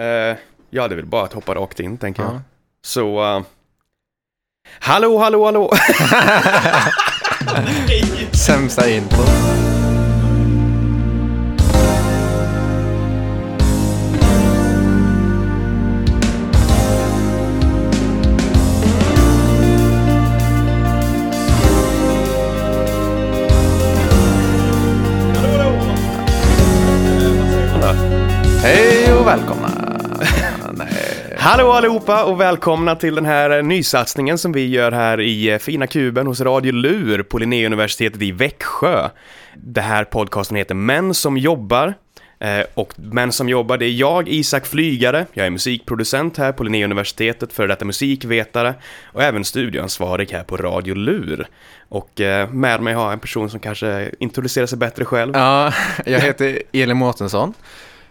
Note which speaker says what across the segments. Speaker 1: Eh, jag hade väl bara att hoppa rakt in, tänker jag.
Speaker 2: Ja.
Speaker 1: Så... eh, hallå, hallå, hallå!
Speaker 2: Sämsta intro. Hej och välkomna. Nej.
Speaker 1: hallå allihopa och välkomna till den här eh, nysatsningen som vi gör här i eh, fina kuben hos Radio Lur på Linnéuniversitetet i Växjö. Det här podcasten heter Män som jobbar. Eh, Och Män som jobbar, det är jag, Isak Flygare. Jag är musikproducent här på Linnéuniversitetet, före detta musikvetare och även studioansvarig här på Radio Lur. Och eh, med mig har jag en person som kanske introducerar sig bättre själv.
Speaker 2: Ja, jag heter Elin Mårtensson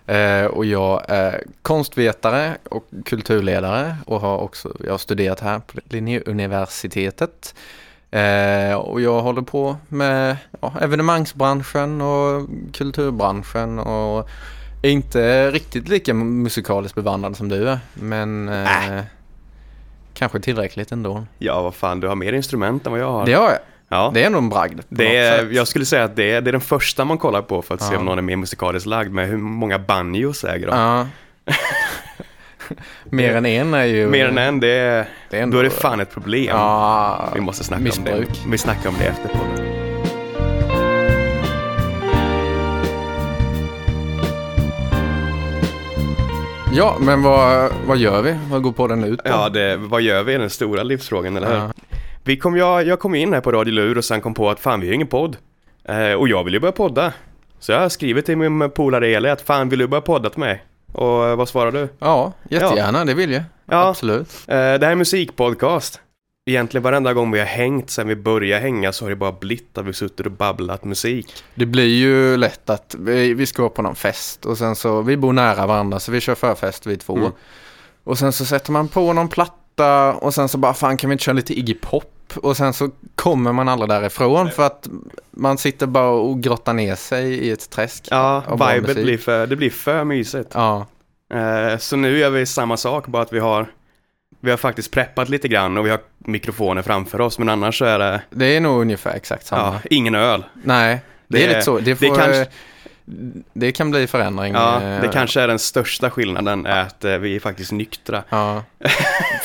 Speaker 2: eh, och jag är konstvetare och kulturledare och har också jag har studerat här på Linnéuniversitetet. Eh, Och jag håller på med ja, evenemangsbranschen och kulturbranschen och är inte riktigt lika musikaliskt bevandrad som du är, men
Speaker 1: Äh.
Speaker 2: eh, kanske tillräckligt ändå.
Speaker 1: Ja, vad fan, du har mer instrument än vad jag har.
Speaker 2: Det har jag.
Speaker 1: ja.
Speaker 2: Det är nog en bragd. på
Speaker 1: Det
Speaker 2: något
Speaker 1: är,
Speaker 2: sätt.
Speaker 1: jag skulle säga att det är, det är den första man kollar på för att se
Speaker 2: Ja.
Speaker 1: om någon är mer musikaliskt lagd med hur många banjos äger de.
Speaker 2: Ja. Mer än en är ju...
Speaker 1: Mer än en, det är,
Speaker 2: Det är ändå-
Speaker 1: då är det fan ett problem.
Speaker 2: Ja,
Speaker 1: Vi måste snacka om
Speaker 2: missbruk.
Speaker 1: det. Vi snackar om det efter podden.
Speaker 2: Ja, men vad, vad gör vi? Vad går på den ut på?
Speaker 1: Ja, det, vad gör vi? är den stora livsfrågan, eller hur?
Speaker 2: Ja.
Speaker 1: Vi kom, jag, jag kom in här på Radio Lur och sen kom på att fan, vi har ingen podd. Eh, och jag vill ju börja podda. Så jag har skrivit till min polare Eli att fan, vill du börja podda till mig? Och eh, vad svarar du?
Speaker 2: Ja, jättegärna, det vill jag.
Speaker 1: Ja.
Speaker 2: Absolut.
Speaker 1: Eh, Det här är en musikpodcast. Egentligen varenda gång vi har hängt sen vi började hänga så har det bara blivit att vi suttit och babblat musik.
Speaker 2: Det blir ju lätt att vi, vi ska på någon fest och sen så, vi bor nära varandra så vi kör förfest vi två.
Speaker 1: Mm.
Speaker 2: Och sen så sätter man på någon platta och sen så bara, fan kan vi inte köra lite Iggy Pop? Och sen så kommer man aldrig därifrån för att man sitter bara och grottar ner sig i ett träsk.
Speaker 1: Ja,
Speaker 2: Av bra
Speaker 1: vibet
Speaker 2: musik.
Speaker 1: blir för, det blir för mysigt.
Speaker 2: Ja,
Speaker 1: Eh, Så nu gör vi samma sak, bara att vi har, vi har faktiskt preppat lite grann och vi har mikrofoner framför oss, men annars så är det,
Speaker 2: det är nog ungefär exakt samma.
Speaker 1: ja, ingen öl.
Speaker 2: Nej, det,
Speaker 1: Det-
Speaker 2: är lite så. Det,
Speaker 1: det
Speaker 2: får, det,
Speaker 1: kanske-
Speaker 2: kan bli förändring.
Speaker 1: Ja,
Speaker 2: eh,
Speaker 1: det kanske är den största skillnaden, är att eh, vi är faktiskt nyktra.
Speaker 2: Ja.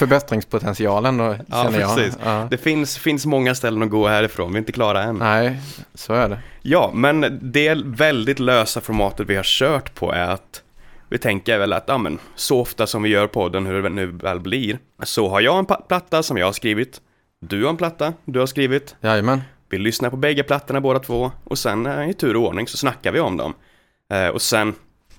Speaker 2: Förbättringspotentialen då,
Speaker 1: Ja,
Speaker 2: känner jag.
Speaker 1: precis.
Speaker 2: Ja.
Speaker 1: Det finns, finns många ställen att gå härifrån, vi är inte klara än.
Speaker 2: Nej, så är det.
Speaker 1: Ja, men det väldigt lösa formatet vi har kört på är att vi tänker väl att, ja men, så ofta som vi gör podden, hur det nu väl blir, så har jag en pa- platta som jag har skrivit, du har en platta du har skrivit,
Speaker 2: Jajamän.
Speaker 1: vi lyssnar på bägge plattorna båda två, och sen eh, i tur och ordning så snackar vi om dem. Eh, och sen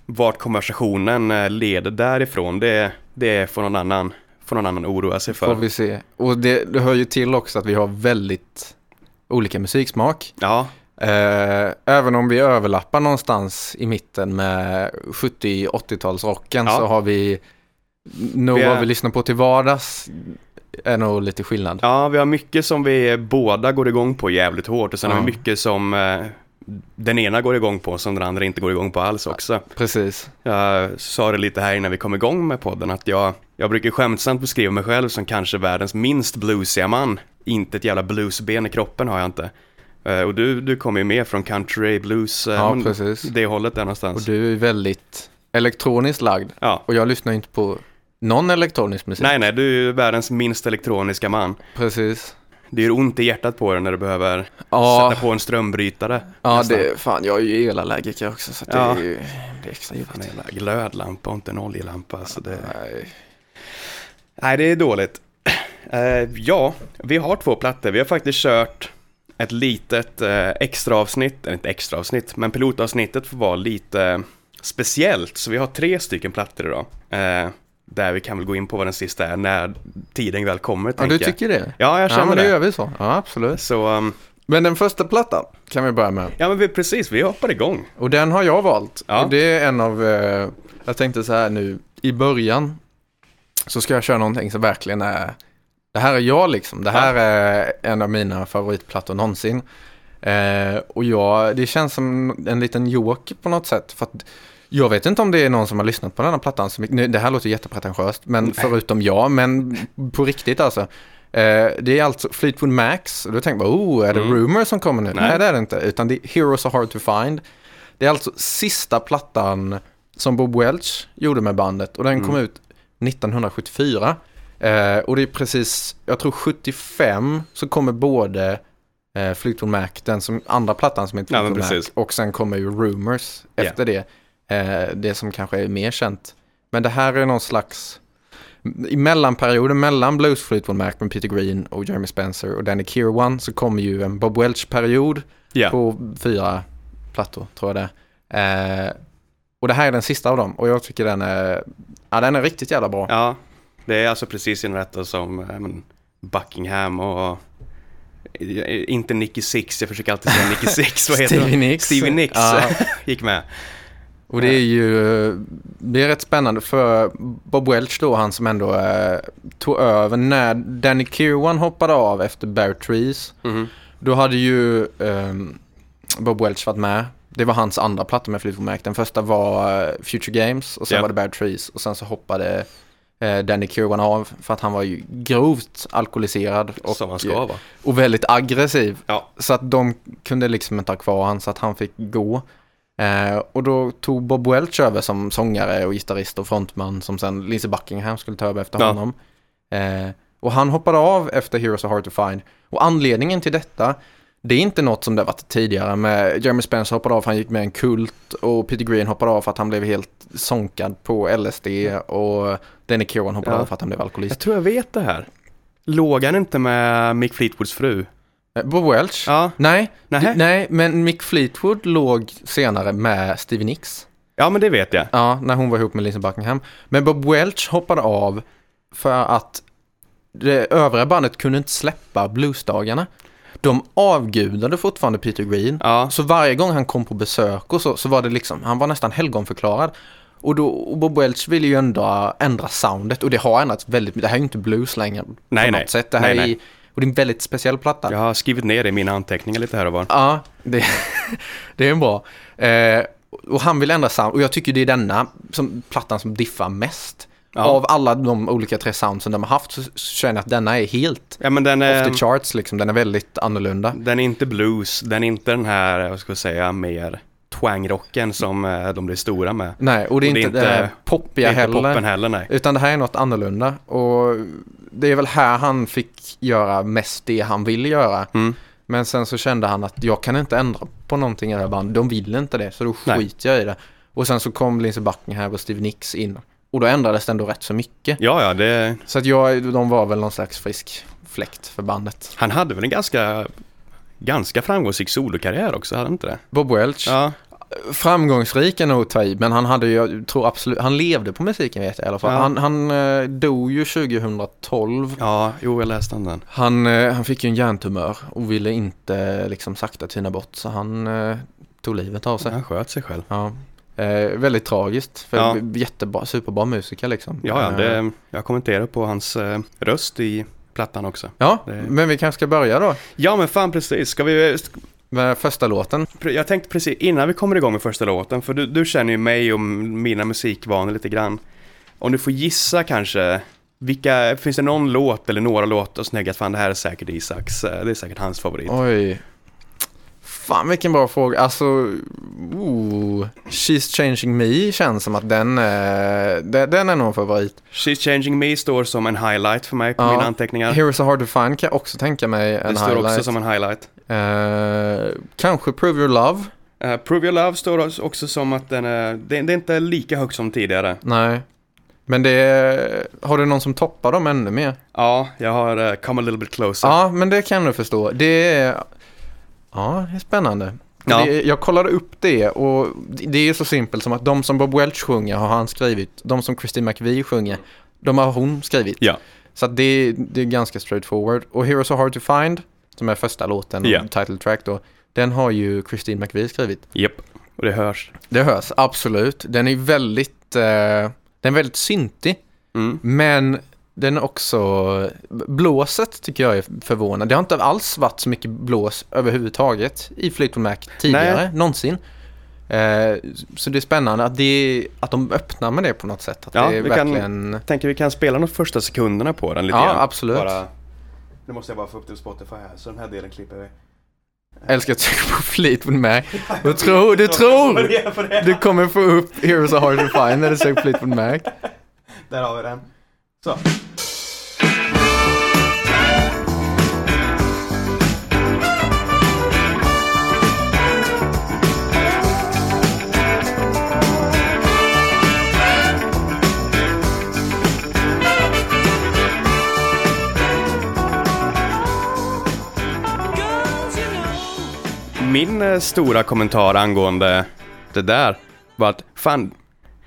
Speaker 1: vart konversationen eh, leder därifrån, det, det får någon annan, får någon annan oroa sig
Speaker 2: Får
Speaker 1: för.
Speaker 2: vi se. Och det, det hör ju till också att vi har väldigt olika musiksmak.
Speaker 1: Ja,
Speaker 2: Eh, även om vi överlappar någonstans i mitten med 70-80-talsrocken
Speaker 1: Ja.
Speaker 2: så har vi nog
Speaker 1: Vi är-
Speaker 2: vad vi lyssnar på till vardags är nog lite skillnad.
Speaker 1: Ja, vi har mycket som vi båda går igång på jävligt hårt och sen har vi
Speaker 2: Ja.
Speaker 1: mycket som eh, den ena går igång på som den andra inte går igång på alls också.
Speaker 2: Precis.
Speaker 1: Jag sa det lite här innan vi kom igång med podden att jag, jag brukar skämtsamt beskriva mig själv som kanske världens minst bluesiga man. Inte ett jävla bluesben i kroppen har jag inte. Eh, och du, du kommer ju mer från country, blues, eh,
Speaker 2: Ja,
Speaker 1: men
Speaker 2: precis.
Speaker 1: det hållet där
Speaker 2: Och
Speaker 1: någonstans.
Speaker 2: du är väldigt elektroniskt lagd.
Speaker 1: Ja.
Speaker 2: Och jag lyssnar ju inte på någon elektronisk musik.
Speaker 1: Nej, nej, du är världens minst elektroniska man.
Speaker 2: Precis.
Speaker 1: Det gör ont i hjärtat på dig när du behöver
Speaker 2: Ja,
Speaker 1: sätta på en strömbrytare.
Speaker 2: ja
Speaker 1: nästan.
Speaker 2: det, fan jag är ju elallergiker också så att
Speaker 1: Ja.
Speaker 2: det är ju det är extra jobbigt.
Speaker 1: En jävla glödlampa och inte en oljelampa. Alltså det...
Speaker 2: Nej.
Speaker 1: Nej, det är dåligt. Eh, ja, vi har två plattor. Vi har faktiskt kört ett litet eh, extra avsnitt, eller inte extra avsnitt, men pilotavsnittet får vara lite speciellt. Så vi har tre stycken plattor idag. Eh, där vi kan väl gå in på vad den sista är när tiden väl kommer,
Speaker 2: Ja,
Speaker 1: tänker
Speaker 2: du
Speaker 1: jag.
Speaker 2: tycker det?
Speaker 1: Ja, jag
Speaker 2: Ja,
Speaker 1: känner
Speaker 2: men det
Speaker 1: det.
Speaker 2: gör vi så. Ja, absolut.
Speaker 1: Så, ehm,
Speaker 2: Men den första plattan kan vi börja med.
Speaker 1: ja men vi, precis, vi hoppar igång.
Speaker 2: Och den har jag valt.
Speaker 1: Ja.
Speaker 2: Och det är en av, eh, jag tänkte så här nu, i början så ska jag köra någonting som verkligen är, det här är jag liksom. Det här är en av mina favoritplattor någonsin. Eh, och jag, det känns som en liten joker på något sätt. För att Jag vet inte om det är någon som har lyssnat på den här plattan så mycket. Nu, Det här låter jättepretentiöst, men förutom jag, men på riktigt alltså. Eh, det är alltså Fleetwood Max, och då tänker man, oh, är det
Speaker 1: Mm.
Speaker 2: Rumor som kommer nu?
Speaker 1: Nej.
Speaker 2: Nej. det är det inte, utan det är Heroes are hard to find. Det är alltså sista plattan som Bob Welch gjorde med bandet och den kom
Speaker 1: Mm.
Speaker 2: ut 1974. Eh, och det är precis, jag tror 75 så kommer både eh, Fleetwood Mac, den som, andra plattan som heter
Speaker 1: Ja, men
Speaker 2: Fleetwood Mac,
Speaker 1: precis.
Speaker 2: och sen kommer ju Rumors efter det. Eh, det som kanske är mer känt. Men det här är någon slags, i mellanperioden mellan Blues Fleetwood Mac med Peter Green och Jeremy Spencer och Danny Kirwan så kommer ju en Bob Welch-period
Speaker 1: Ja.
Speaker 2: på fyra plattor, tror jag det är. eh, Och det här är den sista av dem och jag tycker den är, ja, den är riktigt jävla bra.
Speaker 1: ja, det är alltså precis inrättat som eh, men, Buckingham och eh, inte Nicky Six, jag försöker alltid säga Nicky Six, vad heter
Speaker 2: Stevie
Speaker 1: hon?
Speaker 2: Nicks.
Speaker 1: Stevie Nicks
Speaker 2: Ja.
Speaker 1: gick med.
Speaker 2: Och det är ju eh, det är rätt spännande för Bob Welch då, han som ändå eh, tog över när Danny Kirwan hoppade av efter Bear Trees.
Speaker 1: Mhm.
Speaker 2: Då hade ju ehm, Bob Welch varit med. Det var hans andra platta med Fleetwood Mac. Den första var eh, Future Games och sen
Speaker 1: Ja.
Speaker 2: var det Bear Trees och sen så hoppade eh, Danny Kirwan av för att han var ju grovt alkoholiserad och,
Speaker 1: Som man ska vara.
Speaker 2: och väldigt aggressiv.
Speaker 1: Ja.
Speaker 2: Så att de kunde liksom inte ha kvar han så att han fick gå. Eh, och då tog Bob Welch över som sångare och gitarrist och frontman som sen Lindsey Buckingham skulle ta över efter
Speaker 1: Ja.
Speaker 2: honom. Eh, och han hoppade av efter Heroes Are Hard To Find. Och anledningen till detta, det är inte något som det har varit tidigare med Jeremy Spencer hoppade av för han gick med i en kult och Peter Green hoppade av för att han blev helt sonkad på LSD
Speaker 1: Mm.
Speaker 2: och Danny Kirwan hoppade
Speaker 1: Ja.
Speaker 2: av för att han blev alkoholist.
Speaker 1: Jag tror jag vet det här. Låg han inte med Mick Fleetwoods fru?
Speaker 2: Eh, Bob Welch?
Speaker 1: Ja,
Speaker 2: Nej,
Speaker 1: Nähä.
Speaker 2: nej, men Mick Fleetwood låg senare med Stevie Nicks.
Speaker 1: ja men det vet jag.
Speaker 2: Ja, när hon var ihop med Lisa Buckingham. Men Bob Welch hoppade av för att det övriga bandet kunde inte släppa bluesdagarna. De avgudade fortfarande Peter Green.
Speaker 1: Ja,
Speaker 2: Så varje gång han kom på besök och så, så var det liksom, han var nästan helgonförklarad. Och, då, och Bob Welch ville ju ändå ändra soundet och det har ändrats väldigt mycket. Det här är ju inte blues längre på
Speaker 1: Nej,
Speaker 2: något
Speaker 1: nej.
Speaker 2: sätt. Det här
Speaker 1: Nej, nej.
Speaker 2: Är, och det är en väldigt speciell platta.
Speaker 1: jag har skrivit ner det i mina anteckningar lite här och var.
Speaker 2: Ja, det, det är en bra. Eh, och han vill ändra sound. Och jag tycker det är denna som, plattan som diffar mest.
Speaker 1: Ja.
Speaker 2: Av alla de olika tre soundsen de har haft så så känner jag att denna är helt
Speaker 1: Ja men den
Speaker 2: off
Speaker 1: är,
Speaker 2: the charts liksom. Den är väldigt annorlunda.
Speaker 1: den är inte blues, den är inte den här, eh, vad ska jag säga, mer twangrocken som eh, de blir stora med.
Speaker 2: Nej, och det är
Speaker 1: Och
Speaker 2: inte det här
Speaker 1: Det
Speaker 2: poppiga
Speaker 1: är inte
Speaker 2: heller.
Speaker 1: poppen heller nej.
Speaker 2: Utan det här är något annorlunda. Och det är väl här han fick göra mest det han ville göra.
Speaker 1: Mm.
Speaker 2: Men sen så kände han att jag kan inte ändra på någonting i det här bandet. De vill inte det, så då
Speaker 1: Nej.
Speaker 2: skiter jag i det. Och sen så kom Lindsey Buckingham och Steve Nicks in. Och då ändrades det ändå rätt så mycket.
Speaker 1: Ja, ja, det,
Speaker 2: Så att jag, de var väl någon slags frisk fläkt för bandet.
Speaker 1: han hade väl en ganska, ganska framgångsrik solokarriär också, hade han inte det?
Speaker 2: Bob Welch,
Speaker 1: Ja,
Speaker 2: framgångsrik är nog att ta i, men han hade ju, jag tror absolut, han levde på musiken vet jag i alla fall.
Speaker 1: Ja.
Speaker 2: Han, han eh, dog ju 2012
Speaker 1: ja jo, jag läste om den.
Speaker 2: Han, eh, han fick ju en hjärntumör och ville inte eh, liksom sakta tyna bort så han eh, tog livet av sig.
Speaker 1: Han sköt sig själv.
Speaker 2: Ja. Eh, väldigt tragiskt, för
Speaker 1: Ja.
Speaker 2: jättebra, superbra musiker liksom.
Speaker 1: Ja, ja,
Speaker 2: Eh,
Speaker 1: det, jag kommenterar på hans eh, röst i plattan också.
Speaker 2: ja
Speaker 1: det-
Speaker 2: men vi kanske ska börja då
Speaker 1: Ja, men fan precis. Ska vi,
Speaker 2: med första låten.
Speaker 1: jag tänkte precis innan vi kommer igång med första låten, för du, du känner ju mig och mina musikvanor lite grann. Om du får gissa kanske, vilka, finns det någon låt eller några låtar som tänker att fan det här är säkert Isaks, eh, det är säkert hans favorit.
Speaker 2: Oj. Fan vilken bra fråga. Alltså, ooh. She's Changing Me känns som att den, eh, den, den är nog en favorit.
Speaker 1: She's Changing Me står som en highlight för mig på
Speaker 2: Ja.
Speaker 1: mina anteckningar.
Speaker 2: Heroes a Hard to Find kan jag också tänka mig en
Speaker 1: Det står
Speaker 2: highlight.
Speaker 1: också som en highlight.
Speaker 2: Eh, kanske Prove Your Love.
Speaker 1: Eh, Prove Your Love står också som att den är, det, det är inte lika högt som tidigare.
Speaker 2: Nej. Men det är, har du någon som toppar dem ännu mer?
Speaker 1: Ja, jag har eh, Come A Little Bit Closer.
Speaker 2: Ja, men det kan du förstå. Det är, ja, det är spännande.
Speaker 1: Ja.
Speaker 2: Det, jag kollade upp det och det det är så simpelt som att de som Bob Welch sjunger har han skrivit. De som Christine McVie sjunger, de har hon skrivit.
Speaker 1: Ja.
Speaker 2: Så att det, det är ganska straightforward. Och Heroes Are Hard To Find, som är första låten,
Speaker 1: Ja.
Speaker 2: title track då, den har ju Christine McVie skrivit.
Speaker 1: Japp, och det hörs.
Speaker 2: Det hörs, absolut. Den är väldigt, eh, den är väldigt syntig.
Speaker 1: Mm.
Speaker 2: Men den är också, blåset tycker jag är förvånande. Det har inte alls varit så mycket blås överhuvudtaget i Fleetwood Mac tidigare, någonsin. Eh, Eh, Så det är spännande att, det, att de öppnar med det på något sätt. Att
Speaker 1: Ja,
Speaker 2: det är
Speaker 1: vi kan-
Speaker 2: verkligen...
Speaker 1: Jag tänker vi kan spela de första sekunderna på den lite
Speaker 2: Ja,
Speaker 1: grann.
Speaker 2: absolut.
Speaker 1: Bara... Nu måste jag bara få upp till Spotify här, så den här delen klipper vi.
Speaker 2: Jag älskar att söka på Fleetwood Mac. Du tror, du tror! Du kommer få upp Heroes are hard to find när du söker Fleetwood Mac.
Speaker 1: Där har vi den. Så. Min eh, stora kommentar angående det där var att fan,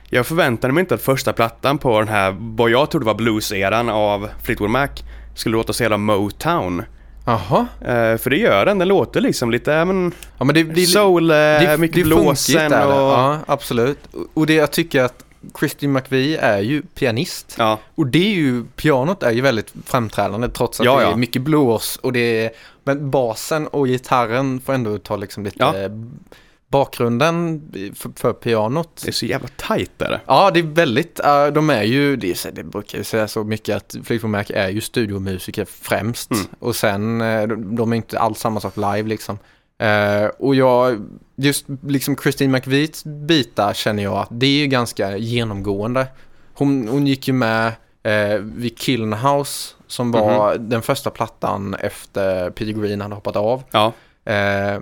Speaker 1: jag förväntade mig inte att första plattan på den här, vad jag trodde var blues-eran av Fleetwood Mac, skulle låta så jävla Motown.
Speaker 2: Jaha.
Speaker 1: Eh, för det gör den, den låter liksom lite, ja, men,
Speaker 2: Ja, men det, det,
Speaker 1: soul, eh, mycket
Speaker 2: funkigt
Speaker 1: blåsen
Speaker 2: är det.
Speaker 1: och... Ja.
Speaker 2: Ja, absolut. Och det jag tycker att Christy McVie är ju pianist.
Speaker 1: Ja,
Speaker 2: Och det är ju, pianot är ju väldigt framträdande trots att
Speaker 1: Ja,
Speaker 2: det
Speaker 1: ja.
Speaker 2: är mycket blås och det är, men basen och gitarren får ändå ta liksom lite
Speaker 1: Ja.
Speaker 2: eh, bakgrunden för, för pianot.
Speaker 1: det är så jävla tajt där.
Speaker 2: Ja, det är väldigt, eh, de är ju, det, är, så- det brukar ju säga så mycket att Fleetwood Mac är ju studiomusiker främst.
Speaker 1: Mm.
Speaker 2: Och sen, eh, de, de är inte alls samma sak live liksom. Eh, och jag, just liksom Christine McVies bitar känner jag att det är ju ganska genomgående. Hon, hon gick ju med eh, vid Kiln House som var den första plattan efter Peter Green hade hoppat av.
Speaker 1: Ja,
Speaker 2: Eh,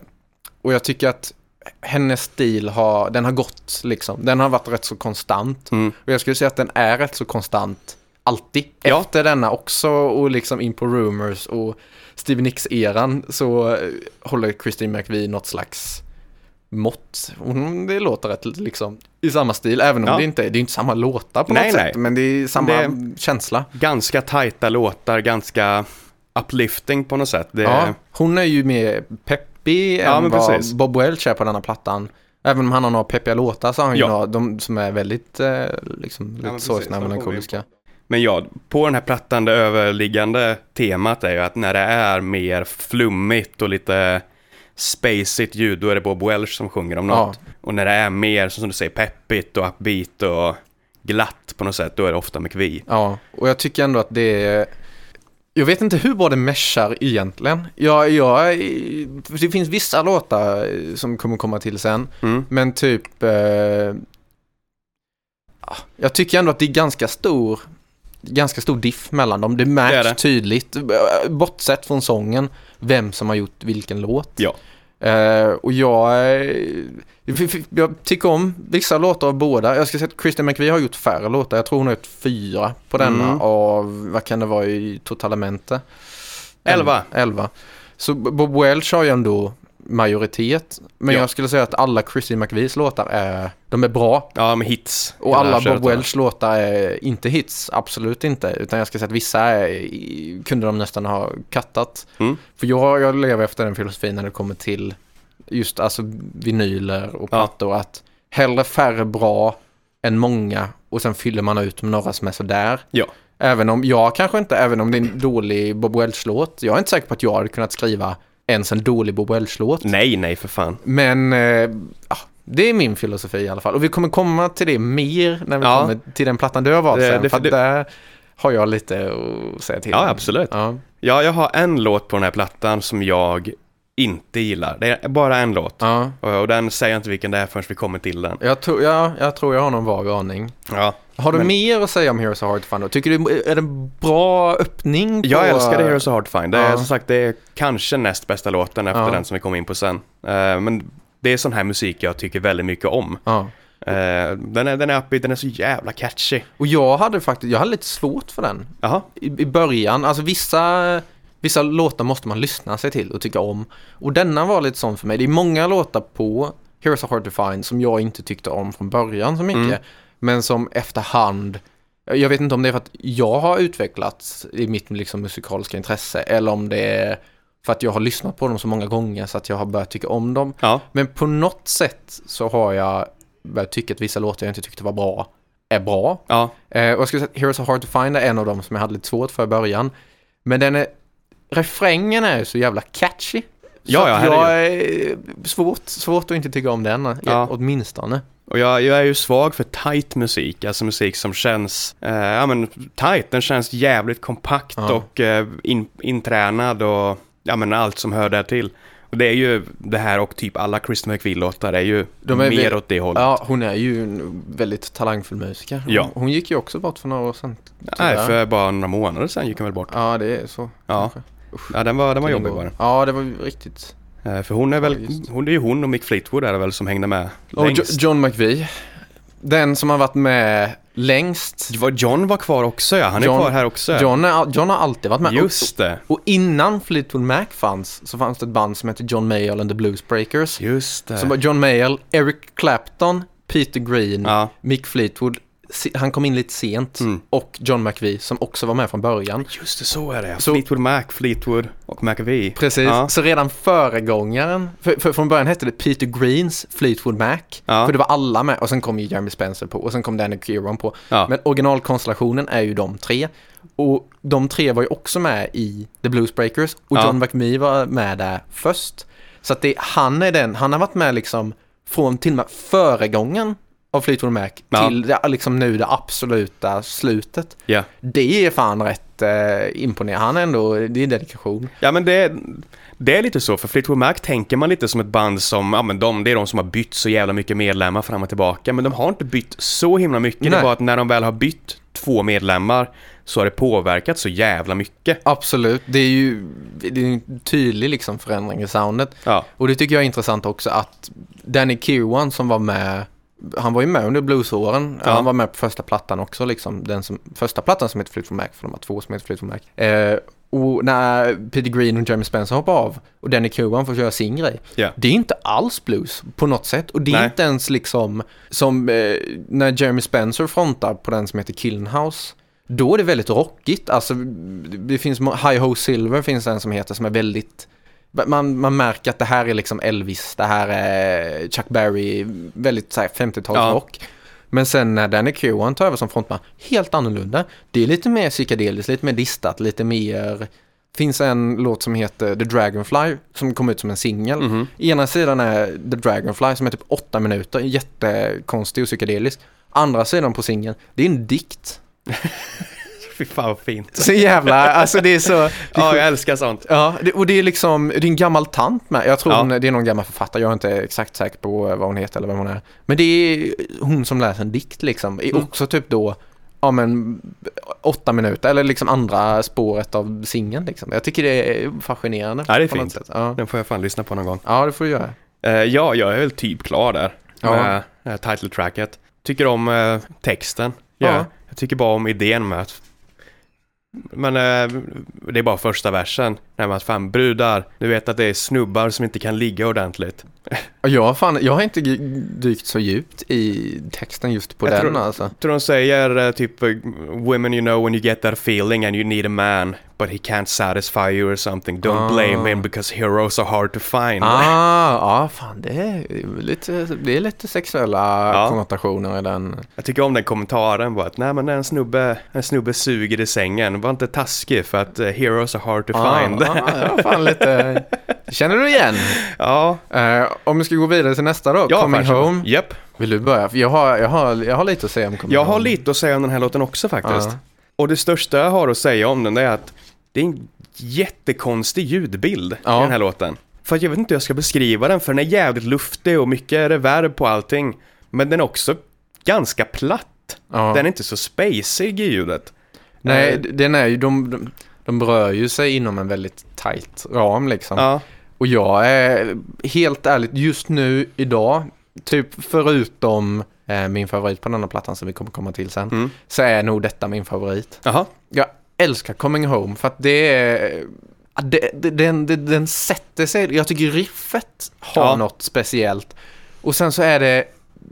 Speaker 2: och jag tycker att hennes stil har, den har gått liksom. Den har varit rätt så konstant.
Speaker 1: mm.
Speaker 2: Och jag skulle säga att den är rätt så konstant alltid.
Speaker 1: Ja.
Speaker 2: Efter denna också och liksom in på Rumors och Steve Nicks-eran så eh, håller Christine McVie något slags mått. Hon, det låter rätt liksom i samma stil, även om
Speaker 1: Ja.
Speaker 2: det inte är, det är inte samma låtar på
Speaker 1: Nej,
Speaker 2: något
Speaker 1: nej.
Speaker 2: sätt. Men det är samma
Speaker 1: Det-
Speaker 2: känsla.
Speaker 1: ganska tajta låtar, ganska uplifting på något sätt. Det,
Speaker 2: Ja, Eh, hon är ju mer peppig
Speaker 1: Ja,
Speaker 2: än
Speaker 1: men
Speaker 2: vad
Speaker 1: precis.
Speaker 2: Bob Welch är på denna plattan. Även om han har några peppiga låtar så har han
Speaker 1: Ja.
Speaker 2: ju några de, som är väldigt eh, liksom, lite
Speaker 1: men precis,
Speaker 2: sorgsna och
Speaker 1: de får vi
Speaker 2: melankoliska.
Speaker 1: Men ja, på den här plattan det överliggande temat är ju att när det är mer flummigt och lite spacigt ljud, då är det Bob Welch som sjunger om något. Och när det är mer, som du säger, peppigt och upbeat och glatt på något sätt, då är det ofta McVie.
Speaker 2: Ja, och jag tycker ändå att det är... Jag vet inte hur bra det meshar egentligen. Jag, jag, det finns vissa låtar eh, som kommer komma till sen,
Speaker 1: Mm.
Speaker 2: men typ... Eh, ah, jag tycker ändå att det är ganska stor, ganska stor diff mellan dem. Det märks
Speaker 1: Det är det.
Speaker 2: tydligt, eh, bortsett från sången, vem som har gjort vilken låt.
Speaker 1: Ja.
Speaker 2: Eh, och jag, eh, f- f- jag tycker om vissa låtar av båda. Jag ska säga att Christian McVie har gjort färre låtar. Jag tror hon har gjort fyra på denna
Speaker 1: Mm.
Speaker 2: av, vad kan det vara i totalemente?
Speaker 1: Elva.
Speaker 2: Elva. Så B- Bob Welch har ju ändå majoritet. Men
Speaker 1: Ja.
Speaker 2: jag skulle säga att alla Christian McVies låtar är, de är bra.
Speaker 1: Ja, med hits.
Speaker 2: Och alla
Speaker 1: Där kör
Speaker 2: Bob
Speaker 1: det.
Speaker 2: Welch låtar är inte hits, absolut inte. Utan jag ska säga att vissa är, i- kunde de nästan ha kattat.
Speaker 1: Mm.
Speaker 2: För jag, jag lever efter den filosofin när det kommer till just alltså vinyler och
Speaker 1: Ja.
Speaker 2: plattor. Att hellre färre bra än många och sen fyller man ut med några som är sådär.
Speaker 1: Ja.
Speaker 2: Även om jag kanske inte, även om det är en dålig Bob Welch-låt. Jag är inte säker på att jag hade kunnat skriva ens en dålig Bob Welch-låt.
Speaker 1: Nej, nej för fan.
Speaker 2: Men eh, ja, det är min filosofi i alla fall. Och vi kommer komma till det mer när vi
Speaker 1: Ja.
Speaker 2: kommer till den plattan du har valt
Speaker 1: Det-
Speaker 2: sen.
Speaker 1: det-
Speaker 2: för att
Speaker 1: det-
Speaker 2: där har jag lite att säga till.
Speaker 1: Ja,
Speaker 2: om.
Speaker 1: absolut.
Speaker 2: Ja.
Speaker 1: Ja, jag har en låt på den här plattan som jag inte gillar. Det är bara en låt.
Speaker 2: Ja.
Speaker 1: Och och den säger jag inte vilken det är förrän vi kommer till den.
Speaker 2: Jag, tror, ja, jag tror jag har någon vag aning.
Speaker 1: Ja.
Speaker 2: Har du
Speaker 1: Men-
Speaker 2: mer att säga om Heroes of Hard to Find? då? Tycker du är det en bra öppning? På,
Speaker 1: Jag älskade Heroes of Hard to Find. Det är
Speaker 2: eh, Ja.
Speaker 1: som sagt det är kanske näst bästa låten efter
Speaker 2: Ja.
Speaker 1: den som vi kom in på sen. Eh, men det är sån här musik jag tycker väldigt mycket om.
Speaker 2: Ja.
Speaker 1: Eh, den är, den är uppbeat, den är så jävla catchy.
Speaker 2: Och jag hade faktiskt, jag hade lite svårt för den.
Speaker 1: Jaha,
Speaker 2: i, i början, alltså vissa, vissa låtar måste man lyssna sig till och tycka om. Och denna var lite sån för mig. Det är många låtar på Heroes are hard to find som jag inte tyckte om från början så mycket.
Speaker 1: Mm.
Speaker 2: Men som efterhand, jag vet inte om det är för att jag har utvecklats i mitt liksom, musikaliska intresse eller om det är för att jag har lyssnat på dem så många gånger så att jag har börjat tycka om dem.
Speaker 1: ja.
Speaker 2: Men på något sätt så har jag börjat tycka att vissa låtar jag inte tyckte var bra är bra.
Speaker 1: Ja,
Speaker 2: Eh, och jag skulle säga att Heroes are hard to find är en av dem som jag hade lite svårt för i början. Men den är, refrängen är ju så jävla catchy.
Speaker 1: Ja, ja,
Speaker 2: att jag är svårt, svårt att inte tycka om den, eh,
Speaker 1: Ja.
Speaker 2: åtminstone.
Speaker 1: Och jag, jag är ju svag för tight musik, alltså musik som känns, eh, ja men tight, den känns jävligt kompakt
Speaker 2: Ja.
Speaker 1: och eh, in, intränad och ja men allt som hör där till. Och det är ju det här och typ alla Chris McVie-låtar är ju
Speaker 2: De är
Speaker 1: mer
Speaker 2: väl-
Speaker 1: åt det hållet.
Speaker 2: Ja, hon är ju en väldigt talangfull musiker. Hon,
Speaker 1: Ja.
Speaker 2: hon gick ju också bort för några år sedan.
Speaker 1: Nej,
Speaker 2: tyvärr.
Speaker 1: för bara några månader sedan gick hon väl bort.
Speaker 2: Ja, det är så.
Speaker 1: Ja,
Speaker 2: kanske.
Speaker 1: ja den var, den var jobbig
Speaker 2: Det
Speaker 1: var den.
Speaker 2: Ja, det var ju riktigt.
Speaker 1: Eh, För hon är väl,
Speaker 2: Ja, just
Speaker 1: hon, det är ju hon och Mick Fleetwood är det väl som hängde med
Speaker 2: Och Jo-
Speaker 1: längst.
Speaker 2: John McVie. Den som har varit med längst.
Speaker 1: Det var- John var kvar också ja, han är
Speaker 2: John-
Speaker 1: kvar här också.
Speaker 2: John, är, John har alltid varit med.
Speaker 1: Just det,
Speaker 2: Och, och innan Fleetwood Mac fanns så fanns det ett band som hette John Mayall and the Blues Breakers.
Speaker 1: just det.
Speaker 2: Som var John Mayall, Eric Clapton, Peter Green,
Speaker 1: ja.
Speaker 2: Mick Fleetwood. se- Han kom in lite sent.
Speaker 1: Mm.
Speaker 2: Och John McVie som också var med från början.
Speaker 1: Just det, så är det.
Speaker 2: Så-
Speaker 1: Fleetwood Mac, Fleetwood och McAvee.
Speaker 2: Precis,
Speaker 1: Ja.
Speaker 2: så redan föregångaren, för, för från början hette det Peter Greens Fleetwood Mac,
Speaker 1: Ja.
Speaker 2: för det var alla med och sen kom ju Jeremy Spencer på och sen kom Danny Kieron på.
Speaker 1: Ja.
Speaker 2: Men originalkonstellationen är ju de tre och de tre var ju också med i The Blues Breakers och
Speaker 1: Ja.
Speaker 2: John McMee var med där först. Så att det, han är den, han har varit med liksom från till och med föregången av Fleetwood Mac
Speaker 1: Ja.
Speaker 2: till det, liksom nu det absoluta slutet.
Speaker 1: Ja.
Speaker 2: Det är fan rätt eh, imponerande. Han är ändå, det är dedikation.
Speaker 1: ja, men det, det är lite så, för Fleetwood Mac tänker man lite som ett band som, ja men de, det är de som har bytt så jävla mycket medlemmar fram och tillbaka, men de har inte bytt så himla mycket. Det är
Speaker 2: Nej.
Speaker 1: bara att när de väl har bytt två medlemmar så har det påverkat så jävla mycket.
Speaker 2: Absolut, det är ju det är ju en tydlig liksom förändring i soundet.
Speaker 1: Ja,
Speaker 2: Och det tycker jag är intressant också att Danny Kirwan som var med, han var ju med under bluesåren,
Speaker 1: Ja.
Speaker 2: han var med på första plattan också, liksom, den som, första plattan som heter Fleetwood Mac, för de har två som heter Fleetwood Mac. Eh, och när Peter Green och Jeremy Spencer hoppar av och Danny Kirwan får köra sin grej,
Speaker 1: Ja.
Speaker 2: det är inte alls blues på något sätt. Och det är
Speaker 1: Nej.
Speaker 2: inte ens liksom som eh, när Jeremy Spencer frontar på den som heter Killenhouse. Då är det väldigt rockigt. Alltså, det finns mo- High Ho Silver finns en som heter som är väldigt... Man, man märker att det här är liksom Elvis, det här är Chuck Berry, väldigt så här 50-talsrock. Men sen när Danny Kirwan tar över som frontman, helt annorlunda. Det är lite mer psykedeliskt, lite mer distat, lite mer... Finns en låt som heter The Dragonfly som kom ut som en singel.
Speaker 1: Mhm.
Speaker 2: Ena sidan är The Dragonfly som är typ åtta minuter, jättekonstig och psykedelisk. Andra sidan på singeln, det är en dikt.
Speaker 1: fy fan vad fint.
Speaker 2: Så jävla, alltså det är så... Det är
Speaker 1: Ja,
Speaker 2: sjukt.
Speaker 1: jag älskar sånt.
Speaker 2: Ja, det, och det är liksom, det är en gammal tant med. Jag tror
Speaker 1: Ja.
Speaker 2: hon, det är någon gammal författare, jag är inte exakt säker på eh, vad hon heter eller vem hon är. Men det är hon som läser en dikt liksom. Är
Speaker 1: Mm.
Speaker 2: Också typ då, ja men, åtta minuter eller liksom andra spåret av singeln liksom. Jag tycker det är fascinerande.
Speaker 1: Ja, det är
Speaker 2: på något
Speaker 1: fint.
Speaker 2: sätt. Ja.
Speaker 1: Den får jag fan lyssna på någon gång.
Speaker 2: ja, det får du göra.
Speaker 1: Eh, ja, jag är väl typ klar där.
Speaker 2: Ja.
Speaker 1: Med eh, title tracket. Tycker om eh, texten. Ja.
Speaker 2: Ja.
Speaker 1: Jag tycker bara om idén med att... Men eh, det är bara första versen. När man fan brudar, du vet att det är snubbar som inte kan ligga ordentligt.
Speaker 2: Ja, Jag, har fan, jag har inte gy- dykt så djupt i texten just på
Speaker 1: Jag
Speaker 2: den
Speaker 1: tror-
Speaker 2: alltså.
Speaker 1: Jag tror de säger eh, typ eh, “Women you know when you get that feeling and you need a man but he can't satisfy you or something. Don't
Speaker 2: Ah.
Speaker 1: blame him because heroes are hard to find”.
Speaker 2: Ah, ja, fan det är lite, det är lite sexuella
Speaker 1: Ja.
Speaker 2: konnotationer i den.
Speaker 1: Jag tycker om den kommentaren bara att “Nej men när en snubbe, en snubbe suger i sängen, var inte taskig för att eh, heroes are hard to
Speaker 2: Ah.
Speaker 1: find”.
Speaker 2: Ja, ja, ja, fan lite. Känner du igen?
Speaker 1: Ja,
Speaker 2: Eh, om vi ska gå vidare till nästa då,
Speaker 1: ja
Speaker 2: Coming
Speaker 1: varsågod.
Speaker 2: Home.
Speaker 1: Japp.
Speaker 2: Vill du börja? För Jag har, jag, har, jag har lite att säga om Coming
Speaker 1: Jag
Speaker 2: Home.
Speaker 1: har lite att säga om den här låten också faktiskt.
Speaker 2: Ja.
Speaker 1: Och det största jag har att säga om den det är att det är en jättekonstig ljudbild
Speaker 2: Ja.
Speaker 1: i den här låten. För att jag vet inte hur jag ska beskriva den, för den är jävligt luftig och mycket reverb på allting. Men den är också ganska platt.
Speaker 2: Ja.
Speaker 1: Den är inte så spacig i ljudet.
Speaker 2: Ah. Nej,
Speaker 1: Eh,
Speaker 2: d- den är ju, de, de, de rör ju sig inom en väldigt tight ram liksom.
Speaker 1: ja.
Speaker 2: Och jag är helt ärligt, just nu idag, typ förutom eh, min favorit på den andra plattan som vi kommer komma till sen,
Speaker 1: Mm.
Speaker 2: så är nog detta min favorit.
Speaker 1: Jaha.
Speaker 2: Jag älskar Coming Home för att det är... ja, Det, det, den, det, den sätter sig. Jag tycker riffet har
Speaker 1: Ja.
Speaker 2: något speciellt. Och sen så är det...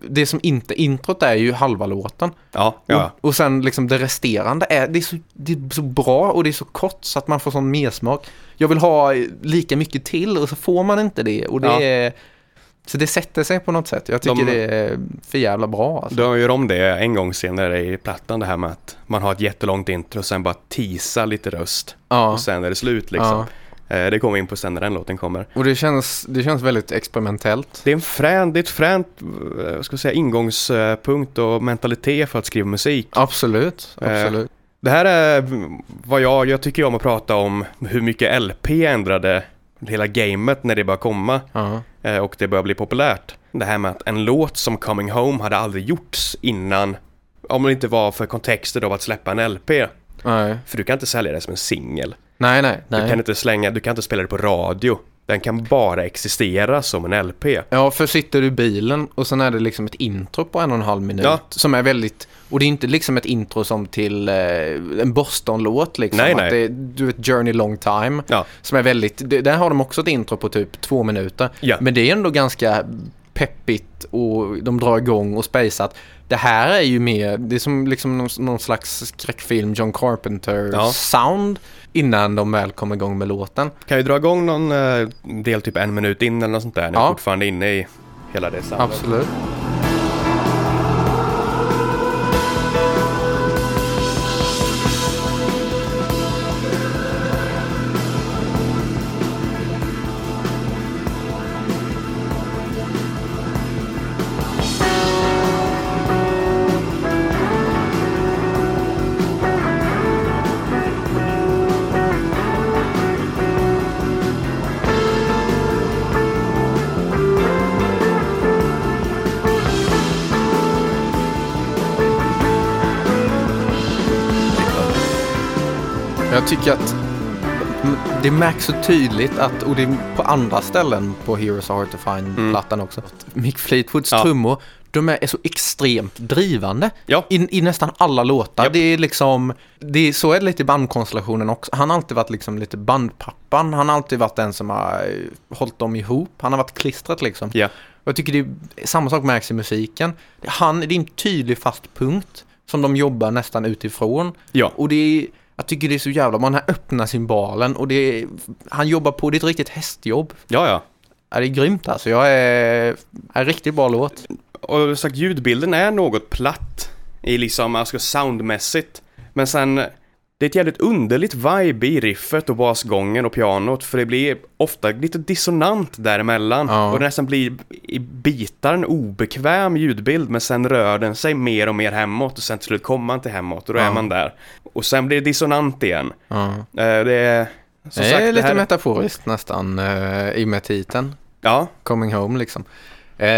Speaker 2: Det som inte introt är ju halva låten.
Speaker 1: Ja, ja.
Speaker 2: Och, och sen liksom det resterande är, det är, så, det är så bra och det är så kort så att man får sån mersmak. Jag vill ha eh, lika mycket till och så får man inte det. Och det
Speaker 1: Ja.
Speaker 2: är, så det sätter sig på något sätt. Jag tycker
Speaker 1: De-
Speaker 2: det är för jävla bra. Alltså.
Speaker 1: De gör om det en gång senare i plattan det här med att man har ett jättelångt intro och sen bara tisa lite röst.
Speaker 2: Ja.
Speaker 1: Och sen är det slut liksom. Eh, Det kommer vi in på sen när den låten kommer.
Speaker 2: Och det känns, det känns väldigt experimentellt.
Speaker 1: Det är, en frän, det är ett fränt eh, vad ska jag säga, ingångspunkt och mentalitet för att skriva musik.
Speaker 2: Absolut,
Speaker 1: Eh,
Speaker 2: absolut.
Speaker 1: Det här är mm, vad jag, jag tycker om att prata om hur mycket LP ändrade hela gamet när det började komma
Speaker 2: Ja.
Speaker 1: eh, och det började bli populärt. Det här med att en låt som Coming Home hade aldrig gjorts innan, om det inte var för kontexter av att släppa en LP.
Speaker 2: Nej,
Speaker 1: För du kan inte sälja det som en singel.
Speaker 2: nej, nej.
Speaker 1: Du kan
Speaker 2: nej.
Speaker 1: inte slänga, du kan inte spela det på radio. Den kan bara existera som en LP.
Speaker 2: Ja, för sitter du i bilen och sen är det liksom ett intro på en och en halv minut.
Speaker 1: Ja.
Speaker 2: Som är väldigt, och det är inte liksom ett intro som till eh, en Boston-låt liksom.
Speaker 1: Nej,
Speaker 2: att
Speaker 1: nej.
Speaker 2: Det, du vet, Journey Long Time.
Speaker 1: Ja,
Speaker 2: Som är väldigt, det, där har de också ett intro på typ två minuter.
Speaker 1: Ja.
Speaker 2: Men det är ändå ganska peppigt och de drar igång och spejsat. Det här är ju mer, det är som liksom någon, någon slags skräckfilm, John
Speaker 1: Ja.
Speaker 2: Carpenter-sound. Innan de väl kommer igång med låten.
Speaker 1: kan ju dra igång någon eh, del typ en minut in eller något sånt där. När
Speaker 2: Ja.
Speaker 1: vi fortfarande är inne i hela det soundet.
Speaker 2: Absolut. Jag tycker att det märks så tydligt att, och det är på andra ställen på Heroes Are Hard To Find-plattan också, att Mick Fleetwoods
Speaker 1: Mm. Ja.
Speaker 2: trummor, de är är så extremt drivande
Speaker 1: Ja.
Speaker 2: i, i nästan alla låtar.
Speaker 1: Japp.
Speaker 2: Det är liksom, det är, så är det lite i bandkonstellationen också. Han har alltid varit liksom lite bandpappan, han har alltid varit den som har eh, hållit dem ihop, han har varit klistret liksom.
Speaker 1: Ja.
Speaker 2: Och Jag tycker det är, samma sak märks i musiken. Han, det är en tydlig fast punkt som de jobbar nästan utifrån.
Speaker 1: Ja.
Speaker 2: Och det är, jag tycker det är så jävla, man här öppnar cymbalen och det är, han jobbar på, det är ett riktigt hästjobb.
Speaker 1: Ja, ja.
Speaker 2: Ja, det är grymt alltså, jag är, är riktigt bra låt.
Speaker 1: Och sagt, ljudbilden är något platt i liksom, alltså soundmässigt. Men sen, det är ett jävligt underligt vibe i riffet och basgången och pianot för det blir ofta lite dissonant däremellan
Speaker 2: Ja.
Speaker 1: och det nästan blir i bitar en obekväm ljudbild men sen rör den sig mer och mer hemåt och sen till slut kommer man till hemåt och då är
Speaker 2: Ja.
Speaker 1: man där. Och sen blir det dissonant igen.
Speaker 2: Ja.
Speaker 1: Eh, Det är, som
Speaker 2: det är
Speaker 1: sagt, det
Speaker 2: lite
Speaker 1: här,
Speaker 2: metaforiskt nästan eh, i och med titeln,
Speaker 1: Ja,
Speaker 2: Coming Home liksom. Eh,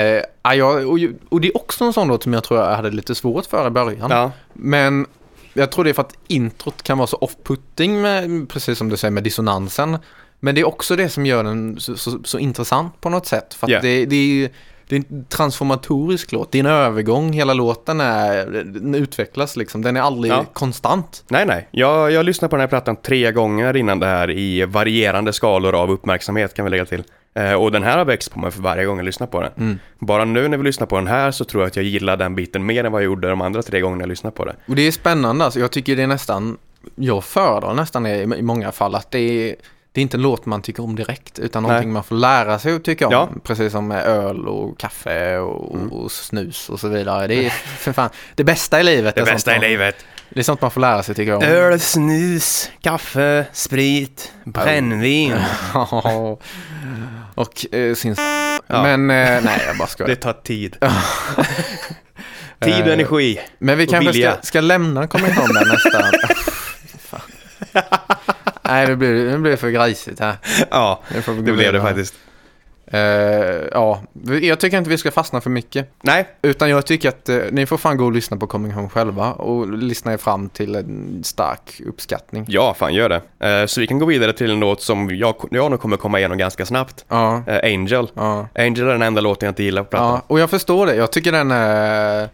Speaker 2: ja, jag, och, ju- och det är också en sån låt som jag tror jag hade lite svårt för i början.
Speaker 1: ja,
Speaker 2: Men jag tror det är för att introt kan vara så off-putting, med, precis som du säger med dissonansen. Men det är också det som gör den så, så, så intressant på något sätt. För att
Speaker 1: Ja.
Speaker 2: det, det, är, ju- det är en transformatorisk låt, det är en övergång, hela låten är, den utvecklas liksom, den är aldrig
Speaker 1: Ja.
Speaker 2: konstant.
Speaker 1: Nej, nej. Jag, jag lyssnade på den här plattan tre gånger innan det här i varierande skalor av uppmärksamhet kan vi lägga till. Eh, och den här har växt på mig för varje gång jag lyssnar på den.
Speaker 2: Mm.
Speaker 1: Bara nu när vi lyssnar på den här så tror jag att jag gillar den biten mer än vad jag gjorde de andra tre gångerna jag lyssnade på det.
Speaker 2: Och det är spännande, alltså, jag tycker det är nästan, jag föredrar nästan det i, i många fall, att det är det är inte en låt man tycker om direkt, utan
Speaker 1: Nej.
Speaker 2: någonting man får lära sig att tycka om.
Speaker 1: Ja. Mm.
Speaker 2: Precis som med öl och kaffe och, och snus och så vidare. Det är för fan, det bästa i livet. är sånt man,
Speaker 1: livet.
Speaker 2: Det är sånt man får lära sig tycka om.
Speaker 1: snus, kaffe, sprit, brännvin.
Speaker 2: Ja. och eh, sin...
Speaker 1: Ja.
Speaker 2: Men eh, nej, jag bara skojar.
Speaker 1: Det tar tid. tid och energi.
Speaker 2: Men vi
Speaker 1: Och
Speaker 2: kanske ska,
Speaker 1: vilja.
Speaker 2: ska lämna kommentaren nästa. Fan. nej, det blir, det blir för grisigt här.
Speaker 1: Ja,
Speaker 2: Nu får vi gå
Speaker 1: det blev det
Speaker 2: vidare.
Speaker 1: faktiskt.
Speaker 2: Eh, ja, jag tycker inte vi ska fastna för mycket.
Speaker 1: Nej,
Speaker 2: Utan jag tycker att eh, ni får fan gå och lyssna på Coming Home själva och lyssna er fram till en stark uppskattning.
Speaker 1: ja fan gör det. Eh, så vi kan gå vidare till en låt som jag, jag nog kommer komma igenom ganska snabbt.
Speaker 2: Ja,
Speaker 1: Eh, Angel.
Speaker 2: ja.
Speaker 1: Angel är den enda låten jag inte gillar på plattan.
Speaker 2: ja. Och jag förstår det. Jag tycker den är...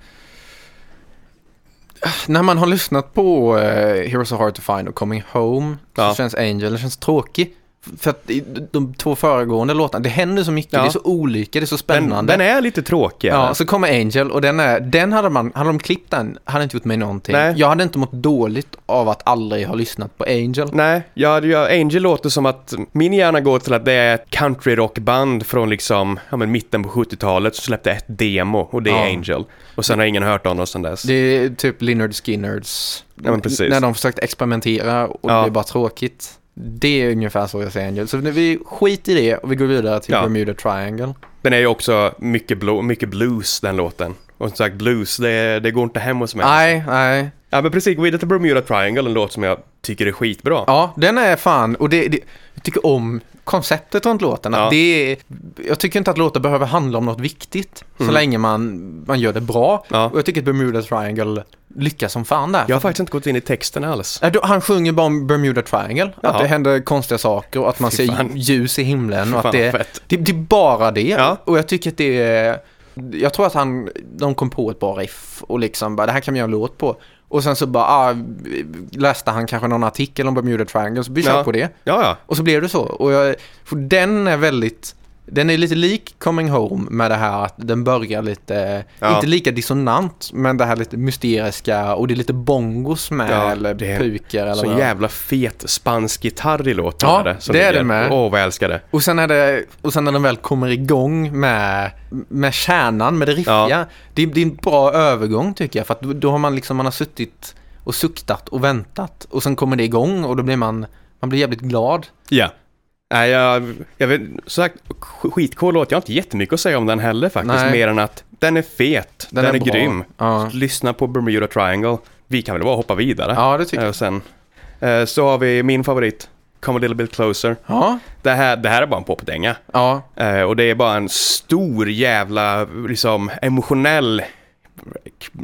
Speaker 2: När man har lyssnat på uh, Heroes Are Hard To Find och Coming Home
Speaker 1: Ja.
Speaker 2: så känns Angel den känns tråkig. För att i de två föregående låtarna, det händer så mycket,
Speaker 1: Ja.
Speaker 2: det är så olika, det är så
Speaker 1: Den,
Speaker 2: spännande.
Speaker 1: den är lite tråkig.
Speaker 2: Ja,
Speaker 1: Ja,
Speaker 2: så kommer Angel och den, är, den hade man, hade de klippt den, hade inte gjort mig någonting.
Speaker 1: Nej.
Speaker 2: Jag hade inte mått dåligt av att aldrig ha lyssnat på Angel.
Speaker 1: Nej, jag, jag, Angel låter som att min hjärna går till att det är ett countryrockband från liksom, ja, men mitten på 70-talet som släppte ett demo och det är
Speaker 2: Ja.
Speaker 1: Angel. Och sen har ingen hört om dem sedan dess.
Speaker 2: Det är typ Lynyrd Skynners,
Speaker 1: Ja, men precis.
Speaker 2: när de försökte experimentera och
Speaker 1: Ja.
Speaker 2: det blev bara tråkigt. Det är ungefär så jag säger Angel. Så nu- vi skiter i det och vi går vidare till
Speaker 1: Ja.
Speaker 2: Bermuda Triangle.
Speaker 1: Den är ju också mycket, blo- mycket blues, den låten. Och som sagt, blues, det, det går inte hem hos mig.
Speaker 2: Nej, nej.
Speaker 1: Ja, men precis. Gå vidare till Bermuda Triangle, en låt som jag tycker är skitbra.
Speaker 2: Ja, den är fan. Och det, det, jag tycker om konceptet runt låten. Att
Speaker 1: Ja.
Speaker 2: det, är- jag tycker inte att låtar behöver handla om något viktigt. Så
Speaker 1: Mm.
Speaker 2: länge man, man gör det bra.
Speaker 1: Ja.
Speaker 2: Och jag tycker att Bermuda Triangle lyckas som fan där.
Speaker 1: Jag har faktiskt inte gått in i texten alls.
Speaker 2: Äh, då- Han sjunger bara om Bermuda Triangle,
Speaker 1: Jaha.
Speaker 2: att det händer konstiga saker och att man
Speaker 1: Fy
Speaker 2: ser
Speaker 1: fan.
Speaker 2: ljus i himlen. Och
Speaker 1: Fan,
Speaker 2: att det,
Speaker 1: fett.
Speaker 2: det, det är bara det.
Speaker 1: Ja.
Speaker 2: Och jag tycker att det är... Jag tror att han, de kom på ett bra riff och liksom bara, det här kan vi göra en låt på. Och sen så bara, ah, läste han kanske någon artikel om Bermuda Triangle, så vi kör
Speaker 1: Ja.
Speaker 2: på det.
Speaker 1: Ja, ja.
Speaker 2: Och så blev det så. Och jag, för den är väldigt, den är lite lik Coming Home med det här att den börjar lite,
Speaker 1: Ja.
Speaker 2: inte lika dissonant, men det här lite mysteriska och det är lite bongos med
Speaker 1: Ja,
Speaker 2: eller
Speaker 1: det är
Speaker 2: pukor eller
Speaker 1: Så
Speaker 2: vad.
Speaker 1: jävla fet spansk gitarr i låten.
Speaker 2: Ja,
Speaker 1: är som
Speaker 2: det är
Speaker 1: ligger.
Speaker 2: det med.
Speaker 1: Åh, vad jag älskar det.
Speaker 2: Och sen, är det, och sen när den väl kommer igång med, med kärnan, med det riffiga.
Speaker 1: Ja.
Speaker 2: Det, det är en bra övergång tycker jag. För att då, då har man liksom, man har suttit och suktat och väntat. Och sen kommer det igång och då blir man, man blir jävligt glad.
Speaker 1: Ja. Nej, jag, jag vet, så sagt, sk- skitcool låt. Jag har inte jättemycket att säga om den heller faktiskt.
Speaker 2: Nej.
Speaker 1: Mer än att den är fet, den, är,
Speaker 2: bra.
Speaker 1: grym.
Speaker 2: Ja,
Speaker 1: Lyssna på Bermuda Triangle. Vi kan väl bara hoppa vidare.
Speaker 2: ja det tycker jag.
Speaker 1: Och sen, eh, så har vi min favorit, Come a little bit closer.
Speaker 2: Ja,
Speaker 1: Det här, det här är bara en popdänga.
Speaker 2: ja.
Speaker 1: Eh, och det är bara en stor jävla, liksom emotionell,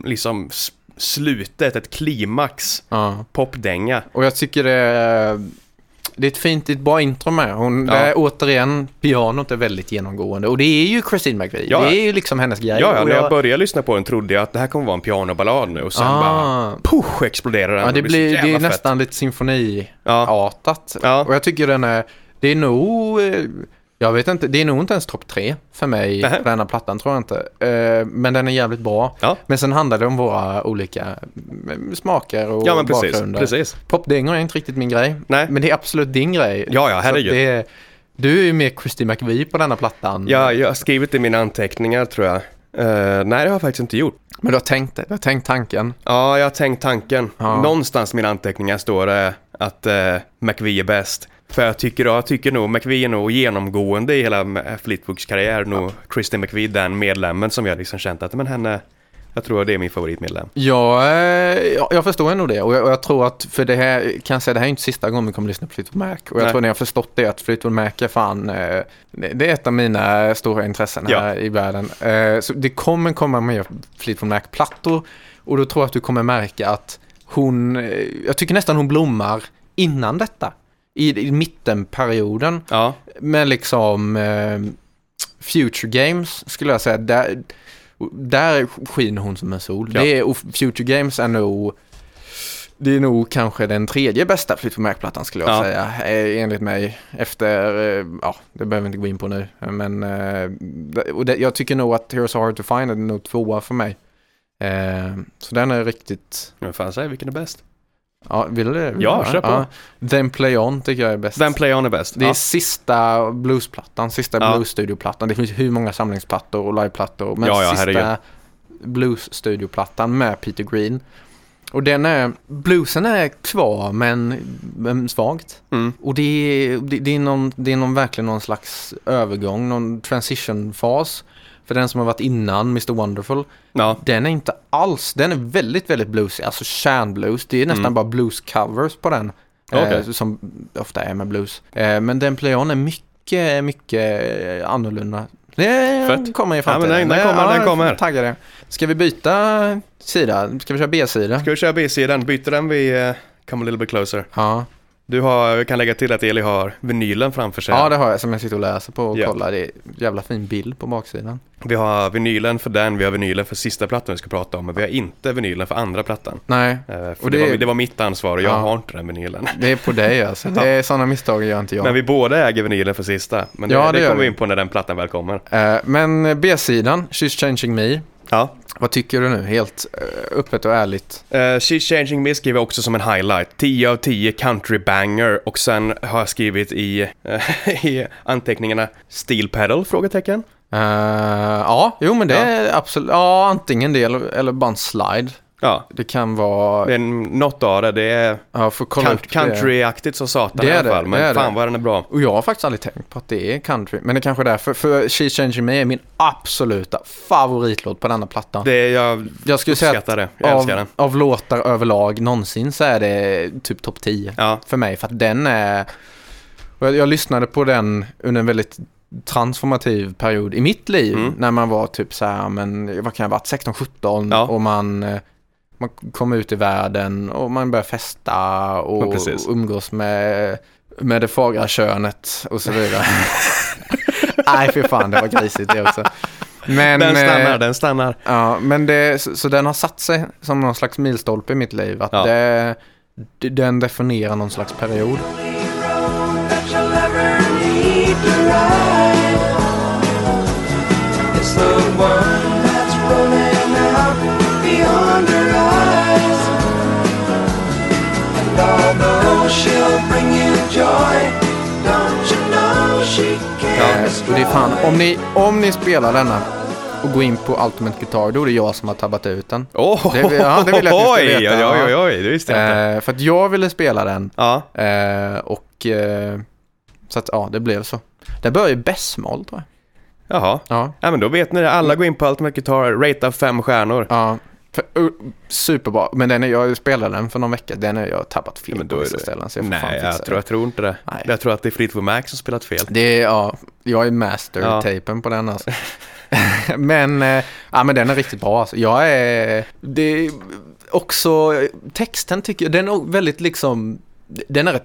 Speaker 1: liksom s- slutet, ett klimax
Speaker 2: ja.
Speaker 1: popdänga.
Speaker 2: Och jag tycker det är, det är ett fint, det är ett bra intro med. Hon,
Speaker 1: Ja.
Speaker 2: det är, återigen, pianot är väldigt genomgående. Och det är ju Christine McVie.
Speaker 1: Ja.
Speaker 2: Det är ju liksom hennes grej.
Speaker 1: Ja, ja,
Speaker 2: och
Speaker 1: när jag började lyssna på den trodde jag att det här kommer vara en pianoballad nu och sen bara
Speaker 2: ah.
Speaker 1: push exploderar den.
Speaker 2: Ja, det,
Speaker 1: så
Speaker 2: blir, det
Speaker 1: jävla
Speaker 2: är
Speaker 1: fett.
Speaker 2: nästan lite symfoniartat.
Speaker 1: Ja, Ja.
Speaker 2: Och jag tycker den är, det är nog, eh, jag vet inte, det är nog inte ens topp tre för mig
Speaker 1: Nähä.
Speaker 2: på den här plattan tror jag inte. Eh, Men den är jävligt bra.
Speaker 1: Ja.
Speaker 2: Men sen handlar det om våra olika mm, smaker och
Speaker 1: ja men precis,
Speaker 2: bakgrunder.
Speaker 1: precis.
Speaker 2: Popdängor är inte riktigt min grej.
Speaker 1: Nej.
Speaker 2: Men det är absolut din grej.
Speaker 1: Ja, ja,
Speaker 2: Så att
Speaker 1: herregud.
Speaker 2: det är, du är ju mer Christy McVie på denna plattan.
Speaker 1: Ja, jag har skrivit i mina anteckningar tror jag. Eh, nej, det har jag faktiskt inte gjort.
Speaker 2: Men du har tänkt det. Du har tänkt tanken.
Speaker 1: Ja, jag har tänkt tanken.
Speaker 2: Ja.
Speaker 1: Någonstans i mina anteckningar står det att uh, McVie är bäst. För jag tycker, jag tycker nog McVie är nog genomgående i hela M- Fleetwoods karriär. Nog Christy McVie, den medlemmen som jag liksom känt att men henne, jag tror det är min favoritmedlem.
Speaker 2: Ja, eh, jag, jag förstår nog det. Och jag, och jag tror att, för det här, kan jag säga, det här är inte sista gången vi kommer lyssna på Fleetwood Mac. Och jag
Speaker 1: Nej.
Speaker 2: tror ni har förstått det, att Fleetwood Mac är fan, eh, det det är ett av mina stora intressen
Speaker 1: Ja.
Speaker 2: här i världen. Eh, så det kommer komma mer Fleetwood Mac-plattor. Och då tror jag att du kommer märka att hon, eh, jag tycker nästan hon blommar innan detta. I, i mittenperioden.
Speaker 1: Ja,
Speaker 2: Men liksom eh, Future Games skulle jag säga, där, där skiner hon som en sol.
Speaker 1: Ja.
Speaker 2: Det är, och Future Games är nog, det är nog kanske den tredje bästa Fleetwood Mac-plattan skulle jag
Speaker 1: Ja.
Speaker 2: säga, eh, enligt mig. Efter, eh, ja, det behöver vi inte gå in på nu, men eh, det- och det, jag tycker nog att Heroes Are Hard To Find är nog tvåa för mig. Eh, så den är riktigt,
Speaker 1: men fan säg vilken är bäst?
Speaker 2: ja, vill du? vill
Speaker 1: Ja,
Speaker 2: du ha?
Speaker 1: kör på.
Speaker 2: Then Play On tycker jag är bäst.
Speaker 1: Den Play On är bäst.
Speaker 2: Det är
Speaker 1: Ja.
Speaker 2: sista bluesplattan, sista
Speaker 1: Ja.
Speaker 2: bluesstudioplattan. Det finns hur många samlingsplattor och liveplattor. Men
Speaker 1: Ja, ja, herregud.
Speaker 2: sista bluesstudioplattan med Peter Green. Och den är, bluesen är kvar men, men svagt.
Speaker 1: Mm.
Speaker 2: Och det är, det, det är, någon, det är någon, verkligen någon slags övergång, någon transition-fas. För den som har varit innan, Mr Wonderful,
Speaker 1: Ja,
Speaker 2: den är inte alls, den är väldigt, väldigt bluesig, alltså kärnblues. Det är nästan
Speaker 1: Mm.
Speaker 2: bara blues-covers på den, eh,
Speaker 1: Okej.
Speaker 2: som ofta är med blues. Eh, men den playon är mycket, mycket eh, annorlunda. Det
Speaker 1: Fett.
Speaker 2: kommer i
Speaker 1: Ja, men den-
Speaker 2: framtiden.
Speaker 1: den kommer, den kommer.
Speaker 2: Taggade. Ska vi byta sida? Ska vi köra B-sida?
Speaker 1: ska vi köra B-sidan? Byter den vid eh, Come a little bit closer.
Speaker 2: Ja.
Speaker 1: Du har, vi kan lägga till att Eli har vinylen framför sig.
Speaker 2: ja, det har jag som jag sitter och läser på och
Speaker 1: Ja.
Speaker 2: kollar. Det är en jävla fin bild på baksidan.
Speaker 1: Vi har vinylen för den, vi har vinylen för sista plattan vi ska prata om, men vi har inte vinylen för andra plattan.
Speaker 2: Nej,
Speaker 1: Eh, för
Speaker 2: Och
Speaker 1: det,
Speaker 2: det-
Speaker 1: var, det var mitt ansvar och jag
Speaker 2: Ja.
Speaker 1: har inte den vinylen.
Speaker 2: det är på dig alltså. Det är sådana misstag gör inte jag.
Speaker 1: Men vi båda äger vinylen för sista. Men det,
Speaker 2: Ja,
Speaker 1: det,
Speaker 2: det gör
Speaker 1: kommer vi
Speaker 2: vi.
Speaker 1: in på när den plattan väl kommer.
Speaker 2: Eh, men B-sidan, She's Changing Me.
Speaker 1: Ja.
Speaker 2: Vad tycker du nu? Helt eh, öppet och ärligt.
Speaker 1: Eh, She's Changing Me skriver jag också som en highlight. 10 av 10 country banger och sen har jag skrivit i, eh, i anteckningarna Steel pedal? Frågetecken.
Speaker 2: Eh, ja, jo men det är absolut. Ja, antingen det eller, eller bara en slide.
Speaker 1: Ja,
Speaker 2: Det kan vara...
Speaker 1: det är en- något av det. Det är
Speaker 2: ja, får kolla
Speaker 1: count-
Speaker 2: upp det.
Speaker 1: countryaktigt som satan
Speaker 2: Det
Speaker 1: i
Speaker 2: är
Speaker 1: alla
Speaker 2: det,
Speaker 1: fall. Men
Speaker 2: det är
Speaker 1: fan
Speaker 2: det.
Speaker 1: vad den är bra.
Speaker 2: Och jag har faktiskt aldrig tänkt på att det är country. Men det kanske är därför. För She Changed Me är min absoluta favoritlåt på denna platta.
Speaker 1: Det, jag
Speaker 2: jag skulle säga att
Speaker 1: uppskattar det. Jag
Speaker 2: av,
Speaker 1: älskar den.
Speaker 2: av låtar överlag någonsin så är det typ topp 10
Speaker 1: Ja,
Speaker 2: för mig. För att den är... och Jag, jag lyssnade på den under en väldigt transformativ period i mitt liv.
Speaker 1: Mm.
Speaker 2: När man var typ så här, men vad kan jag ha varit, 16-17
Speaker 1: Ja.
Speaker 2: och man, eh, man kom ut i världen och man började festa
Speaker 1: Ja,
Speaker 2: och
Speaker 1: precis.
Speaker 2: umgås med, med det fagra könet och så vidare. Nej, för fan, det var grisigt det också. Men,
Speaker 1: den
Speaker 2: eh,
Speaker 1: stannar, den stannar.
Speaker 2: Ja, men det, så, så den har satt sig som någon slags milstolpe i mitt liv. Att
Speaker 1: Ja.
Speaker 2: det, d- den definierar någon slags period.
Speaker 3: that you'll ever need to ride. It's the one that's rolling out beyond her eyes. And although she'll bring you joy, don't you know she
Speaker 2: Eh,
Speaker 3: cares?
Speaker 2: Och det är fan, om ni, om ni spelar denna och går in på Ultimate Guitar, då är det jag som har tabbat ut den.
Speaker 1: Oh,
Speaker 2: Det- ja, det vill jag att ni ska
Speaker 1: oj,
Speaker 2: veta,
Speaker 1: oj,
Speaker 2: ja.
Speaker 1: oj, oj, det visste jag inte.
Speaker 2: Eh, för att jag ville spela den.
Speaker 1: Ja,
Speaker 2: Eh, och eh, så att ja, det blev så. Det börjar i bästmål tror jag.
Speaker 1: jaha.
Speaker 2: Ja,
Speaker 1: Ja, men då vet ni det. Alla går in på Ultimate Guitar, ratea fem stjärnor.
Speaker 2: ja. För, uh, superbra, men den är, jag spelade den för någon vecka, den har jag tappat fel
Speaker 1: Ja, men
Speaker 2: på
Speaker 1: då är
Speaker 2: vissa
Speaker 1: det-
Speaker 2: ställen. Så jag får fan
Speaker 1: Nej,
Speaker 2: fixa
Speaker 1: jag
Speaker 2: det.
Speaker 1: tror, jag tror inte det.
Speaker 2: Nej.
Speaker 1: Jag tror att det är Fleetwood Mac som spelat fel.
Speaker 2: Det är, ja, jag är master-tejpen på den alltså. men, eh, ja, men den är riktigt bra alltså. Jag är, det är också, texten tycker jag, den är väldigt liksom, den är rätt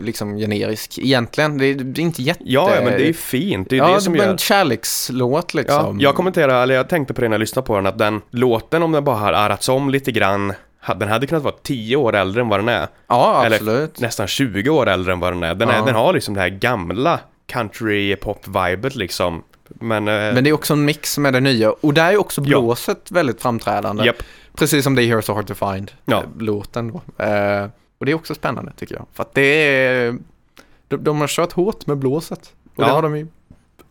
Speaker 2: liksom generisk egentligen. Det är, det är inte jätte...
Speaker 1: Ja, ja, men det är ju fint. Det är ju
Speaker 2: ja,
Speaker 1: det som
Speaker 2: men
Speaker 1: gör...
Speaker 2: kärlekslåt
Speaker 1: Ja,
Speaker 2: liksom.
Speaker 1: jag kommenterade, eller jag tänkte på det när jag lyssnade på den, att den låten, om den bara hade arrats om lite grann, ha- den hade kunnat vara 10 år äldre än vad den är.
Speaker 2: ja
Speaker 1: eller-
Speaker 2: absolut.
Speaker 1: Nästan 20 år äldre än vad den är. Den,
Speaker 2: Ja.
Speaker 1: är, den har liksom det här gamla country-pop-vibet liksom. Men, eh,
Speaker 2: Men det är också en mix med det nya. Och där är också
Speaker 1: Ja.
Speaker 2: blåset väldigt framträdande.
Speaker 1: Japp.
Speaker 2: Precis som det är Here's So Hard To Find,
Speaker 1: Ja.
Speaker 2: eh, låten då. Eh, och det är också spännande tycker jag. För att det är, de, de har kört hårt med blåset. Och det
Speaker 1: Ja.
Speaker 2: har de ju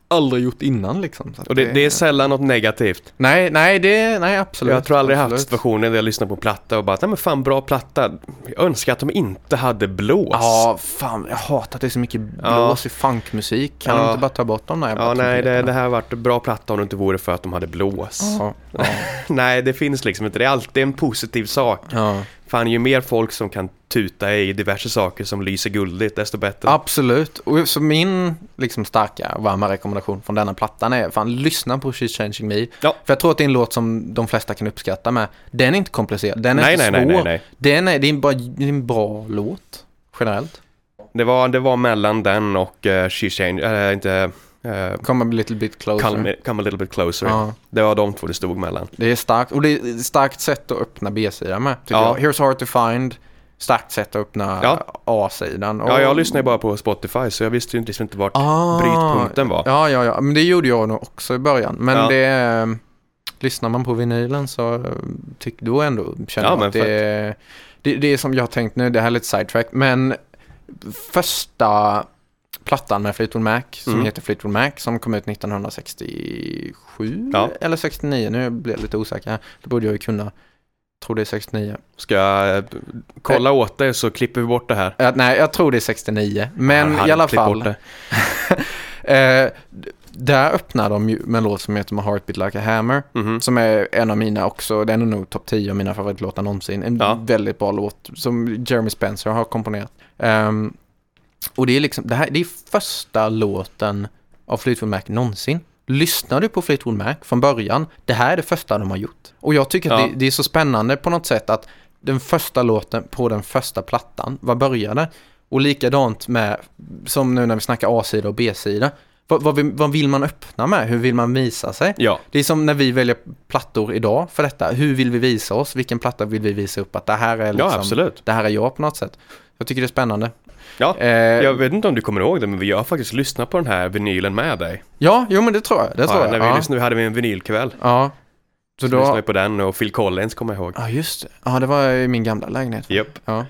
Speaker 2: aldrig gjort innan liksom. Så att
Speaker 1: och det, det är sällan något negativt.
Speaker 2: Nej, nej, det, nej absolut.
Speaker 1: Jag tror aldrig jag haft
Speaker 2: absolut.
Speaker 1: situationer där jag lyssnar på en platta och bara nej men fan bra platta. Jag önskar att de inte hade blås.
Speaker 2: Ja, fan, jag hatar att det är så mycket blås i funkmusik. Kan de
Speaker 1: Ja.
Speaker 2: inte bara ta bort dem?
Speaker 1: Ja, nej det, det här varit bra platta om det inte vore för att de hade blås.
Speaker 2: Ja, ja,
Speaker 1: Nej det finns liksom inte, det är alltid en positiv sak.
Speaker 2: ja.
Speaker 1: Fan ju mer folk som kan tuta i diverse saker som lyser guldigt desto bättre.
Speaker 2: Absolut. Och så min liksom, starka och varma rekommendation från denna plattan är fan lyssna på She's Changing Me.
Speaker 1: Ja.
Speaker 2: För jag tror att det är en låt som de flesta kan uppskatta med. Den är inte komplicerad, den är
Speaker 1: Nej,
Speaker 2: inte
Speaker 1: nej, nej, nej,
Speaker 2: svår.
Speaker 1: nej.
Speaker 2: Den är, det, är en bara, det är en bra låt, generellt.
Speaker 1: Det, var, det var mellan den och uh, She Change, eh, inte eh,
Speaker 2: Kommer bli lite bit closer.
Speaker 1: come, come a little bit closer.
Speaker 2: Ja,
Speaker 1: Det var de två det stod mellan.
Speaker 2: det är starkt. Och det är ett starkt sätt att öppna B-sidan med, tycker
Speaker 1: Ja.
Speaker 2: jag. Here's hard to find. Starkt sätt att öppna
Speaker 1: Ja.
Speaker 2: A-sidan. Och-
Speaker 1: Ja, jag lyssnade ju bara på Spotify så jag visste ju inte- liksom inte vart
Speaker 2: Ah.
Speaker 1: brytpunkten var.
Speaker 2: Ja, ja, ja. Men det gjorde jag nog också i början. Men
Speaker 1: Ja.
Speaker 2: det... eh, Lyssnar man på vinylen så eh, tyck, då ändå känner
Speaker 1: Ja,
Speaker 2: jag
Speaker 1: men
Speaker 2: att det är, det, det är som jag har tänkt nu, det här är lite sidetrack, men första plattan med Fleetwood Mac som
Speaker 1: Mm.
Speaker 2: heter Fleetwood Mac som kom ut 1967
Speaker 1: Ja.
Speaker 2: eller 69, nu blir jag lite osäker, det borde jag ju kunna, tror det är 69.
Speaker 1: Ska jag eh, kolla åt dig så klipper vi bort det här.
Speaker 2: Eh, nej, jag tror det är 69, men
Speaker 1: Han
Speaker 2: i alla
Speaker 1: klipp bort
Speaker 2: fall.
Speaker 1: det.
Speaker 2: Eh, d- där öppnar de ju med en låt som heter My Heart Beat Like A Hammer.
Speaker 1: Mhm.
Speaker 2: Som är en av mina också, den är nog topp 10 av mina favoritlåtar någonsin. En
Speaker 1: Ja.
Speaker 2: väldigt bra låt som Jeremy Spencer har komponerat. Ehm, och det är liksom, det här det är första låten av Fleetwood Mac någonsin. Lyssnar du på Fleetwood Mac från början, det här är det första de har gjort. Och jag tycker att
Speaker 1: Ja.
Speaker 2: det, det är så spännande på något sätt att den första låten på den första plattan, vad började? Och likadant med, som nu när vi snackar A-sida och B-sida. Vad, vad, vill- vad vill man öppna med? Hur vill man visa sig?
Speaker 1: Ja,
Speaker 2: Det är som när vi väljer plattor idag för detta. Hur vill vi visa oss? Vilken platta vill vi visa upp? Att det här är, liksom,
Speaker 1: ja absolut.
Speaker 2: det här är jag på något sätt. Jag tycker det är spännande.
Speaker 1: Ja.
Speaker 2: Eh,
Speaker 1: Jag vet inte om du kommer ihåg det, men vi har faktiskt lyssnat på den här vinylen med dig.
Speaker 2: Ja, jo men det tror jag. Det tror
Speaker 1: ja,
Speaker 2: jag.
Speaker 1: när vi
Speaker 2: ja.
Speaker 1: lyssnade, hade vi en vinylkväll.
Speaker 2: ja. Så
Speaker 1: Så då... lyssnade vi
Speaker 2: då...
Speaker 1: på den och Phil Collins kommer jag ihåg.
Speaker 2: Ja, just det. Ja, det var i min gamla lägenhet.
Speaker 1: Japp.
Speaker 2: Ja.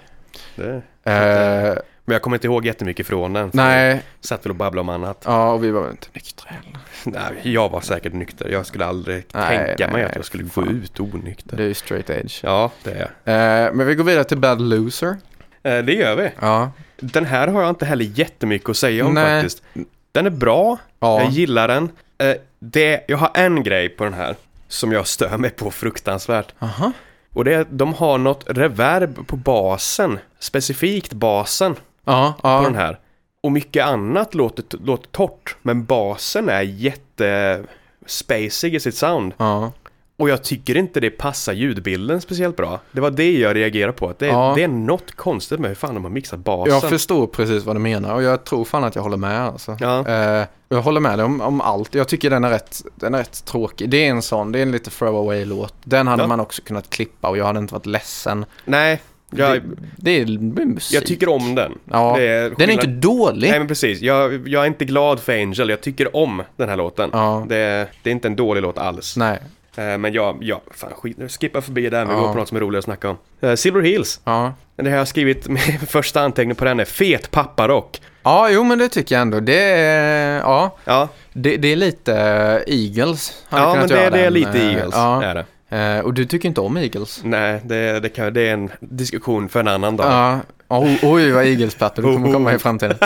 Speaker 1: Det...
Speaker 2: Eh,
Speaker 1: Men Men jag kommer inte ihåg jättemycket från den. för
Speaker 2: Nej,
Speaker 1: Jag satt väl och babblade om annat.
Speaker 2: ja, och vi var inte nyktra heller.
Speaker 1: Nej, jag var säkert nykter. Jag skulle aldrig
Speaker 2: Nej,
Speaker 1: tänka
Speaker 2: nej,
Speaker 1: mig
Speaker 2: nej,
Speaker 1: att jag skulle gå
Speaker 2: fan.
Speaker 1: ut onykter.
Speaker 2: Du är ju straight edge.
Speaker 1: Ja, det är jag.
Speaker 2: Eh, men vi går vidare till Bad Loser.
Speaker 1: Eh, Det gör vi.
Speaker 2: Ja.
Speaker 1: Den här har jag inte heller jättemycket att säga om
Speaker 2: Nej.
Speaker 1: faktiskt. Den är bra,
Speaker 2: Ja.
Speaker 1: jag gillar den. Eh, Det, jag har en grej på den här som jag stör mig på fruktansvärt.
Speaker 2: Aha.
Speaker 1: Och det är att de har något reverb på basen, specifikt basen
Speaker 2: Ja,
Speaker 1: på
Speaker 2: ja.
Speaker 1: den här. Och mycket annat låter, låter torrt, men basen är jätte spacig i sitt sound.
Speaker 2: ja.
Speaker 1: Och jag tycker inte det passar ljudbilden speciellt bra. Det var det jag reagerade på, att det,
Speaker 2: Ja.
Speaker 1: det är något konstigt med hur fan de har mixat basen.
Speaker 2: Jag förstår precis vad du menar och jag tror fan att jag håller med. Alltså.
Speaker 1: Ja.
Speaker 2: Eh, och jag håller med dig om, om allt. Jag tycker den är, rätt, den är rätt tråkig. Det är en sån, det är en lite throwaway-låt. Den hade
Speaker 1: Ja.
Speaker 2: man också kunnat klippa och jag hade inte varit ledsen.
Speaker 1: Nej, jag,
Speaker 2: det, det är det är musik.
Speaker 1: jag tycker om den.
Speaker 2: Ja.
Speaker 1: Det är
Speaker 2: Den är
Speaker 1: skillnad-
Speaker 2: inte dålig.
Speaker 1: Nej men precis, jag, jag är inte glad för Angel, jag tycker om den här låten.
Speaker 2: Ja.
Speaker 1: Det, det är inte en dålig låt alls.
Speaker 2: Nej.
Speaker 1: Eh, men jag, jag fan skit, skippa förbi det där, men
Speaker 2: Ja.
Speaker 1: vi går på något som är roligare att snacka om. Eh, Silver Heels,
Speaker 2: Ja.
Speaker 1: det här har jag skrivit, med första anteckning på den är fet papparock.
Speaker 2: ja, jo men det tycker jag ändå. Det är, ja,
Speaker 1: Ja,
Speaker 2: det, det är lite eh, Eagles. Hade
Speaker 1: ja
Speaker 2: kunnat
Speaker 1: men det,
Speaker 2: göra
Speaker 1: det är
Speaker 2: den,
Speaker 1: lite
Speaker 2: eh,
Speaker 1: Eagles,
Speaker 2: Ja.
Speaker 1: är det.
Speaker 2: Eh, och du tycker inte om Eagles?
Speaker 1: Nej, det, det, kan, det är en diskussion för en annan dag.
Speaker 2: Ja. Oh, oj, vad Eagles-plattor
Speaker 1: Oh,
Speaker 2: du kommer komma i framtiden.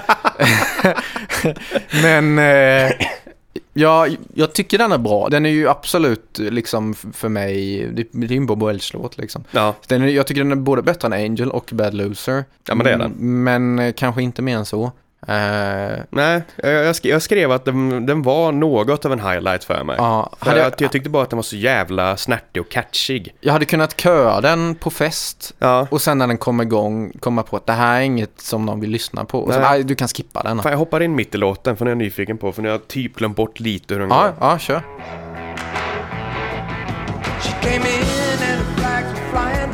Speaker 2: Men eh, ja, jag tycker den är bra. Den är ju absolut liksom f- för mig, det det är ju en Bob Welch-låt liksom.
Speaker 1: Ja,
Speaker 2: Den är, jag tycker den är både bättre än Angel och Bad Loser.
Speaker 1: Ja, men det är den.
Speaker 2: Mm, Men eh, kanske inte mer än så. Eh,
Speaker 1: nej, jag, jag, skrev, jag skrev att den, den var något av en highlight för mig.
Speaker 2: ja,
Speaker 1: För
Speaker 2: hade jag,
Speaker 1: jag, jag tyckte bara att den var så jävla snärtig och catchig.
Speaker 2: jag hade kunnat köra den på fest
Speaker 1: Ja.
Speaker 2: och sen när den kom igång komma på att det här är inget som någon vill lyssna på. Och så,
Speaker 1: Nej.
Speaker 2: nej, du kan skippa den.
Speaker 1: Fan, jag hoppar in mitt i låten för nu är jag nyfiken på, för nu har jag typ glömt bort lite hur den
Speaker 2: Ja,
Speaker 1: går.
Speaker 2: ja, kör.
Speaker 3: She came in and her flags were flying.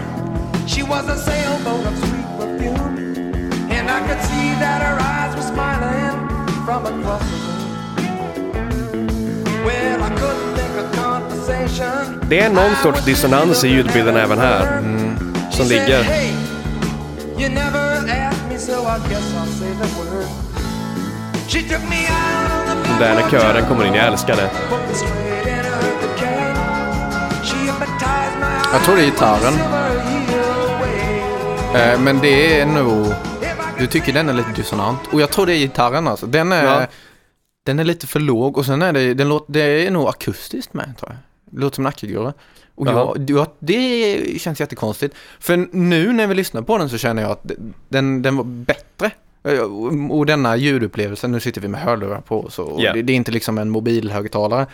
Speaker 3: She was a sailboat of sweet perfume. And I could see that her eyes were smiling from across the room. Well, I couldn't think of conversation.
Speaker 1: Det är någon sorts dissonans i ljudbilden även här, mm, som
Speaker 3: She said,
Speaker 1: ligger.
Speaker 3: "Hey, you never asked me, so I guess I'll say the word." She took me out on the
Speaker 1: Och Där när
Speaker 3: back
Speaker 1: kören kommer in, jag älskar det.
Speaker 3: Put me straight in a hurricane. She hypnotized my eyes
Speaker 2: Jag tror det är gitarren.
Speaker 3: with silver heel waves.
Speaker 2: Eh, men det är nog...
Speaker 3: If I
Speaker 2: Du
Speaker 3: could
Speaker 2: tycker den är lite dissonant. Och jag tror det är gitarren alltså. Den är,
Speaker 1: Ja.
Speaker 2: den är lite för låg och sen är det, den låt, det är nog akustiskt med tror jag. Det låter som en ackegurra. Och
Speaker 1: Jaha.
Speaker 2: jag, jag, det känns jättekonstigt. För nu när vi lyssnar på den så känner jag att den, den var bättre. Eh, Och, och denna ljudupplevelsen, nu sitter vi med hörlurar på oss och
Speaker 1: Ja.
Speaker 2: det, det är inte liksom en mobilhögtalare.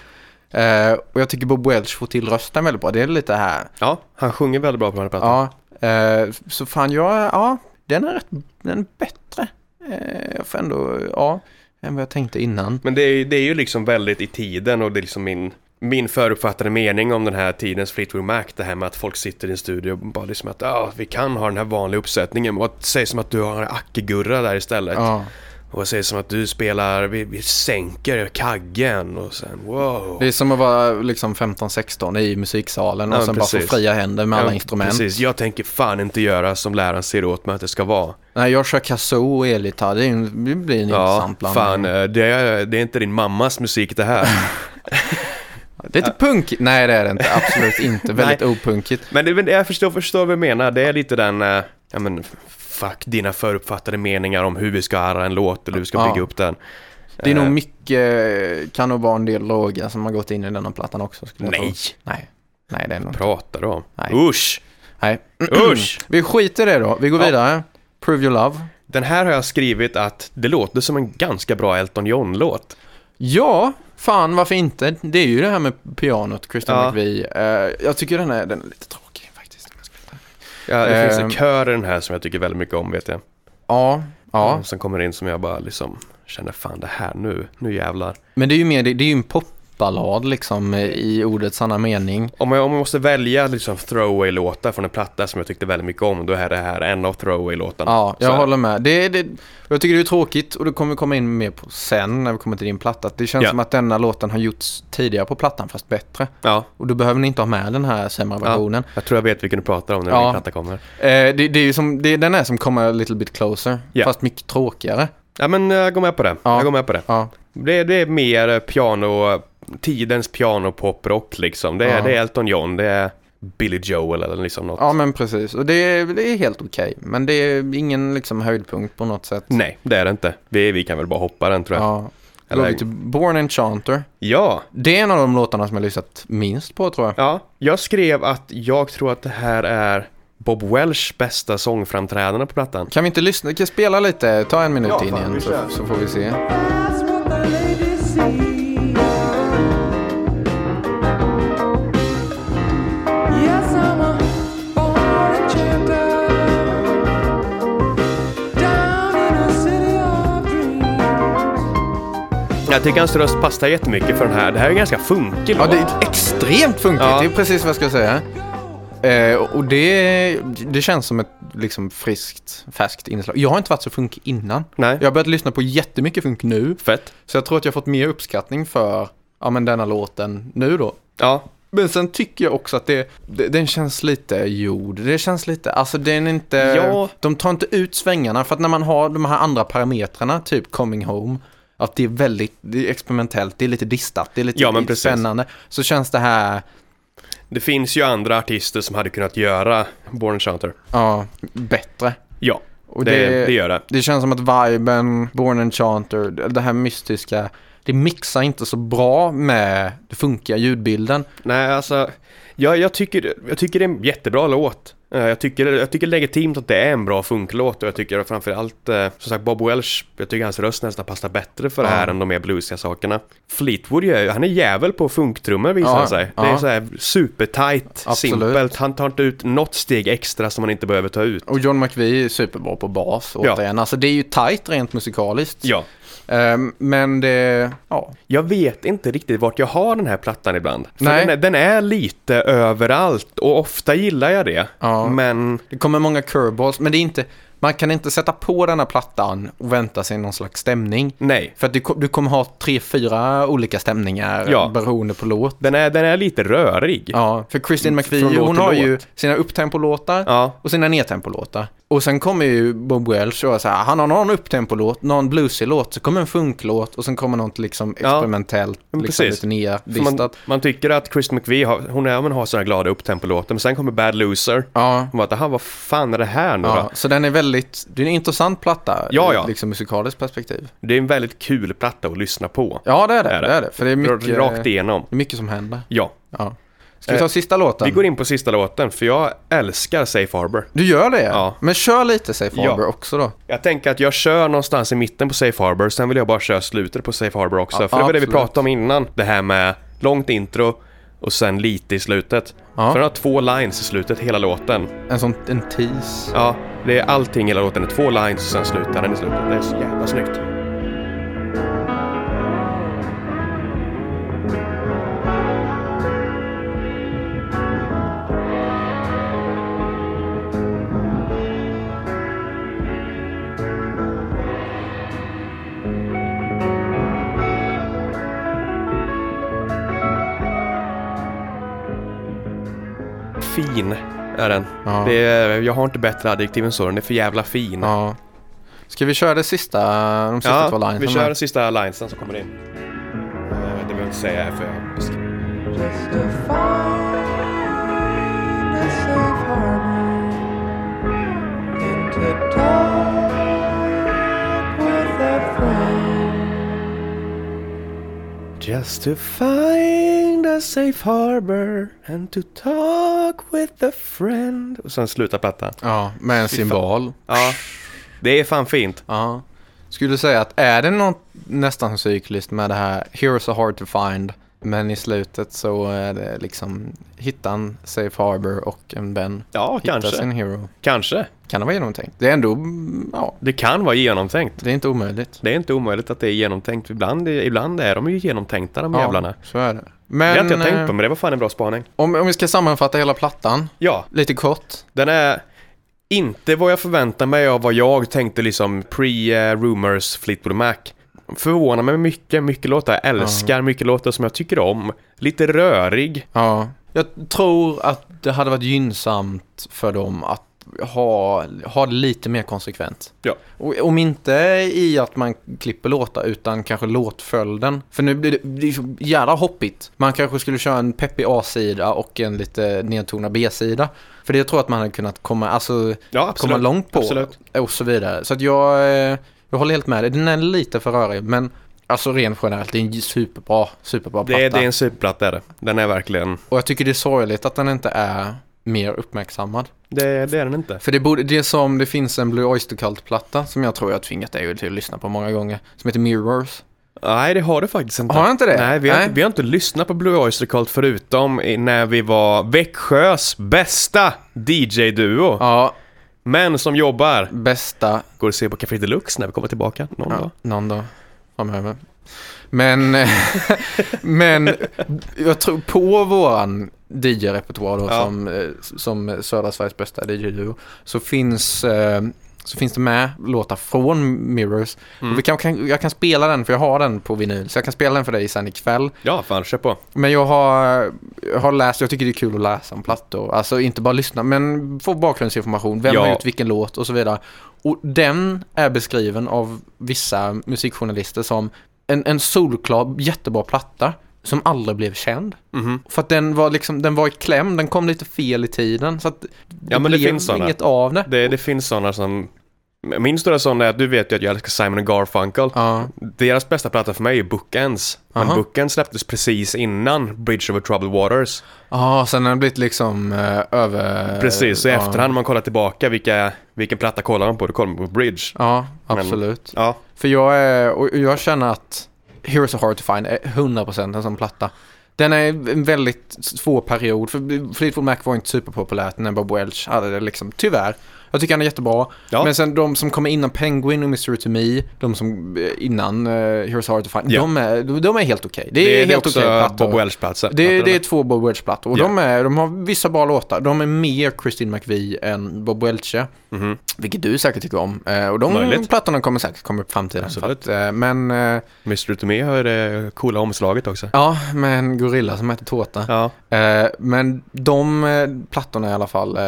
Speaker 2: Eh, och jag tycker Bob Welch får till rösten väldigt bra. Det är lite här,
Speaker 1: Ja, han sjunger väldigt bra på den här plattan.
Speaker 2: Ja, eh, så fan jag, ja, den är rätt, den är bättre. Eh, jag får ändå, ja, än vad jag tänkte innan.
Speaker 1: Men det är, det är ju liksom väldigt i tiden och det är liksom min, min förutfattade mening om den här tidens Fleetwood Mac. Det här med att folk sitter i en studio och bara liksom att ah, vi kan ha den här vanliga uppsättningen. Och att säga som att du har en ackegurra där istället.
Speaker 2: Ja,
Speaker 1: Och säger som att du spelar, vi, vi sänker kaggen och sen wow.
Speaker 2: det är som att vara liksom 15-16 i musiksalen och
Speaker 1: Ja,
Speaker 2: sen bara
Speaker 1: precis.
Speaker 2: få fria händer med alla
Speaker 1: Ja,
Speaker 2: instrument.
Speaker 1: Precis, jag tänker fan inte göra som läraren säger åt mig att det ska vara.
Speaker 2: Nej, jag kör kazoo och elgitarr, det, är en- det blir en
Speaker 1: Ja,
Speaker 2: intressant blandning.
Speaker 1: fan, eh, det är, det är inte din mammas musik det här.
Speaker 2: Det är inte punk, nej det är det inte, absolut inte, väldigt
Speaker 1: Nej.
Speaker 2: opunkigt.
Speaker 1: men det, men jag förstår, förstår vad du menar, det är lite den, eh, ja men fuck dina förutfattade meningar om hur vi ska arra en låt eller hur vi ska
Speaker 2: Ja.
Speaker 1: bygga upp den.
Speaker 2: Det är
Speaker 1: Eh,
Speaker 2: nog mycket, eh, kan nog vara en del droger som har gått in i denna plattan också. skulle jag
Speaker 1: Nej,
Speaker 2: tro. Nej, nej det är nog inte.
Speaker 1: pratar du om?
Speaker 2: Nej.
Speaker 1: Usch!
Speaker 2: Nej. Mm,
Speaker 1: Usch!
Speaker 2: Vi skiter i det då, vi går
Speaker 1: Ja.
Speaker 2: vidare. Prove your love.
Speaker 1: Den här har jag skrivit att det låter som en ganska bra Elton John-låt.
Speaker 2: Ja, fan varför inte? Det är ju det här med pianot, Christian
Speaker 1: Ja.
Speaker 2: McVie. Eh, jag tycker den är, den är lite tråkig faktiskt.
Speaker 1: Ja, det finns
Speaker 2: Ehm.
Speaker 1: en kör i den här som jag tycker väldigt mycket om vet jag.
Speaker 2: Ja, ja.
Speaker 1: Som kommer in som jag bara liksom känner fan det här nu, nu jävlar.
Speaker 2: Men det är ju mer, det, det är ju en pop popballad liksom eh, i ordets sanna mening.
Speaker 1: Om jag, om jag måste välja liksom throwaway-låtar från en platta som jag tyckte väldigt mycket om, då är det här en av throwaway-låtarna.
Speaker 2: Ja,
Speaker 1: Så
Speaker 2: jag
Speaker 1: här.
Speaker 2: håller med. Det, det, jag tycker det är tråkigt och det kommer vi komma in mer på sen när vi kommer till din platta. Det känns
Speaker 1: Ja.
Speaker 2: som att denna låten har gjorts tidigare på plattan fast bättre.
Speaker 1: Ja,
Speaker 2: Och då behöver ni inte ha med den här sämre versionen.
Speaker 1: jag tror jag vet vilken du pratar om när
Speaker 2: Ja.
Speaker 1: min platta kommer.
Speaker 2: Eh, det, det är ju som, det, den är som kommer a little bit closer,
Speaker 1: Ja.
Speaker 2: fast mycket tråkigare.
Speaker 1: Ja, men eh, jag går med på det.
Speaker 2: Ja.
Speaker 1: Jag går med på det.
Speaker 2: Ja.
Speaker 1: Det, det är mer eh, piano, tidens pianopoprock liksom. Det är,
Speaker 2: Ja.
Speaker 1: det är Elton John, det är Billy Joel eller liksom något.
Speaker 2: ja, men precis. Och det, det är helt okej. Men det är ingen liksom höjdpunkt på något sätt.
Speaker 1: Nej, det är det inte. Vi, vi kan väl bara hoppa den tror jag. Ja.
Speaker 2: Ja. Då går
Speaker 1: Eller-
Speaker 2: vi till Born Enchanter.
Speaker 1: ja.
Speaker 2: Det är en av de låtarna som jag lyssnat minst på tror jag.
Speaker 1: Jag skrev att jag tror att det här är Bob Welsh bästa sångframträdande på plattan.
Speaker 2: Kan vi inte lyssna? Kan jag spela lite? Ta en minut in igen så, så får vi se.
Speaker 3: That's what the ladies see. Yes, I'm a born enchanter down in a city of dreams.
Speaker 1: Jag tycker hans röst passar jättemycket för den här. Det här är en ganska funkig
Speaker 2: Ja,
Speaker 1: låt.
Speaker 2: det är extremt funkigt.
Speaker 1: Ja.
Speaker 2: Det är precis vad jag ska säga. Eh, och det, det känns som ett liksom, friskt, färskt inslag. Jag har inte varit så funkig innan.
Speaker 1: Nej,
Speaker 2: Jag har börjat lyssna på jättemycket funk nu.
Speaker 1: fett.
Speaker 2: Så jag tror att jag har fått mer uppskattning för ja, men denna låten nu då.
Speaker 1: Ja,
Speaker 2: Men sen tycker jag också att det, det, den känns lite jord. Det känns lite, alltså den är inte,
Speaker 1: Ja.
Speaker 2: de tar inte ut svängarna. För att när man har de här andra parametrarna, typ coming home, att det är väldigt det är experimentellt, det är lite distat, det är lite
Speaker 1: Ja, men precis.
Speaker 2: spännande. Så känns det här,
Speaker 1: det finns ju andra artister som hade kunnat göra Born Shunter.
Speaker 2: ja, bättre.
Speaker 1: Ja,
Speaker 2: Och
Speaker 1: det, det, gör det.
Speaker 2: Det känns som att viben, Born Enchanter, det här mystiska, det mixar inte så bra med den funkiga ljudbilden.
Speaker 1: Nej, alltså, jag, jag, tycker, jag tycker det är en jättebra låt. Eh, Jag tycker, jag tycker legitimt att det är en bra funklåt och jag tycker framförallt, eh, som sagt, Bob Welch, jag tycker hans röst nästan passar bättre för det här
Speaker 2: Ja.
Speaker 1: än de mer bluesiga sakerna. Fleetwood, gör ju- han är jävel på funktrummor visar
Speaker 2: Ja,
Speaker 1: han sig. Det är
Speaker 2: ja.
Speaker 1: så här supertight,
Speaker 2: Absolut.
Speaker 1: simpelt. Han tar inte ut något steg extra som han inte behöver ta ut.
Speaker 2: Och John McVie är superbra på bas
Speaker 1: Ja.
Speaker 2: återigen. Alltså det är ju tight rent musikaliskt.
Speaker 1: Ja.
Speaker 2: Ehm, men det, ja.
Speaker 1: Jag vet inte riktigt vart jag har den här plattan ibland. För
Speaker 2: Nej.
Speaker 1: Den, är, den är lite överallt och ofta gillar jag det.
Speaker 2: Ja.
Speaker 1: Men
Speaker 2: Det kommer många curveballs, men det är inte, man kan inte sätta på den här plattan och vänta sig någon slags stämning.
Speaker 1: nej.
Speaker 2: För att du, kom- du kommer ha tre, fyra olika stämningar
Speaker 1: Ja.
Speaker 2: beroende på låt.
Speaker 1: Den är, den är lite rörig.
Speaker 2: Ja, för Christine McVie,
Speaker 1: Mm, Från låt
Speaker 2: hon
Speaker 1: till
Speaker 2: har
Speaker 1: låt.
Speaker 2: ju sina upptempolåtar
Speaker 1: Ja.
Speaker 2: och sina nedtempolåtar. Och sen kommer ju Bob Welch och så här, han har någon upptempolåt, någon bluesig-låt, så kommer en funklåt och sen kommer något liksom
Speaker 1: Ja.
Speaker 2: experimentellt,
Speaker 1: Men
Speaker 2: liksom
Speaker 1: precis.
Speaker 2: lite
Speaker 1: För Man,
Speaker 2: nerdistat.
Speaker 1: man tycker att Chris McVie har, hon är, ja, men har sådana glada upptempolåtar, men sen kommer Bad Loser.
Speaker 2: Ja,
Speaker 1: Man bara, "Aha, vad fan är det här nu
Speaker 2: ja,
Speaker 1: då?
Speaker 2: så den är väldigt, det är en intressant platta
Speaker 1: Ja,
Speaker 2: ur
Speaker 1: ja.
Speaker 2: liksom musikaliskt perspektiv.
Speaker 1: Det är en väldigt kul platta att lyssna på.
Speaker 2: Ja, det är det,
Speaker 1: Är
Speaker 2: är
Speaker 1: det?
Speaker 2: det. är det. För det är mycket,
Speaker 1: Rakt igenom.
Speaker 2: det är mycket som händer.
Speaker 1: Ja. Eh,
Speaker 2: Ja. Ska vi ta sista låten?
Speaker 1: Vi går in på sista låten, för jag älskar Safe Harbor.
Speaker 2: Du gör det?
Speaker 1: Ja.
Speaker 2: Men kör lite, säger
Speaker 1: Ja.
Speaker 2: Faber också då.
Speaker 1: Jag tänker att jag kör någonstans i mitten på Safe Harbor, sen vill jag bara köra slutet på Safe Harbor också.
Speaker 2: Ja,
Speaker 1: för det var det vi
Speaker 2: absolut.
Speaker 1: pratade om innan, det här med långt intro och sen lite i slutet.
Speaker 2: Ja.
Speaker 1: För den har två lines i slutet, hela låten.
Speaker 2: En sån, en tease.
Speaker 1: Ja, det är allting i hela låten. Det är två lines och sen slutar den i slutet. Det är så jävla snyggt. Fin är den.
Speaker 2: Ja.
Speaker 1: Det är, Eh, jag har inte bättre adjektiv än så, den är för jävla fin.
Speaker 2: Ja. Ska vi köra det sista, de sista två linesen?
Speaker 1: vi kör
Speaker 2: här?
Speaker 1: den sista linesen så kommer det in. Eh, Det behöver jag inte säga här för jag...
Speaker 3: Just to find a safe harbor and to talk with a friend.
Speaker 1: Just to find a safe harbor and to talk with a friend. Och sen slutar plattan.
Speaker 2: Ja, med en symbol.
Speaker 1: Ja, det är fan fint.
Speaker 2: Ja. Skulle du säga att är det något nästan cykliskt med det här Here's a hard to find Men i slutet så är det liksom hittar en safe harbor och en Ben
Speaker 1: Ja,
Speaker 2: hittar
Speaker 1: kanske.
Speaker 2: sin hero.
Speaker 1: Kanske.
Speaker 2: Kan det vara genomtänkt? Det är ändå, mm, ja,
Speaker 1: Det kan vara genomtänkt.
Speaker 2: det är inte omöjligt.
Speaker 1: Det är inte omöjligt att det är genomtänkt. Ibland, ibland är de ju genomtänkta de jävlarna.
Speaker 2: Ja, så är det.
Speaker 1: Det
Speaker 2: Men
Speaker 1: har inte jag tänkt
Speaker 2: eh,
Speaker 1: på, men det var fan en bra spaning.
Speaker 2: om, om vi ska sammanfatta hela plattan
Speaker 1: Ja,
Speaker 2: lite kort.
Speaker 1: den är inte vad jag förväntar mig av vad jag tänkte liksom pre-rumors Fleetwood Mac. Förvånar mig mycket, mycket låtar jag älskar, mycket låtar som jag tycker om. Lite rörig.
Speaker 2: Ja. Jag tror att det hade varit gynnsamt för dem att ha, ha det lite mer konsekvent.
Speaker 1: Ja.
Speaker 2: Och, om inte i att man klipper låtar utan kanske låtföljden. För nu blir det, det är så jävla hoppigt. Man kanske skulle köra en peppig A-sida och en lite nedtonad B-sida. För det tror jag att man hade kunnat komma, alltså,
Speaker 1: Ja,
Speaker 2: komma långt på
Speaker 1: Absolut.
Speaker 2: och så vidare. Så att jag, eh, jag håller helt med dig. Den är lite för rörig men alltså rent generellt, det är en superbra, superbra
Speaker 1: Det, är- det är en superplatta är det. Den är verkligen...
Speaker 2: och jag tycker det är sorgligt att den inte är mer uppmärksammad.
Speaker 1: Det, det är den inte.
Speaker 2: För det, borde, det är som det finns en Blue Oyster Cult-platta som jag tror jag har tvingat dig till att lyssna på många gånger. Som heter Mirrors.
Speaker 1: Nej, det har du faktiskt inte.
Speaker 2: Har jag inte det?
Speaker 1: Nej, vi har, Inte, vi har inte lyssnat på Blue Oyster Cult förutom i- när vi var Växjös bästa DJ-duo.
Speaker 2: Ja,
Speaker 1: Män som jobbar.
Speaker 2: bästa
Speaker 1: Går att se på Café Deluxe när vi kommer tillbaka någon dag.
Speaker 2: någon dag framöver. Men, men jag tror på våran DJ-repertoar då
Speaker 1: Ja.
Speaker 2: som, eh, som södra Sveriges bästa DJ-duo så finns, eh, så finns det med låtar från Mirrors. Och vi kan, kan, jag kan spela den för jag har den på vinyl så jag kan spela den för dig sen ikväll.
Speaker 1: Ja, fan, kör på.
Speaker 2: Men jag har, jag har läst, jag tycker det är kul att läsa om plattor. Alltså inte bara lyssna, men få bakgrundsinformation. Vem har
Speaker 1: Ja.
Speaker 2: gjort vilken låt och så vidare. Och den är beskriven av vissa musikjournalister som en, en solklar, jättebra platta som aldrig blev känd.
Speaker 1: Mhm.
Speaker 2: För att den var liksom, den var i kläm, den kom lite fel i tiden. Så att det
Speaker 1: men det
Speaker 2: blev
Speaker 1: finns sådana.
Speaker 2: inget av det.
Speaker 1: Det, det finns sådana som... Min stora sån är att du vet ju att jag älskar Simon Garfunkel.
Speaker 2: Ja,
Speaker 1: Deras bästa platta för mig är Bookends. Men
Speaker 2: Aha.
Speaker 1: Bookends släpptes precis innan Bridge over Troubled Waters.
Speaker 2: ja sen har den blivit liksom eh, över...
Speaker 1: Precis, så i
Speaker 2: ja.
Speaker 1: efterhand när man kollar tillbaka vilka, vilken platta kollar de på? Då kollar man på Bridge.
Speaker 2: Ja,
Speaker 1: Men-
Speaker 2: absolut.
Speaker 1: Ja,
Speaker 2: För jag, är, och jag känner att Heroes are hard to find är 100% en sån platta. Den är en väldigt svår period. För Fleetwood Mac var inte superpopulärt när Bob Welch hade det liksom. Tyvärr. Jag tycker han är jättebra.
Speaker 1: Ja.
Speaker 2: Men sen de som kommer innan Penguin och Mystery to Me. De som eh, innan eh, Heroes are hard to find.
Speaker 1: Ja.
Speaker 2: De, är, de är helt okej. Det är,
Speaker 1: det, är
Speaker 2: helt
Speaker 1: också
Speaker 2: okej plattor.
Speaker 1: Bob Welch-platser.
Speaker 2: Det, det är två Bob Welch-plattor. Och
Speaker 1: Ja.
Speaker 2: de, är, de har vissa bra låtar. De är mer Christine McVie än Bob Welche.
Speaker 1: Mhm.
Speaker 2: Vilket du säkert tycker om. Eh, och de
Speaker 1: Möjligt.
Speaker 2: plattorna kommer säkert komma upp i framtiden.
Speaker 1: Absolut.
Speaker 2: För att, eh, men, eh,
Speaker 1: Mr. Tomé har det coola omslaget också.
Speaker 2: ja, med en gorilla som heter Tårta.
Speaker 1: Ja.
Speaker 2: Eh, men de eh, plattorna i alla fall, eh,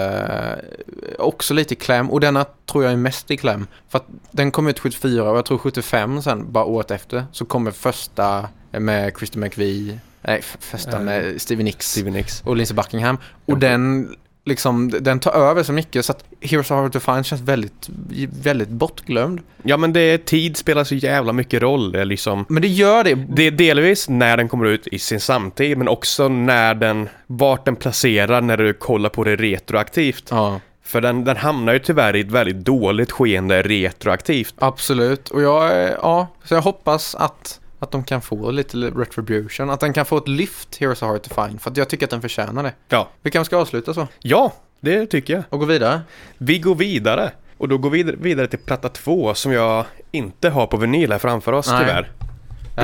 Speaker 2: också lite i kläm. Och denna tror jag är mest i kläm. För att den kom ut 74 och jag tror 75 sen, bara året efter, så kommer första med Christine McVie. Nej, f- första
Speaker 1: Eh,
Speaker 2: med Stevie Nicks
Speaker 1: Steven Nicks.
Speaker 2: och Lindsey Buckingham. Och
Speaker 1: Okej.
Speaker 2: den, liksom, den tar över så mycket så att Heroes are hard to find känns väldigt, väldigt bortglömd.
Speaker 1: Ja men det, tid spelar så jävla mycket roll. Det är liksom...
Speaker 2: Men det gör det.
Speaker 1: Det är delvis när den kommer ut i sin samtid, men också när den, vart den placerar när du kollar på det retroaktivt.
Speaker 2: Ja,
Speaker 1: För den, den hamnar ju tyvärr i ett väldigt dåligt skeende retroaktivt.
Speaker 2: absolut. Och jag, eh, ja, så jag hoppas att, att de kan få lite retribution. Att den kan få ett lyft, Heroes are hard to find. För att jag tycker att den förtjänar det.
Speaker 1: Ja.
Speaker 2: Vi kanske ska avsluta så
Speaker 1: Ja, det tycker jag.
Speaker 2: och gå vidare.
Speaker 1: Vi går vidare. Och då går vi vid- vidare till platta två som jag inte har på vinyl här framför oss
Speaker 2: Nej.
Speaker 1: tyvärr.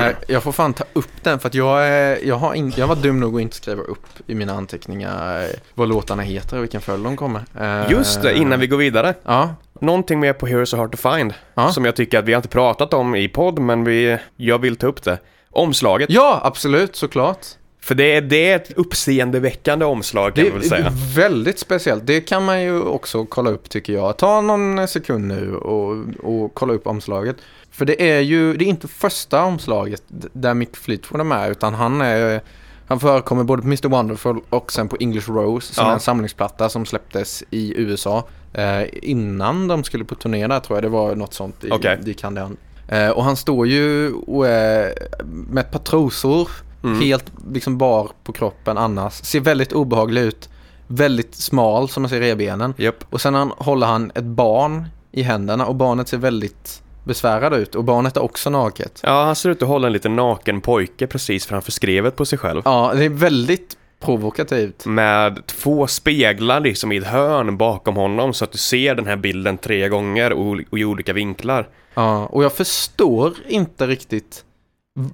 Speaker 2: Eh, Jag får fan ta upp den för att jag, är- jag, har in, jag var dum nog att inte skriva upp i mina anteckningar eh, vad låtarna heter och vilken följd de kommer. Eh,
Speaker 1: Just det, innan vi går vidare.
Speaker 2: Ja,
Speaker 1: Någonting mer på Heroes are hard to find.
Speaker 2: Ja.
Speaker 1: Som jag tycker att vi har inte pratat om i podd, men vi, jag vill ta upp det. Omslaget.
Speaker 2: Ja, absolut, såklart.
Speaker 1: För det är, det är ett uppseendeväckande omslag kan
Speaker 2: Det
Speaker 1: man väl säga.
Speaker 2: är väldigt speciellt. Det kan man ju också kolla upp tycker jag. Ta någon sekund nu och, och kolla upp omslaget. För det är ju, det är inte första omslaget d- där Mick Fleetwood är med utan han är han förekommer både på Mr Wonderful och sen på English Rose som
Speaker 1: Ja.
Speaker 2: är en samlingsplatta som släpptes i USA eh, innan de skulle på turné där tror jag. Det var något sånt i,
Speaker 1: Okej.
Speaker 2: i Kandian. Eh, och han står ju och, eh, med ett par trosor,
Speaker 1: Mm.
Speaker 2: helt liksom bar på kroppen annars. Ser väldigt obehaglig ut, väldigt smal som man ser i benen.
Speaker 1: Japp.
Speaker 2: Och sen han, håller han ett barn i händerna och barnet ser väldigt besvärad ut och barnet är också naket.
Speaker 1: Ja, han ser ut att hålla en liten naken pojke precis framför skrevet på sig själv.
Speaker 2: Ja, det är väldigt
Speaker 1: Mm.
Speaker 2: provokativt.
Speaker 1: Med två speglar liksom i ett hörn bakom honom så att du ser den här bilden tre gånger och, och i olika vinklar.
Speaker 2: Ja, och jag förstår inte riktigt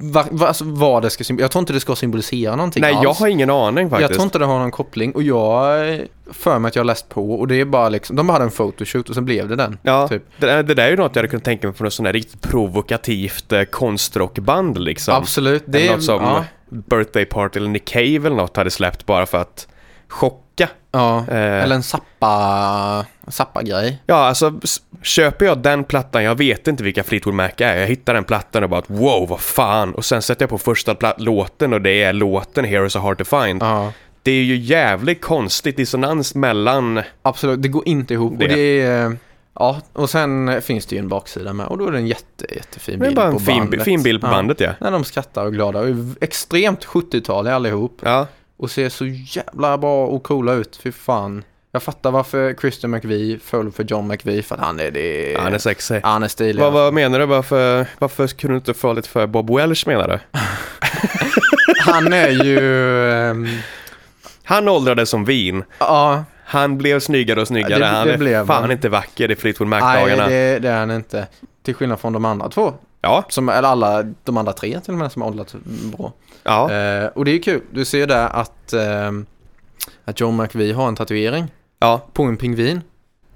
Speaker 2: va, va, alltså vad det ska symbolisera. Jag tror inte det ska symbolisera någonting
Speaker 1: Nej,
Speaker 2: alls.
Speaker 1: jag har ingen aning faktiskt.
Speaker 2: Jag tror inte det har någon koppling och jag eh, för mig att jag har läst på och det är bara liksom, de hade en photoshoot och sen blev det den.
Speaker 1: Ja,
Speaker 2: typ.
Speaker 1: det, där- det där är ju något jag hade kunnat tänka mig från något sånt där riktigt provokativt eh, konstrockband liksom.
Speaker 2: Absolut,
Speaker 1: Det
Speaker 2: det
Speaker 1: är
Speaker 2: är...
Speaker 1: något som
Speaker 2: Ja,
Speaker 1: Birthday Party eller Nick Cave eller något hade släppt bara för att chocka.
Speaker 2: ja.
Speaker 1: Eh,
Speaker 2: Eller en sappa, sappa-grej.
Speaker 1: Ja, alltså s- köper jag den plattan, jag vet inte vilka Fleetwood Mac är, jag hittar den plattan och bara att, wow, vad fan. Och sen sätter jag på första pla- låten och det är låten Heroes Are Hard To Find.
Speaker 2: Ja,
Speaker 1: Det är ju jävligt konstigt dissonans mellan,
Speaker 2: absolut. Det går inte ihop.
Speaker 1: Det-
Speaker 2: Och det är, eh, ja, och sen eh, finns det ju en baksida med och då är det en jätte, jättefin
Speaker 1: det är
Speaker 2: bild
Speaker 1: bara en
Speaker 2: på
Speaker 1: fin, bi-
Speaker 2: bandet.
Speaker 1: fin bild på
Speaker 2: ja.
Speaker 1: bandet ja.
Speaker 2: När de skrattar och är glada och är extremt 70-taliga allihop.
Speaker 1: Ja,
Speaker 2: och ser så jävla bra och coola ut. Fy fan. Jag fattar varför Christian McVie föll för John McVie för att han är det.
Speaker 1: ja han är sexig.
Speaker 2: han är alltså- stilig.
Speaker 1: Vad, vad menar du? Varför, varför kunde du inte få lite för Bob Welch menar du?
Speaker 2: Han är ju... ehm,
Speaker 1: Han åldrades som vin.
Speaker 2: Ja,
Speaker 1: Han blev snyggare och snyggare.
Speaker 2: Ja, det-
Speaker 1: han
Speaker 2: det
Speaker 1: är
Speaker 2: blev
Speaker 1: fan
Speaker 2: han.
Speaker 1: inte vacker i Fleetwood
Speaker 2: nej
Speaker 1: Mac-dagarna.
Speaker 2: det, det är han inte. Till skillnad från de andra två.
Speaker 1: Ja,
Speaker 2: Som, eller alla, de andra tre till och med som har åldrats bra.
Speaker 1: ja.
Speaker 2: Eh, och det är ju kul. Du ser ju där att, ehm, att John McVie har en tatuering
Speaker 1: ja,
Speaker 2: på en pingvin.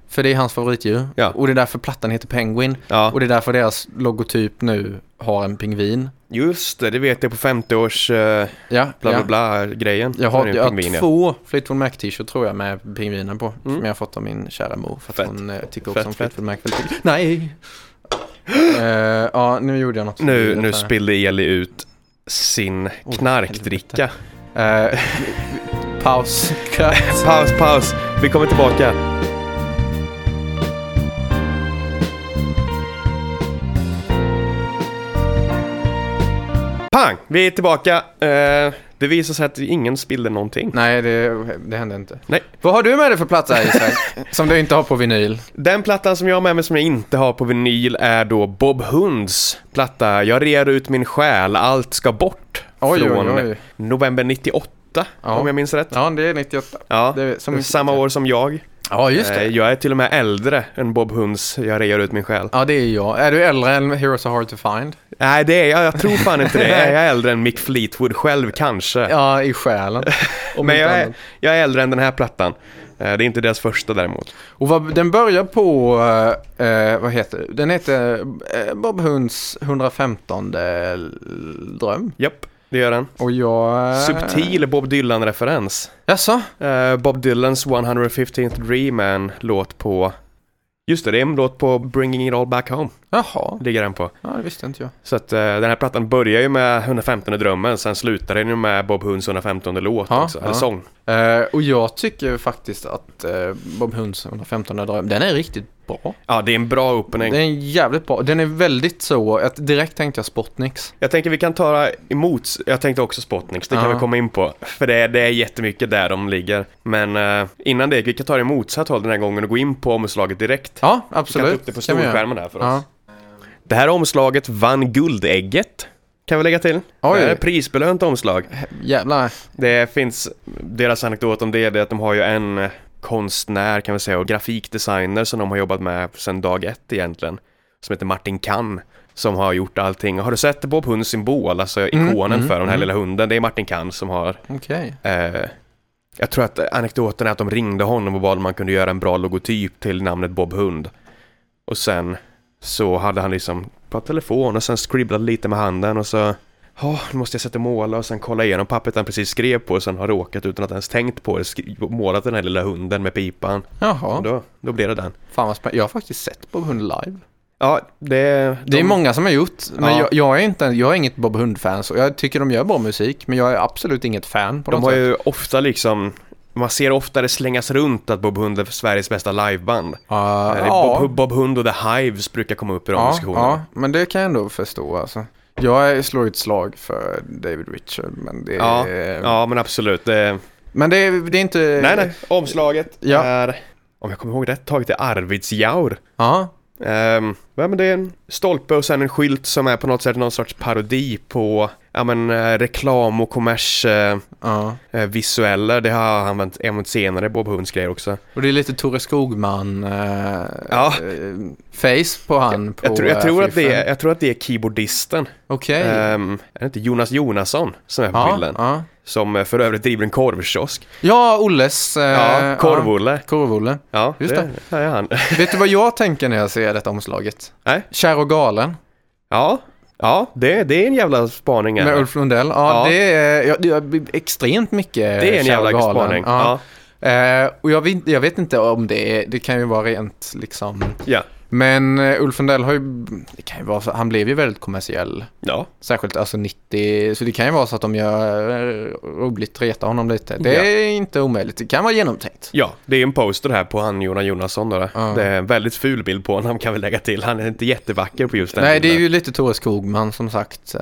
Speaker 2: För det är hans favoritdjur.
Speaker 1: Ja.
Speaker 2: Och det är därför plattan heter Penguin.
Speaker 1: ja.
Speaker 2: Och det är därför deras logotyp nu har en pingvin.
Speaker 1: Just det, det vet jag på 50-års eh,
Speaker 2: Ja,
Speaker 1: bla bla
Speaker 2: ja.
Speaker 1: bla-grejen.
Speaker 2: Jag har,
Speaker 1: Det är en
Speaker 2: jag
Speaker 1: pingvin,
Speaker 2: har
Speaker 1: ja.
Speaker 2: två Fleetwood Mac t-shirt tror jag med pingviner på.
Speaker 1: Mm.
Speaker 2: Som jag har fått av min kära mor. För att
Speaker 1: Fett.
Speaker 2: hon eh, tycker
Speaker 1: Fett,
Speaker 2: också om
Speaker 1: fett.
Speaker 2: Fleetwood Mac väldigt mycket. Nej! Eh, ja, nu gjorde jag något. som
Speaker 1: Nu,
Speaker 2: blir
Speaker 1: nu
Speaker 2: rätt här.
Speaker 1: spillde Eli ut sin
Speaker 2: Åh,
Speaker 1: knarkdricka.
Speaker 2: Eh, paus. Cut.
Speaker 1: Paus, paus. Vi kommer tillbaka. Pang! Vi är tillbaka. Eh, det visar sig att ingen spillde någonting.
Speaker 2: Nej, det, det hände inte.
Speaker 1: Nej.
Speaker 2: Vad har du med dig för plats här Isak? som du inte har på vinyl?
Speaker 1: Den plattan som jag har med mig som jag inte har på vinyl är då Bob Hunds platta Jag rear ut min själ, allt ska bort.
Speaker 2: Oj,
Speaker 1: från
Speaker 2: oj, oj.
Speaker 1: november 98,
Speaker 2: Ja.
Speaker 1: om jag minns rätt.
Speaker 2: Ja, det är 98.
Speaker 1: Ja,
Speaker 2: Det är som-
Speaker 1: samma år som jag.
Speaker 2: Ja, just det.
Speaker 1: Eh, Jag är till och med äldre än Bob Hunds Jag rear ut min själ.
Speaker 2: Ja, det är jag. Är du äldre än Heroes Are Hard To Find?
Speaker 1: Nej, det är jag. Jag tror fan inte det. Är jag äldre än Mick Fleetwood själv kanske?
Speaker 2: Ja, i själen. Om
Speaker 1: Men
Speaker 2: inte
Speaker 1: jag
Speaker 2: annat.
Speaker 1: är, jag är äldre än den här plattan. Eh, Det är inte deras första däremot.
Speaker 2: Och vad, den börjar på, eh, eh, vad heter den? heter eh, Bob Hunds 115 dröm.
Speaker 1: Japp, det gör den.
Speaker 2: Och jag... eh,
Speaker 1: Subtil Bob Dylan-referens.
Speaker 2: Jaså?
Speaker 1: Eh, Bob Dylans 115th Dream är en låt på... Just det, det är en låt på Bringing It All Back Home.
Speaker 2: Jaha,
Speaker 1: Ligger den på.
Speaker 2: ja, det visste inte jag.
Speaker 1: Så att eh, den här plattan börjar ju med 115 drömmen, sen slutar den ju med Bob Hunds 115 låt
Speaker 2: Ja,
Speaker 1: också, eller
Speaker 2: ja.
Speaker 1: sång.
Speaker 2: Eh, och jag tycker faktiskt att eh, Bob Hunds 115 dröm, den är riktigt bra.
Speaker 1: Ja, det är en bra
Speaker 2: Den
Speaker 1: opening.
Speaker 2: är jävligt bra. Den är väldigt så, att direkt tänkte jag Spotniks.
Speaker 1: Jag tänker vi kan ta emot, jag tänkte också Spotniks, det kan
Speaker 2: Ja.
Speaker 1: vi komma in på. För det är, det är jättemycket där de ligger. Men eh, innan det, vi kan ta det i motsatt håll den här gången och gå in på omslaget direkt.
Speaker 2: Ja,
Speaker 1: vi kan
Speaker 2: absolut.
Speaker 1: ta upp det på
Speaker 2: Kan vi göra.
Speaker 1: storskärmen här för oss.
Speaker 2: Ja.
Speaker 1: Det här omslaget vann Guldägget, kan vi lägga till.
Speaker 2: Oj.
Speaker 1: Det här är ett prisbelönt omslag.
Speaker 2: Jävlar.
Speaker 1: Det finns, deras anekdot om det, det är att de har ju en eh, konstnär kan vi säga och grafikdesigner som de har jobbat med sedan dag ett egentligen. Som heter Martin Kann. Som har gjort allting. Har du sett Bob Hunds symbol, alltså
Speaker 2: Mm,
Speaker 1: ikonen
Speaker 2: mm,
Speaker 1: för den här
Speaker 2: mm.
Speaker 1: lilla hunden? Det är Martin Kann som har...
Speaker 2: Okej.
Speaker 1: Eh, jag tror att anekdoten är att de ringde honom och bad om man kunde göra en bra logotyp till namnet Bob Hund. Och sen så hade han liksom på telefon och sen scribblade lite med handen och så Ja, nu måste jag sätta och måla och sen kolla igenom pappret han precis skrev på och sen har råkat utan att ens tänkt på det skri- målat den här lilla hunden med pipan.
Speaker 2: Jaha.
Speaker 1: Och Då, då blev det den.
Speaker 2: Fan vad spännande. Jag har faktiskt sett Bob Hund live.
Speaker 1: Ja, det...
Speaker 2: Det är många som har gjort, men
Speaker 1: Ja.
Speaker 2: jag, jag, är inte, jag är inget Bob Hund-fan. Så jag tycker de gör bra musik, men jag är absolut inget fan på
Speaker 1: De
Speaker 2: något
Speaker 1: har
Speaker 2: sätt.
Speaker 1: ju ofta liksom... Man ser ofta det slängas runt att Bob Hund är Sveriges bästa liveband.
Speaker 2: Ja,
Speaker 1: Eh,
Speaker 2: ja,
Speaker 1: Bob, Bob Hund och The Hives brukar komma upp i de
Speaker 2: ja,
Speaker 1: diskussionerna.
Speaker 2: ja, men det kan jag ändå förstå alltså. Jag är- slår ju ett slag för David Richard, men det,
Speaker 1: Ja, ja, men absolut. Det,
Speaker 2: men det, är- det är inte...
Speaker 1: nej, nej. Omslaget
Speaker 2: Ja.
Speaker 1: är, om jag kommer ihåg rätt, taget i Arvidsjaur.
Speaker 2: Ja,
Speaker 1: Ehm, ja, men det är en stolpe och sen en skylt som är på något sätt någon sorts parodi på ja, men, eh, reklam och kommers eh,
Speaker 2: Ja.
Speaker 1: eh, visueller. Det har han använt, använt senare, Bob Hunds grejer också.
Speaker 2: Och det är lite Tore Skogman-face
Speaker 1: Ja.
Speaker 2: på han. på,
Speaker 1: Jag, tror, jag,
Speaker 2: eh,
Speaker 1: tror att det
Speaker 2: fiffen.
Speaker 1: är, jag tror att det är keyboardisten.
Speaker 2: Okej.
Speaker 1: Ehm, är det inte Jonas Jonasson som är på
Speaker 2: ja,
Speaker 1: bilden?
Speaker 2: ja.
Speaker 1: Som eh, för övrigt driver en korvkiosk.
Speaker 2: ja, Olles. eh,
Speaker 1: Ja, korv-Olle.
Speaker 2: Korv-Olle.
Speaker 1: Ja,
Speaker 2: Just
Speaker 1: det, det är han.
Speaker 2: Vet du vad jag tänker när jag ser detta omslaget?
Speaker 1: Nej.
Speaker 2: Kär och galen
Speaker 1: Ja, ja det, det är en jävla spaning.
Speaker 2: med
Speaker 1: här.
Speaker 2: Ulf Lundell. Ja,
Speaker 1: Ja.
Speaker 2: Det, är, ja, det är extremt mycket
Speaker 1: det är en
Speaker 2: Kär och
Speaker 1: jävla
Speaker 2: galen.
Speaker 1: spaning. Ja.
Speaker 2: Eh, och jag vet, jag vet inte om det är, det kan ju vara rent liksom.
Speaker 1: Ja.
Speaker 2: Men eh, Ulf Lundell har ju, det kan ju vara så, han blev ju väldigt kommersiell.
Speaker 1: ja.
Speaker 2: Särskilt alltså 90, så det kan ju vara så att de gör eh, roligt, retar honom lite. Det
Speaker 1: Ja.
Speaker 2: är inte omöjligt, det kan vara genomtänkt.
Speaker 1: Ja, det är en poster här på han Jonas Jonasson då.
Speaker 2: Ja.
Speaker 1: Det är en väldigt ful bild på honom kan vi lägga till. Han är inte jättevacker på just den
Speaker 2: Nej, det är
Speaker 1: bilden.
Speaker 2: ju lite Thore Skogman som sagt. eh,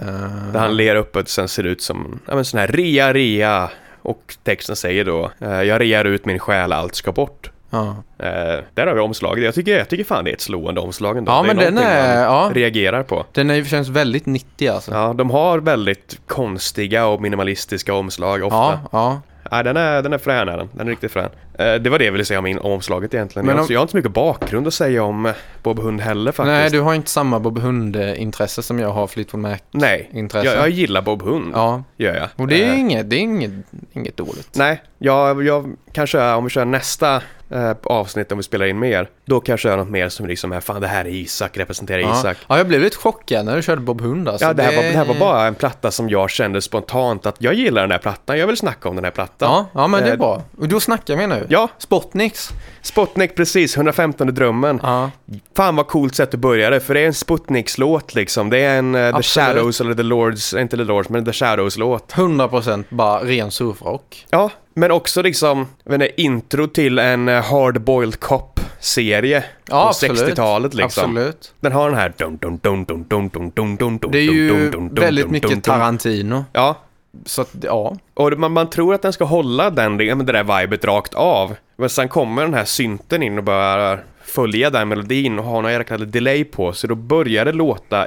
Speaker 1: Där han ler öppet och sen ser ut som, ja men sån här rea, rea. Och texten säger då, eh, jag rear ut min själ, allt ska bort.
Speaker 2: ja.
Speaker 1: Eh, där har vi omslaget. Jag tycker, jag tycker fan det är ett slående omslag ändå.
Speaker 2: Ja,
Speaker 1: det
Speaker 2: men den
Speaker 1: någonting
Speaker 2: är-
Speaker 1: man
Speaker 2: ja.
Speaker 1: reagerar på.
Speaker 2: Den är ju känns väldigt 90 alltså.
Speaker 1: Ja, de har väldigt konstiga och minimalistiska omslag ofta.
Speaker 2: ja.
Speaker 1: Ja.
Speaker 2: ja.
Speaker 1: den, är, den är frän är den. Den är riktigt frän. Eh, det var det jag ville säga om, in, om omslaget egentligen.
Speaker 2: Men
Speaker 1: jag, har
Speaker 2: om-
Speaker 1: inte- jag har inte så mycket bakgrund att säga om eh, Bob Hund heller faktiskt.
Speaker 2: Nej, du har inte samma Bob Hund-intresse som jag har, Fleetwood Mac.
Speaker 1: Nej, jag,
Speaker 2: intresse.
Speaker 1: jag gillar Bob Hund.
Speaker 2: Ja,
Speaker 1: Gör jag.
Speaker 2: och det är,
Speaker 1: Eh,
Speaker 2: inget, det är inget, inget dåligt.
Speaker 1: nej, jag, jag kanske är, om vi kör nästa eh, avsnitt, om vi spelar in mer, då kanske jag gör något mer som liksom är, fan det här är Isak, representerar
Speaker 2: Ja.
Speaker 1: Isak.
Speaker 2: ja, jag blev lite chockad när du körde Bob Hund alltså.
Speaker 1: Ja, det här, var, det här var bara en platta som jag kände spontant att jag gillar den här plattan, jag vill snacka om den här plattan.
Speaker 2: Ja, ja men det är
Speaker 1: Eh,
Speaker 2: bra. Och då snackar vi nu.
Speaker 1: Ja,
Speaker 2: Spotnix.
Speaker 1: Sputnik precis, 115 drömmen.
Speaker 2: Ja.
Speaker 1: Fan vad coolt sätt att börja det, för det är en Sputniks-låt liksom. Det är en eh, The
Speaker 2: Absolut.
Speaker 1: Shadows, eller The Lords, eh, inte The Lords, men The Shadows-låt.
Speaker 2: 100% bara ren surfrock.
Speaker 1: Ja, men också liksom, jag vet inte, intro till en eh, Hard-Boiled Cop-serie
Speaker 2: Ja,
Speaker 1: på
Speaker 2: absolut.
Speaker 1: 60-talet liksom.
Speaker 2: Absolut.
Speaker 1: Den har den här... dun, dun, dun, dun, dun, dun, dun, dun, dun,
Speaker 2: Det är ju
Speaker 1: dun, dun, dun,
Speaker 2: väldigt
Speaker 1: dun, dun, dun.
Speaker 2: mycket Tarantino.
Speaker 1: Ja,
Speaker 2: Så att, ja.
Speaker 1: och man, man tror att den ska hålla den, det, men det där vibet rakt av. Men sen kommer den här synten in och börjar följa den melodin och har någon jäkla delay på sig. Då börjar det låta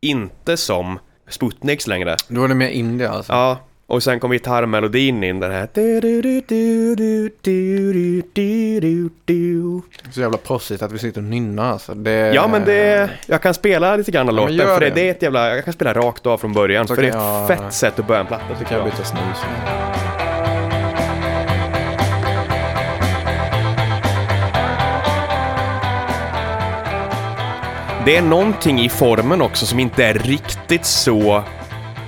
Speaker 1: inte som Sputniks längre.
Speaker 2: Då är det mer indie alltså.
Speaker 1: Ja, och sen kom gitarrmelodin in, den här...
Speaker 2: Så jävla proffsigt att vi sitter och nynnar alltså. Det,
Speaker 1: Ja, men det... Jag kan spela lite grann av
Speaker 2: Ja, men
Speaker 1: låten,
Speaker 2: gör
Speaker 1: för det,
Speaker 2: det.
Speaker 1: det är ett jävla... Jag kan spela rakt av från början,
Speaker 2: Så
Speaker 1: för det
Speaker 2: kan
Speaker 1: är ett
Speaker 2: jag-
Speaker 1: fett sätt att börja en platta,
Speaker 2: Så
Speaker 1: tycker
Speaker 2: kan jag
Speaker 1: jag.
Speaker 2: byta snus.
Speaker 1: Det är någonting i formen också som inte är riktigt så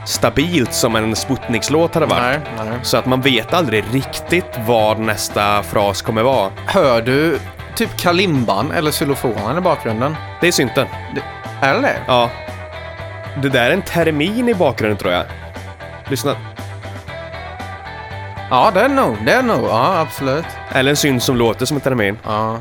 Speaker 1: stabilt som en Sputnikslåt hade varit.
Speaker 2: Nej, nej.
Speaker 1: Så att man vet aldrig riktigt vad nästa fras kommer vara.
Speaker 2: Hör du typ kalimban eller xylofonen i bakgrunden?
Speaker 1: Det är synten.
Speaker 2: Det, är det det?
Speaker 1: Ja. Det där är en termin i bakgrunden tror jag. Lyssna.
Speaker 2: Ja, det är nog. Det är nog. Ja, absolut.
Speaker 1: Eller en synt som låter som en termin.
Speaker 2: Ja.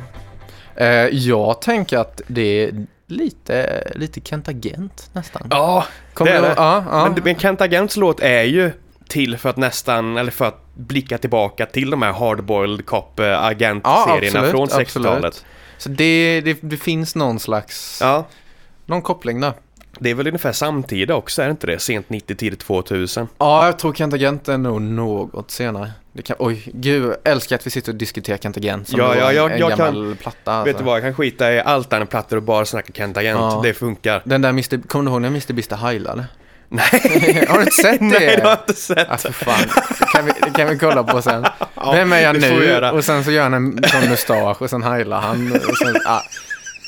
Speaker 2: Eh, jag tänker att det är lite, lite Kent Agent nästan.
Speaker 1: Ja,
Speaker 2: Kommer
Speaker 1: det är
Speaker 2: du-
Speaker 1: det.
Speaker 2: ja, ja.
Speaker 1: Men, men Kent Agents låt är ju till för att nästan, eller för att blicka tillbaka till de här hardboiled cop eh, agent-serierna från 60-talet.
Speaker 2: Så det, det, det finns någon slags,
Speaker 1: Ja,
Speaker 2: någon koppling där.
Speaker 1: det är väl ungefär samtida också, är det inte det? Sent 90, tidigt 2000.
Speaker 2: Ja, jag tror Kent Agent är nog något senare. Det kan, oj, gud, jag älskar att vi sitter och diskuterar Kent Agent som
Speaker 1: Ja,
Speaker 2: då
Speaker 1: ja,
Speaker 2: en-
Speaker 1: jag-
Speaker 2: en
Speaker 1: jag
Speaker 2: gammal platta. Alltså.
Speaker 1: Vet du vad, jag kan skita i allt annat plattor och bara snacka Kent Agent.
Speaker 2: Ja.
Speaker 1: Det funkar.
Speaker 2: Den där Mr. Kommer du ihåg när Mr. Beast heilade?
Speaker 1: Nej,
Speaker 2: Har du inte sett det?
Speaker 1: nej det har jag inte sett.
Speaker 2: Ah, för fan. Kan vi, det kan vi kolla på sen. Vem är jag
Speaker 1: det får vi
Speaker 2: nu?
Speaker 1: göra.
Speaker 2: Och sen så gör han en sån mustasch och sen heilar han. Och sen, ah,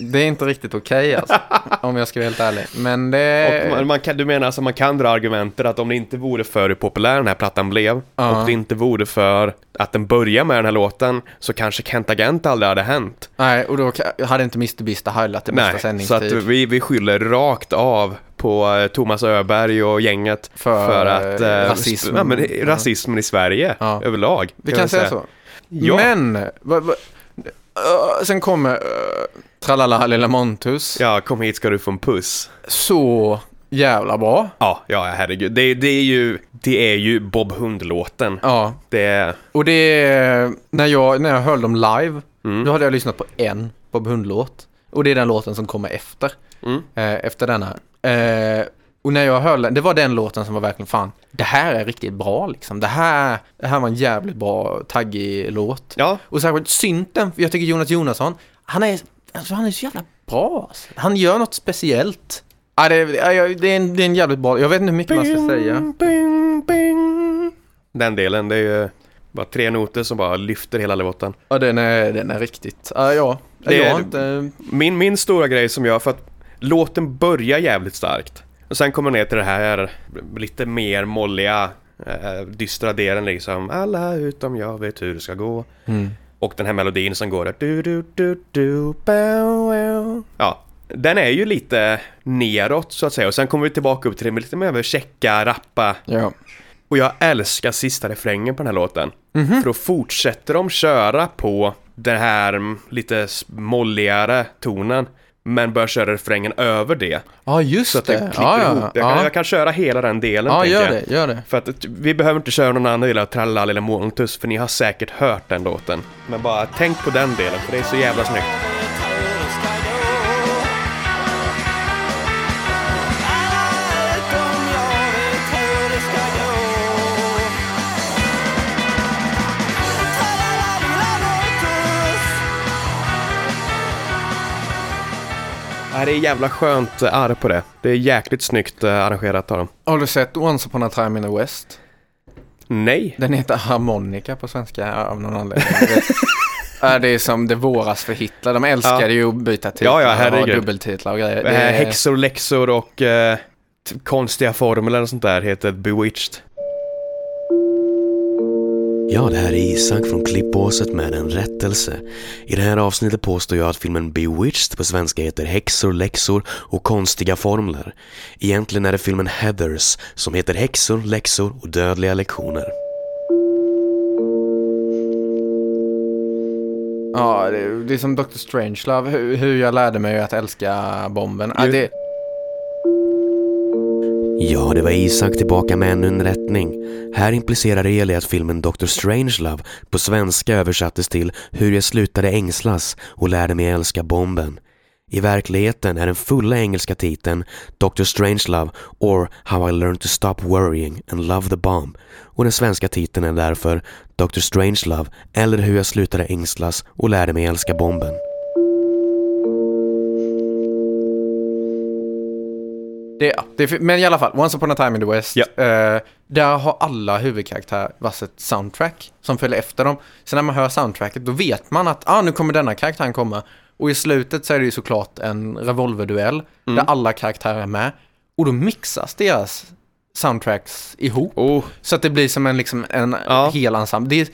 Speaker 2: det är inte riktigt okej alltså, om jag ska vara helt ärlig. Men det...
Speaker 1: Och man, man kan, du menar alltså man kan dra argumentet att om det inte vore för hur populär den här plattan blev
Speaker 2: Ja.
Speaker 1: och det inte vore för att den börjar med den här låten så kanske Kent Agent aldrig hade hänt.
Speaker 2: Nej, och då ka- hade inte Mr. Beast heilat i bästa
Speaker 1: Nej, så att
Speaker 2: sändningstid.
Speaker 1: vi, vi skyller rakt av på eh, Thomas Öberg och gänget
Speaker 2: För,
Speaker 1: att
Speaker 2: eh,
Speaker 1: eh,
Speaker 2: rasism.
Speaker 1: sp- ja, men, rasismen i Sverige
Speaker 2: Ja.
Speaker 1: överlag.
Speaker 2: Vi
Speaker 1: kan
Speaker 2: kan
Speaker 1: jag
Speaker 2: säga så.
Speaker 1: Ja.
Speaker 2: Men, va, va, ö, sen kommer ö, Tralala Lilla Montus.
Speaker 1: Ja, kom hit ska du få en puss.
Speaker 2: Så jävla bra.
Speaker 1: Ja, ja herregud. Det, det, är ju, det är ju Bob Hund-låten.
Speaker 2: Ja,
Speaker 1: Det är...
Speaker 2: och
Speaker 1: Mm.
Speaker 2: det är när jag, när jag höll dem live, då hade jag lyssnat på en Bob Hund-låt. Och det är den låten som kommer efter.
Speaker 1: Mm.
Speaker 2: Eh, efter denna. Eh, och när jag hörde den, det var den låten som var verkligen fan, det här är riktigt bra liksom. Det här, det här var en jävligt bra taggig låt.
Speaker 1: Ja,
Speaker 2: Och särskilt synten, för jag tycker Jonas Jonasson, han är, alltså, han är så jävla bra. Alltså. Han gör något speciellt. Ja, det, är- ja, det, är en, det är en jävligt bra, jag vet inte hur mycket man ska säga.
Speaker 1: Bing, bing. Den delen, det är ju bara tre noter som bara lyfter hela låten.
Speaker 2: Ja, den är, den är riktigt, ja, ja.
Speaker 1: Det
Speaker 2: jag
Speaker 1: är-
Speaker 2: har inte...
Speaker 1: Min, min stora grej som jag, för att låten börjar jävligt starkt. Och sen kommer den ner till det här lite mer molliga, eh, dystra delen liksom. Alla utom jag vet hur det ska gå. Och den här melodin som går där. Du, du, du, du, bow, wow. Ja, den är ju lite neråt så att säga. Och sen kommer vi tillbaka upp till det med lite mer checka, rappa.
Speaker 2: Ja.
Speaker 1: Och jag älskar sista refrängen på den här låten.
Speaker 2: Mhm.
Speaker 1: För då fortsätter de köra på den här mm, lite s- molligare tonen. Men börjar köra refrängen över det.
Speaker 2: Ja, just
Speaker 1: Så att
Speaker 2: det.
Speaker 1: den klipper
Speaker 2: Eh, ja,
Speaker 1: ihop. Jag,
Speaker 2: ja.
Speaker 1: kan,
Speaker 2: ja.
Speaker 1: jag kan köra hela den delen
Speaker 2: ja,
Speaker 1: tänker
Speaker 2: gör
Speaker 1: jag.
Speaker 2: det, gör det.
Speaker 1: För att t- vi behöver inte köra någon annan del av Trallal eller Montus för ni har säkert hört den låten. Men bara tänk på den delen för det är så jävla snyggt. Ja, det är jävla skönt eh, arr på det. Det är jäkligt snyggt eh, arrangerat av dem.
Speaker 2: Har du sett Once upon a time in the West?
Speaker 1: Nej,
Speaker 2: Den heter harmonika på svenska av någon anledning. Jag vet. Ja, det är som det våras för Hitler. De älskade
Speaker 1: Ja.
Speaker 2: ju att byta titlar
Speaker 1: Ja, ja,
Speaker 2: och
Speaker 1: herregud.
Speaker 2: ha dubbeltitlar och grejer.
Speaker 1: det
Speaker 2: är-
Speaker 1: häxor, läxor och eh, t- konstiga formler och sånt där heter Bewitched.
Speaker 4: Ja, det här är Isak från Klippåset med en rättelse. I det här avsnittet påstår jag att filmen Bewitched på svenska heter Häxor, läxor och konstiga formler. Egentligen är det filmen Heathers som heter Häxor, läxor och dödliga lektioner.
Speaker 2: Ja, det, det är som Dr. Strangelove, hur, hur jag lärde mig att älska bomben. Ja,
Speaker 1: Ju-
Speaker 2: det,
Speaker 4: Ja, det var Isak tillbaka med ännu en rättning. Här implicerar Eli att filmen Dr. Strangelove på svenska översattes till Hur jag slutade ängslas och lärde mig älska bomben. I verkligheten är den fulla engelska titeln Dr. Strangelove or How I Learned to Stop Worrying and Love the Bomb och den svenska titeln är därför Dr. Strangelove eller Hur jag slutade ängslas och lärde mig älska bomben.
Speaker 2: det, ja, det, är fi- men i alla fall, Once upon a time in the West.
Speaker 1: Ja.
Speaker 2: Eh, där har alla huvudkaraktärer varsitt soundtrack som följer efter dem. Så när man hör soundtracket då vet man att ah, nu kommer denna karaktären komma. Och i slutet så är det ju såklart en revolverduell
Speaker 1: Mm.
Speaker 2: där alla karaktärer är med. Och då mixas deras soundtracks ihop.
Speaker 1: Oh.
Speaker 2: Så att det blir som en, liksom, en
Speaker 1: Ja.
Speaker 2: hel ensemble. Det är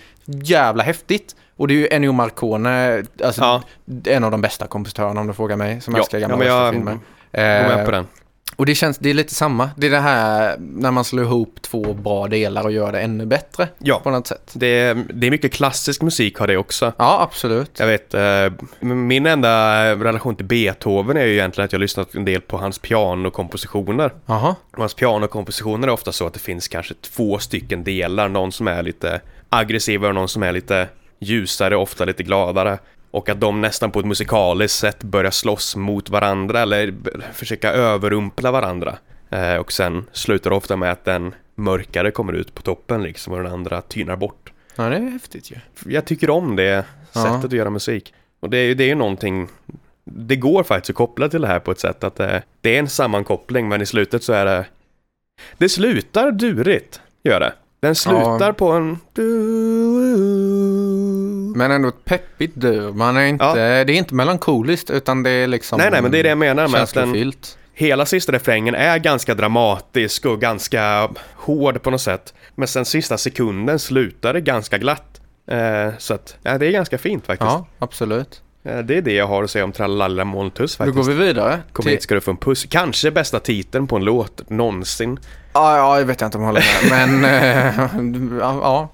Speaker 2: jävla häftigt. Och det är ju Ennio Marcone, alltså,
Speaker 1: Ja.
Speaker 2: en av de bästa kompositörerna om du frågar mig, som
Speaker 1: Ja.
Speaker 2: älskar
Speaker 1: Ja,
Speaker 2: gamla
Speaker 1: men jag-
Speaker 2: västerfilmer.
Speaker 1: Jag
Speaker 2: Eh,
Speaker 1: går med på den.
Speaker 2: och det känns, det är lite samma. Det är det här när man slår ihop två bra delar och gör det ännu bättre
Speaker 1: Ja.
Speaker 2: på något sätt.
Speaker 1: Det är, det är mycket klassisk musik har det också.
Speaker 2: Ja, absolut.
Speaker 1: Jag vet, eh, min enda eh, relation till Beethoven är ju egentligen att jag har lyssnat en del på hans pianokompositioner.
Speaker 2: Jaha.
Speaker 1: Och Hans pianokompositioner är ofta så att det finns kanske två stycken delar, någon som är lite aggressivare och någon som är lite ljusare, ofta lite gladare. Och att de nästan på ett musikaliskt sätt börjar slåss mot varandra eller b- försöka överrumpla varandra. Eh, och sen slutar det ofta med att den mörkare kommer ut på toppen liksom och den andra tynar bort
Speaker 2: Ja, det är häftigt ju.
Speaker 1: jag tycker om det
Speaker 2: Ja.
Speaker 1: sättet att göra musik. Och det är ju, det är ju någonting, det går faktiskt att koppla till det här på ett sätt att det, det är en sammankoppling men i slutet så är det, det slutar durigt, gör det. Den slutar på en... du-
Speaker 2: Men ändå ett peppigt dur. Man är inte, Det är inte melankoliskt utan det är liksom
Speaker 1: Nej, nej, men det är det jag menar med att den,
Speaker 2: känslofyllt.
Speaker 1: hela sista refrängen är ganska dramatisk och ganska hård på något sätt. Men sen sista sekunden slutar det ganska glatt. Eh, så att, ja, det är ganska fint faktiskt.
Speaker 2: Ja, absolut.
Speaker 1: Eh, det är det jag har att säga om Tralala Montus
Speaker 2: Då
Speaker 1: faktiskt.
Speaker 2: går vi vidare.
Speaker 1: Kom
Speaker 2: till-
Speaker 1: hit ska du få en puss. Kanske bästa titeln på en låt någonsin.
Speaker 2: Ja, ja, jag vet inte om jag håller med. Men eh, ja, ja,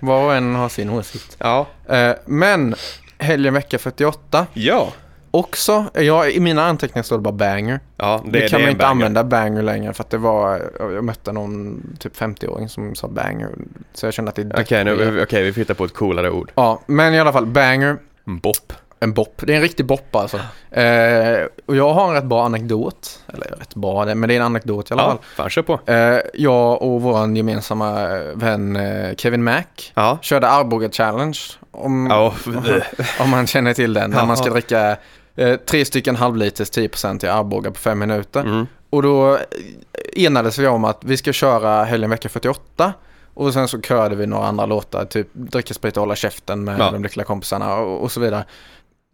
Speaker 2: var och en har sin åsikt.
Speaker 1: Ja.
Speaker 2: Eh, men helgen vecka 48
Speaker 1: Ja.
Speaker 2: också. Jag, I mina anteckningar står det bara banger.
Speaker 1: Ja, det,
Speaker 2: Det, kan
Speaker 1: det är
Speaker 2: man
Speaker 1: en
Speaker 2: inte
Speaker 1: banger.
Speaker 2: använda banger längre för att det var, jag mötte någon typ 50-åring som sa banger. Så jag kände att det är
Speaker 1: Okej,
Speaker 2: dött
Speaker 1: nu,
Speaker 2: begrepp.
Speaker 1: okej, vi får hitta på ett coolare ord.
Speaker 2: Ja, men i alla fall banger.
Speaker 1: Bopp.
Speaker 2: en bopp. Det är en riktig bopp alltså. Eh, och jag har en rätt bra anekdot. Eller rätt bra, men det är en anekdot i alla
Speaker 1: Ja,
Speaker 2: fall.
Speaker 1: fan kör på.
Speaker 2: Eh, jag och vår gemensamma eh, vän eh, Kevin Mack
Speaker 1: Ja.
Speaker 2: körde Arboga Challenge. Om,
Speaker 1: Ja,
Speaker 2: om man känner till den. När man ska
Speaker 1: Ja.
Speaker 2: dricka eh, tre stycken halvliters 10% i Arboga på fem minuter.
Speaker 1: mm.
Speaker 2: Och då eh, enades vi om att vi ska köra helgen vecka 48. Och sen så körde vi några andra låtar, typ dricka sprit och hålla käften med
Speaker 1: Ja.
Speaker 2: de lyckliga kompisarna och, och så vidare.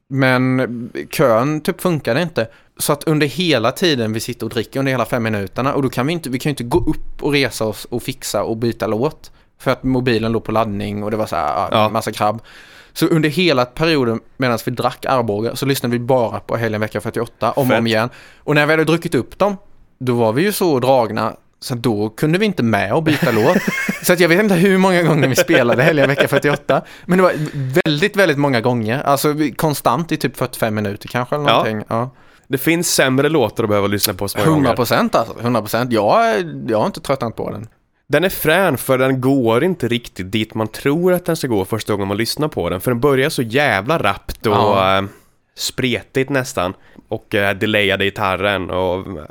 Speaker 2: Men kön typ funkade inte. Så att under hela tiden vi sitter och dricker, under hela fem minuterna, och då kan vi inte, vi kan ju inte gå upp och resa oss och fixa och byta låt. För att mobilen låg på laddning och det var så här,
Speaker 1: Ja.
Speaker 2: ja. massa krabb. Så under hela perioden medan vi drack Arboga så lyssnade vi bara på helgen vecka 48 om och
Speaker 1: Fett.
Speaker 2: om igen. Och när vi hade druckit upp dem, då var vi ju så dragna så då kunde vi inte med och byta låt. Så att jag vet inte hur många gånger vi spelade helgen vecka 48. Men det var väldigt, väldigt många gånger. Alltså vi- konstant i typ 45 minuter kanske eller
Speaker 1: Ja.
Speaker 2: någonting. Ja.
Speaker 1: Det finns sämre låtar att behöva lyssna på så många gånger.
Speaker 2: 100 procent alltså. 100 procent. Jag, jag har inte tröttnat på den.
Speaker 1: Den är frän för den går inte riktigt dit man tror att den ska gå första gången man lyssnar på den. För den börjar så jävla rappt och
Speaker 2: Ja.
Speaker 1: eh, spretigt nästan. Och eh, delayade gitarren och... eh,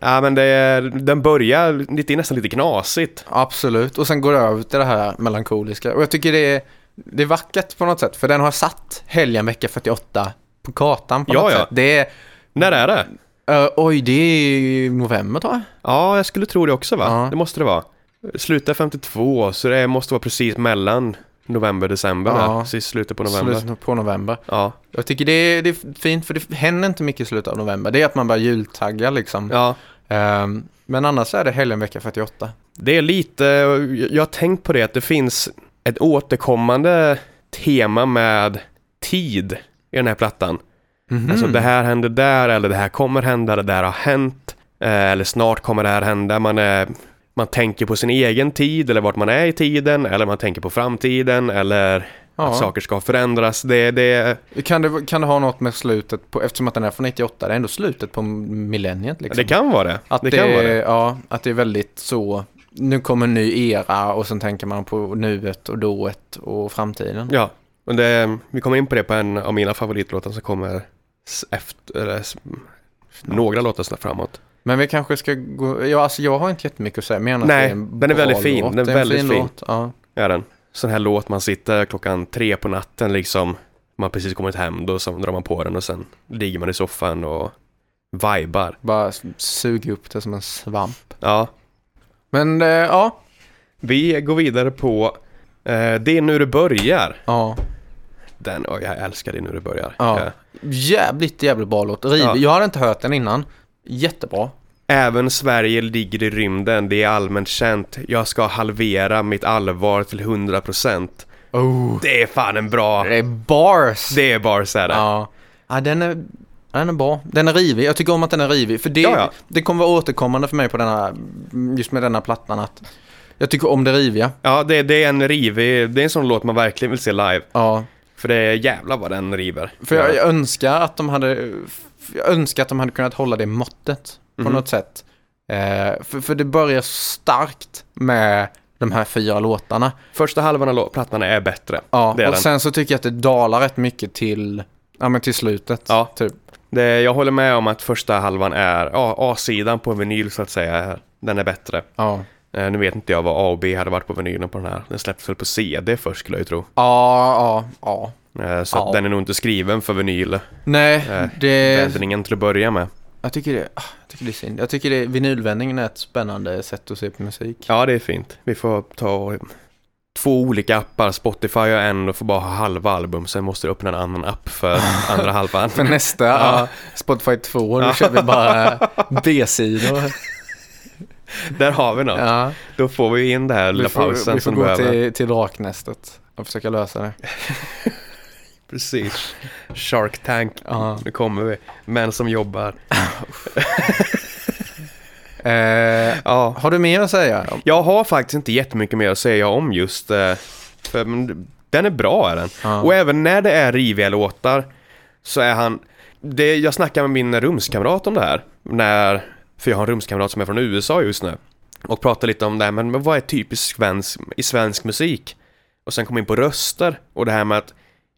Speaker 1: Ja men det är, den börjar lite, nästan lite knasigt.
Speaker 2: Absolut. Och sen går det över till det här melankoliska. Och jag tycker det är, det är vackert på något sätt. För den har satt helgen vecka 48 på kartan på
Speaker 1: Ja,
Speaker 2: något
Speaker 1: ja.
Speaker 2: sätt. Det är,
Speaker 1: När är det?
Speaker 2: eh, oj det är i november tror jag.
Speaker 1: Ja, jag skulle tro det också va?
Speaker 2: Ja.
Speaker 1: Det måste det vara. Slutar 52, så det måste vara precis mellan november och december.
Speaker 2: Ja.
Speaker 1: där. Precis slutet på november.
Speaker 2: Slutet på november.
Speaker 1: Ja.
Speaker 2: Jag tycker det är, det är fint för det händer inte mycket i slutet av november. Det är att man börjar jultagga liksom.
Speaker 1: ja.
Speaker 2: Ehm, men annars är det helgen vecka 48.
Speaker 1: Det är lite, jag har tänkt på det, att det finns ett återkommande tema med tid i den här plattan.
Speaker 2: Mhm.
Speaker 1: Alltså det här händer där, eller det här kommer hända, det där har hänt, eh, eller snart kommer det här hända. Man, är, man tänker på sin egen tid, eller vart man är i tiden, eller man tänker på framtiden, eller
Speaker 2: Ja.
Speaker 1: att saker ska förändras. Det, det,
Speaker 2: Kan, det, kan det ha något med slutet på, eftersom att den är från 98, det är ändå slutet på millenniet liksom.
Speaker 1: det kan vara det.
Speaker 2: Att
Speaker 1: det, kan vara det.
Speaker 2: Ja, att det är väldigt så, nu kommer en ny era och sen tänker man på nuet och dået och framtiden.
Speaker 1: Ja, och det, vi kommer in på det på en av mina favoritlåtar som kommer s- efter, eller, s- några låtar snart framåt.
Speaker 2: Men vi kanske ska gå, ja, alltså jag har inte jättemycket att säga, men jag menar att
Speaker 1: Nej,
Speaker 2: det är en
Speaker 1: den är
Speaker 2: bra
Speaker 1: väldigt fin.
Speaker 2: låt.
Speaker 1: Den är
Speaker 2: Det
Speaker 1: väldigt fin.
Speaker 2: Låt. Ja.
Speaker 1: Är den. Sån här låt man sitter klockan tre på natten liksom. Man har precis kommit hem, då så drar man på den och sen ligger man i soffan och vibar.
Speaker 2: Bara suger upp det som en svamp.
Speaker 1: Ja,
Speaker 2: Men eh, ja,
Speaker 1: vi går vidare på eh, Det är nu det börjar.
Speaker 2: ja.
Speaker 1: Den, och jag älskar Det är nu det börjar.
Speaker 2: Ja.
Speaker 1: Eh,
Speaker 2: Jävligt, jävligt bra låt. Riv.
Speaker 1: Ja.
Speaker 2: Jag hade inte hört den innan. Jättebra.
Speaker 1: Även Sverige ligger i rymden, det är allmänt känt. Jag ska halvera mitt allvar till 100%.
Speaker 2: Oh.
Speaker 1: Det är fan en bra...
Speaker 2: Det är bars.
Speaker 1: Det är bara så här.
Speaker 2: Ja. ja, den är... Den är bra. Den är rivig. Jag tycker om att den är rivig. För det,
Speaker 1: Ja, ja.
Speaker 2: det kommer vara återkommande för mig på denna, just med denna plattan att jag tycker om det riviga.
Speaker 1: Ja, det, det är en rivig, det är en sån låt man verkligen vill se live.
Speaker 2: Ja.
Speaker 1: För det är jävla vad den river.
Speaker 2: För jag, jag önskar att de hade, jag önskar att de hade kunnat hålla det måttet på
Speaker 1: Mhm.
Speaker 2: något sätt. Eh, för, för det börjar starkt med de här fyra låtarna.
Speaker 1: Första halvan av lå- plattan är bättre.
Speaker 2: Ja,
Speaker 1: Det är
Speaker 2: och
Speaker 1: den.
Speaker 2: sen så tycker jag att det dalar rätt mycket till, ja, men till slutet.
Speaker 1: Ja.
Speaker 2: typ.
Speaker 1: Det, jag håller med om att första halvan är, ja, A-sidan på en vinyl så att säga, är- den är bättre.
Speaker 2: ja.
Speaker 1: Eh, nu vet inte jag vad A och B hade varit på vinylen på den här. Den släpptes väl på CD först skulle jag ju tro.
Speaker 2: ja, ja, ja.
Speaker 1: Eh, så
Speaker 2: Ja.
Speaker 1: att den är nog inte skriven för vinyl.
Speaker 2: Nej,
Speaker 1: Eh,
Speaker 2: det,
Speaker 1: Vändningen till att börja med.
Speaker 2: jag, tycker det, ah, jag tycker det är synd. Jag tycker det, vinylvändningen är ett spännande sätt att se på musik.
Speaker 1: Ja, det är fint. Vi får ta och- två olika appar, Spotify och en, och får bara ha halva album. Sen måste du öppna en annan app för andra halvan.
Speaker 2: För nästa, ja. Spotify 2, då kör vi bara B-sidor.
Speaker 1: Där har vi något.
Speaker 2: Ja.
Speaker 1: Då får vi in den här lilla
Speaker 2: Vi får,
Speaker 1: pausen
Speaker 2: vi får
Speaker 1: som
Speaker 2: gå
Speaker 1: behöver.
Speaker 2: till, till draknästet och försöka lösa det.
Speaker 1: Precis. Shark Tank.
Speaker 2: Ja.
Speaker 1: Nu kommer vi. Män som jobbar.
Speaker 2: Eh,
Speaker 1: Ja.
Speaker 2: har du mer att säga?
Speaker 1: Jag har faktiskt inte jättemycket mer att säga om just... eh, För, men den är bra är den.
Speaker 2: Ja.
Speaker 1: Och även när det är riviga låtar så är han... Det, jag snackade med min rumskamrat om det här. När, för jag har en rumskamrat som är från USA just nu. Och pratade lite om det här, men, men vad är typiskt svensk, i svensk musik? Och sen kom in på röster och det här med att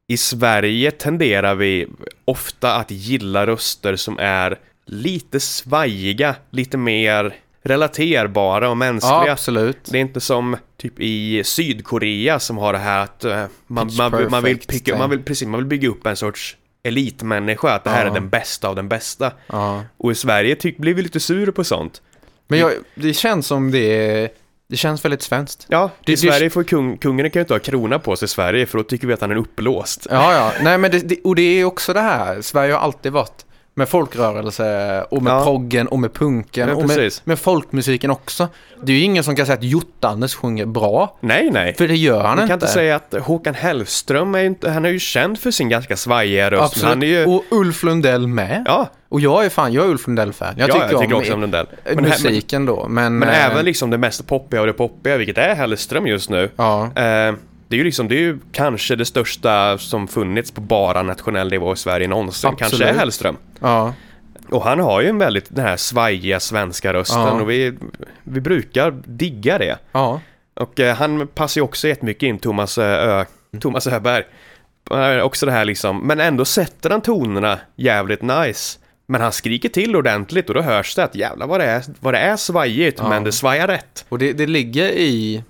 Speaker 1: I Sverige tenderar vi ofta att gilla röster som är lite svajiga, lite mer relaterbara och mänskliga.
Speaker 2: Ja, absolut.
Speaker 1: Det är inte som typ i Sydkorea som har det här att eh, man,
Speaker 2: Pitch
Speaker 1: man, man, vill
Speaker 2: perfect
Speaker 1: picka,
Speaker 2: thing.
Speaker 1: man, vill, precis, man vill bygga upp en sorts elitmänniska, att det här
Speaker 2: Ja.
Speaker 1: är den bästa av den bästa.
Speaker 2: Ja.
Speaker 1: Och i Sverige ty- blir vi lite sura på sånt.
Speaker 2: Men jag, det känns som det är, det känns väldigt svenskt.
Speaker 1: Ja, i
Speaker 2: Det- det-
Speaker 1: Sverige får kung, kungen kan ju inte ha krona på sig i Sverige för då tycker vi att han är uppblåst.
Speaker 2: Ja, ja. Nej, men det, det, och det är också det här. Sverige har alltid varit med folkrörelse och med
Speaker 1: Ja.
Speaker 2: proggen och med punken
Speaker 1: Ja,
Speaker 2: och med,
Speaker 1: precis.
Speaker 2: med folkmusiken också. Det är ju ingen som kan säga att Jottannes sjunger bra,
Speaker 1: Nej, nej.
Speaker 2: för det gör han
Speaker 1: Man
Speaker 2: inte.
Speaker 1: kan inte säga att Håkan Hellström är ju inte, han är ju känd för sin ganska svajiga röst.
Speaker 2: Absolut.
Speaker 1: Absolut. Han är ju,
Speaker 2: Och Ulf Lundell med.
Speaker 1: ja,
Speaker 2: Och jag är fan, jag är Ulf Lundell-fan. Jag
Speaker 1: jag, ja,
Speaker 2: tycker,
Speaker 1: jag tycker
Speaker 2: om,
Speaker 1: också om den där.
Speaker 2: eh,
Speaker 1: Men, här- men,
Speaker 2: musiken då. Men,
Speaker 1: men
Speaker 2: eh,
Speaker 1: även liksom det mest poppiga av det poppiga, vilket är Hellström just nu.
Speaker 2: Ja,
Speaker 1: Eh, det är ju liksom, det är ju kanske det största som funnits på bara nationell nivå i Sverige någonsin.
Speaker 2: Absolut.
Speaker 1: Kanske är Hellström.
Speaker 2: ja.
Speaker 1: Och han har ju en väldigt, den här svajiga svenska rösten
Speaker 2: Ja.
Speaker 1: och vi, vi brukar digga det.
Speaker 2: ja.
Speaker 1: Och eh, han passar ju också jättemycket in, Thomas, eh, Ö, Thomas Öberg. Han är Också det här liksom, men ändå sätter han tonerna jävligt nice. Men han skriker till ordentligt och då hörs det att jävlar vad det är, vad det är svajigt, men det svajar rätt.
Speaker 2: Och det, det ligger i...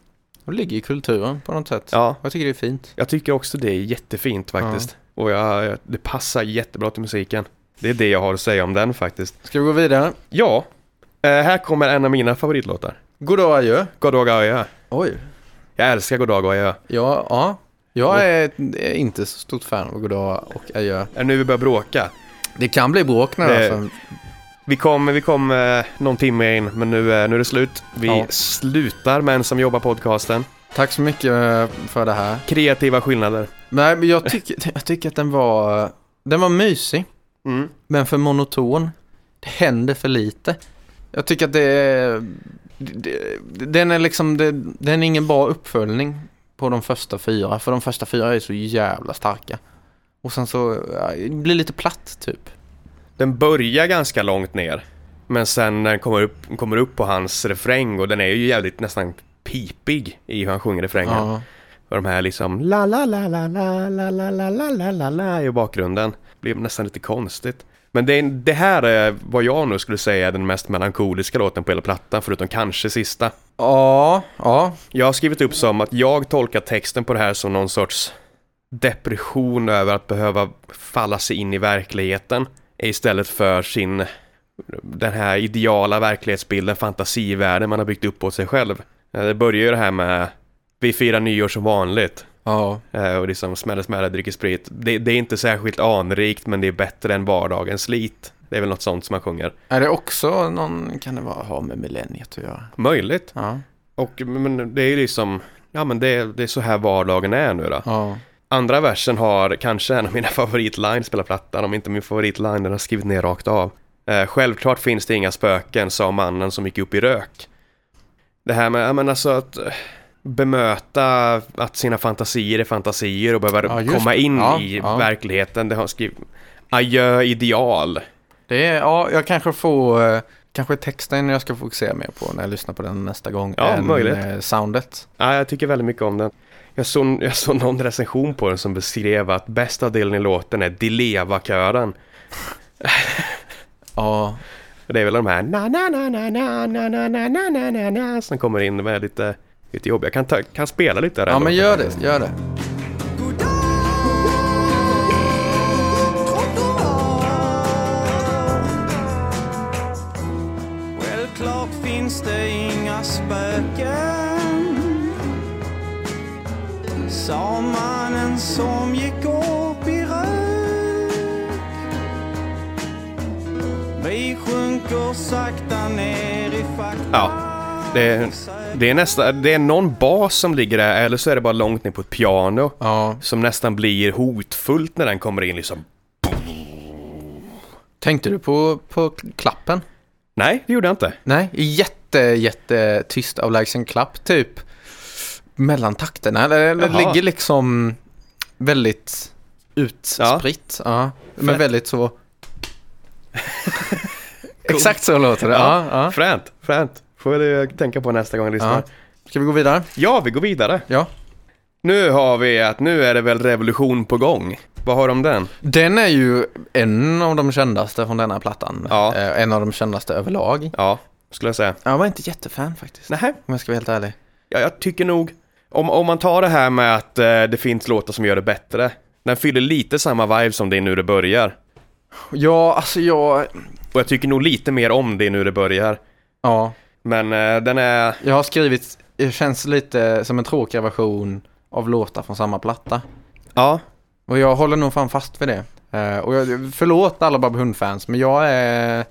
Speaker 2: Det ligger i kulturen på något sätt.
Speaker 1: Ja.
Speaker 2: Jag tycker det är fint.
Speaker 1: Jag tycker också det är jättefint faktiskt. Och jag, jag- det passar jättebra till musiken. Det är det jag har att säga om den faktiskt.
Speaker 2: Ska vi gå vidare?
Speaker 1: Ja, eh, här kommer en av mina favoritlåtar.
Speaker 2: Goddag adjö.
Speaker 1: Goddag adjö.
Speaker 2: Oj.
Speaker 1: Jag älskar Goddag adjö.
Speaker 2: Ja, ja. Jag är, är inte så stort fan av Goddag och adjö.
Speaker 1: Är det nu vi börjar bråka?
Speaker 2: Det kan bli bråk nu
Speaker 1: Det-
Speaker 2: alltså.
Speaker 1: Vi kom, vi kom eh, någon timme in, men nu, eh, nu är det slut. Vi
Speaker 2: Ja.
Speaker 1: slutar med en som jobbar podcasten.
Speaker 2: Tack så mycket eh, för det här.
Speaker 1: Kreativa skillnader.
Speaker 2: Nej, men jag tycker, jag tycker att den var... Den var mysig,
Speaker 1: Mm.
Speaker 2: men för monoton. Det händer för lite. Jag tycker att det är... det- Den är liksom... det- Den är ingen bra uppföljning på de första fyra. För de första fyra är så jävla starka. Och sen så... ja, Det blir lite platt typ.
Speaker 1: Den börjar ganska långt ner, men sen när den kommer upp, kommer upp på hans refräng och den är ju jävligt nästan pipig i hur han sjunger refrängen.
Speaker 2: Ja.
Speaker 1: Och de här liksom la la la la la la la la la la la la i bakgrunden. Blir nästan lite konstigt. Men det, är- det här är vad jag nu skulle säga är den mest melankoliska låten på hela plattan, förutom kanske sista.
Speaker 2: Ja, ja.
Speaker 1: Jag har skrivit upp som att jag tolkar texten på det här som någon sorts depression över att behöva falla sig in i verkligheten istället för sin den här ideala verklighetsbilden, fantasivärlden man har byggt upp åt sig själv. Eh, Det börjar ju det här med vi firar nyår som vanligt
Speaker 2: Ja.
Speaker 1: eh, och liksom smäller smäller dricker sprit. Det, det är inte särskilt anrikt men det är bättre än vardagens slit. Det är väl något sånt som man sjunger.
Speaker 2: Är det också någon, kan det vara, ha med millenniet att göra?
Speaker 1: Möjligt.
Speaker 2: Ja.
Speaker 1: Och men det är ju liksom, ja men det, det är så här vardagen är nu då.
Speaker 2: Ja.
Speaker 1: Andra versen har kanske en av mina favoritlines på hela plattan, om inte min favoritline, den har jag skrivit ner rakt av. Eh, självklart finns det inga spöken, sa mannen som gick upp i rök. Det här med, ja men alltså att eh, bemöta att sina fantasier är fantasier och behöva
Speaker 2: Ja, just
Speaker 1: komma
Speaker 2: det.
Speaker 1: in
Speaker 2: Ja,
Speaker 1: i
Speaker 2: ja.
Speaker 1: verkligheten, det har jag skrivit. Adjö ideal.
Speaker 2: Det är, ja, jag kanske får, eh, kanske texten jag ska fokusera mer på när jag lyssnar på den nästa gång.
Speaker 1: Ja,
Speaker 2: än,
Speaker 1: möjligt.
Speaker 2: eh, soundet.
Speaker 1: Ja, jag tycker väldigt mycket om den. Jag såg, jag såg någon recension på den som beskrev att bästa delen i låten är Dileva-kören.
Speaker 2: Ja,
Speaker 1: Och det är väl de här na na na na na na na na na na na na som kommer in med lite, lite jobb. Jag kan, ta, kan spela lite där.
Speaker 2: ja men gör det, gör det.
Speaker 5: Självklart finns det inga spöken Sa mannen som gick upp i rök Vi sjunker sakta ner i fakta
Speaker 1: Ja, det, det är nästa, det är någon bas som ligger där eller så är det bara långt ner på ett piano
Speaker 2: Ja,
Speaker 1: som nästan blir hotfullt när den kommer in liksom.
Speaker 2: tänkte du på, på klappen?
Speaker 1: Nej, det gjorde jag inte.
Speaker 2: Nej, jätte, jätte tyst avlägsen klapp typ. Mellan takterna, det, det
Speaker 1: Jaha.
Speaker 2: ligger liksom väldigt utspritt. Ja. men
Speaker 1: Fett.
Speaker 2: väldigt så. Exakt så låter det. Ja, ja.
Speaker 1: Fränt, fränt. Får jag tänka på nästa gång jag lyssnar.
Speaker 2: Ja. Ska vi gå vidare?
Speaker 1: Ja, vi går vidare.
Speaker 2: Ja.
Speaker 1: Nu har vi att nu är det väl revolution på gång. Vad har de den?
Speaker 2: Den är ju en av de kändaste från denna plattan.
Speaker 1: Ja.
Speaker 2: Eh, en av de kändaste överlag.
Speaker 1: Ja, skulle jag säga.
Speaker 2: Jag var inte jättefan faktiskt,
Speaker 1: Nej,
Speaker 2: om jag ska vara helt ärlig.
Speaker 1: ja, jag tycker nog, om, om man tar det här med att eh, det finns låtar som gör det bättre, den fyller lite samma vibe som det är nu det börjar.
Speaker 2: Ja, alltså jag...
Speaker 1: Och jag tycker nog lite mer om det är nu det börjar.
Speaker 2: Ja,
Speaker 1: Men eh, den är,
Speaker 2: jag har skrivit, det känns lite som en tråkig version av låtar från samma platta.
Speaker 1: ja,
Speaker 2: Och jag håller nog fan fast vid det. Eh, och jag, förlåt alla Bab Hund-fans, men jag är...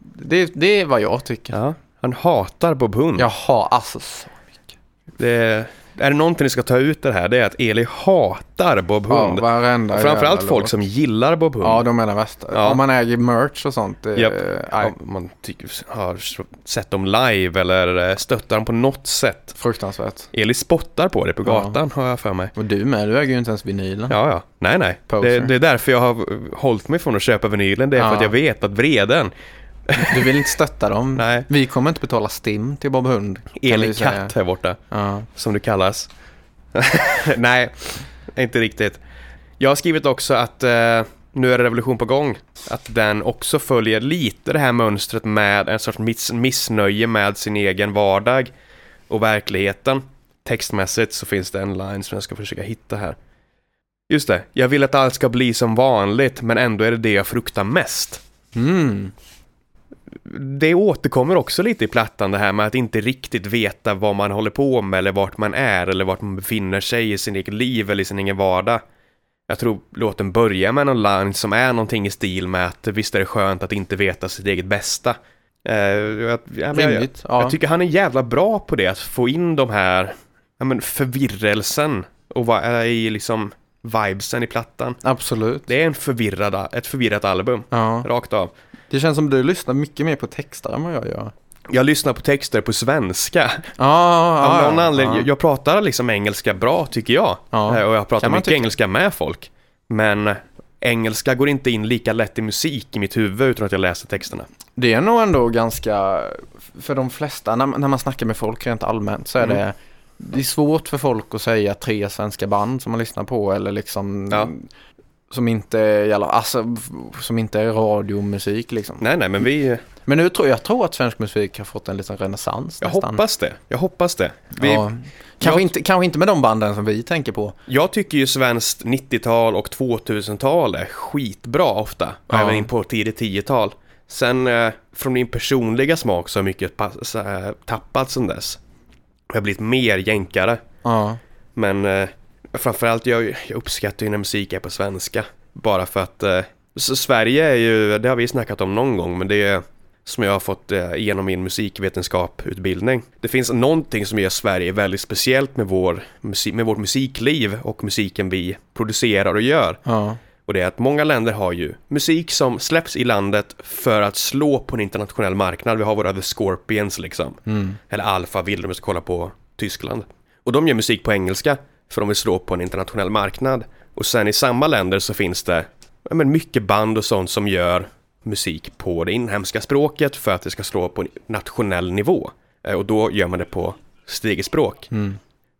Speaker 2: Det, det är vad jag tycker.
Speaker 1: ja. han hatar Bob Hund.
Speaker 2: Jag har alltså så mycket.
Speaker 1: Det, är det någonting ni ska ta ut det här, det är att Eli hatar Bob Hund.
Speaker 2: varenda
Speaker 1: Och Framförallt
Speaker 2: jävla
Speaker 1: folk
Speaker 2: låt.
Speaker 1: som gillar Bob Hund.
Speaker 2: Ja, de är den värsta.
Speaker 1: Ja.
Speaker 2: Om man äger merch och sånt. eh, det-
Speaker 1: Japp.
Speaker 2: aj,
Speaker 1: Om man tycker, har sett dem live eller eh, stöttar dem på något sätt.
Speaker 2: Fruktansvärt.
Speaker 1: Eli spottar på det på
Speaker 2: Ja.
Speaker 1: gatan, har jag för mig.
Speaker 2: Och du med, du äger ju inte ens vinylen.
Speaker 1: Ja, ja. Nej, nej.
Speaker 2: Poser.
Speaker 1: Det, det är därför jag har eh, hållit mig från att köpa vinylen. Det är för
Speaker 2: Ja.
Speaker 1: att jag vet att vreden,
Speaker 2: Du vill inte stötta dem.
Speaker 1: Nej.
Speaker 2: Vi kommer inte betala STIM till Bob Hund. kan vi
Speaker 1: Eli
Speaker 2: säga.
Speaker 1: Katt här borta,
Speaker 2: Ja.
Speaker 1: som du kallas. nej, inte riktigt. Jag har skrivit också att eh, nu är det revolution på gång. Att den också följer lite det här mönstret med en sorts miss missnöje med sin egen vardag och verkligheten. Textmässigt så finns det en line som jag ska försöka hitta här. Just det, jag vill att allt ska bli som vanligt men ändå är det det jag fruktar mest.
Speaker 2: Mm.
Speaker 1: det återkommer också lite i plattan det här med att inte riktigt veta vad man håller på med eller vart man är eller vart man befinner sig i sin eget liv eller i sin egen vardag. Jag tror låten börjar med någon line som är någonting i stil med att visst är det skönt att inte veta sitt eget bästa. Eh, jag, jag, jag,
Speaker 2: Rimligt. Ja.
Speaker 1: jag tycker han är jävla bra på det, att få in de här ja, men förvirrelsen och vad är i liksom vibesen i plattan.
Speaker 2: Absolut.
Speaker 1: Det är en förvirrad, ett förvirrat album,
Speaker 2: Ja.
Speaker 1: rakt av.
Speaker 2: Det känns som du lyssnar mycket mer på texter än vad jag gör.
Speaker 1: Jag lyssnar på texter på svenska.
Speaker 2: Ja,
Speaker 1: Av
Speaker 2: Ah, ja,
Speaker 1: någon
Speaker 2: ja.
Speaker 1: anledning, jag- jag pratar liksom engelska bra tycker jag.
Speaker 2: Ja.
Speaker 1: Eh, Och jag pratar
Speaker 2: Kan man
Speaker 1: mycket
Speaker 2: tycka.
Speaker 1: engelska med folk. Men engelska går inte in lika lätt i musik i mitt huvud utan att jag läser texterna.
Speaker 2: Det är nog ändå ganska, för de flesta, när man, när man snackar med folk rent allmänt så är
Speaker 1: Mm.
Speaker 2: det, det är svårt för folk att säga tre svenska band som man lyssnar på eller liksom
Speaker 1: Ja.
Speaker 2: som inte, är jävla, alltså, som inte är radiomusik liksom.
Speaker 1: Nej, nej, men vi...
Speaker 2: Men nu tror jag tror att svensk musik har fått en liten renässans
Speaker 1: Jag
Speaker 2: nästan.
Speaker 1: hoppas det. Jag hoppas det. Vi,
Speaker 2: ja. kanske,
Speaker 1: jag-
Speaker 2: inte, kanske inte med de banden som vi tänker på.
Speaker 1: Jag tycker ju svenskt 90-tal och 2000-tal är skitbra ofta. Och
Speaker 2: Ja.
Speaker 1: även in på tidigt 10-tal. Sen eh, från min personliga smak så har mycket pass, så här, tappat sedan dess. Jag har blivit mer jänkare.
Speaker 2: Ja,
Speaker 1: Men eh, framförallt, jag, jag uppskattar ju när musik är på svenska. Bara för att eh, så Sverige är ju, det har vi snackat om någon gång, men det är som jag har fått eh, genom min musikvetenskaputbildning. Det finns någonting som gör Sverige väldigt speciellt med, vår, musi- med vårt musikliv och musiken vi producerar och gör.
Speaker 2: ja.
Speaker 1: Och det är att många länder har ju musik som släpps i landet för att slå på en internationell marknad. Vi har våra The Scorpions liksom. Eller Alpha vill om vi ska kolla på Tyskland. Och de gör musik på engelska för de vill slå på en internationell marknad. Och sen i samma länder så finns det ja, men mycket band och sånt som gör musik på det inhemska språket för att det ska slå på en nationell nivå. Eh, Och då gör man det på sitt eget språk.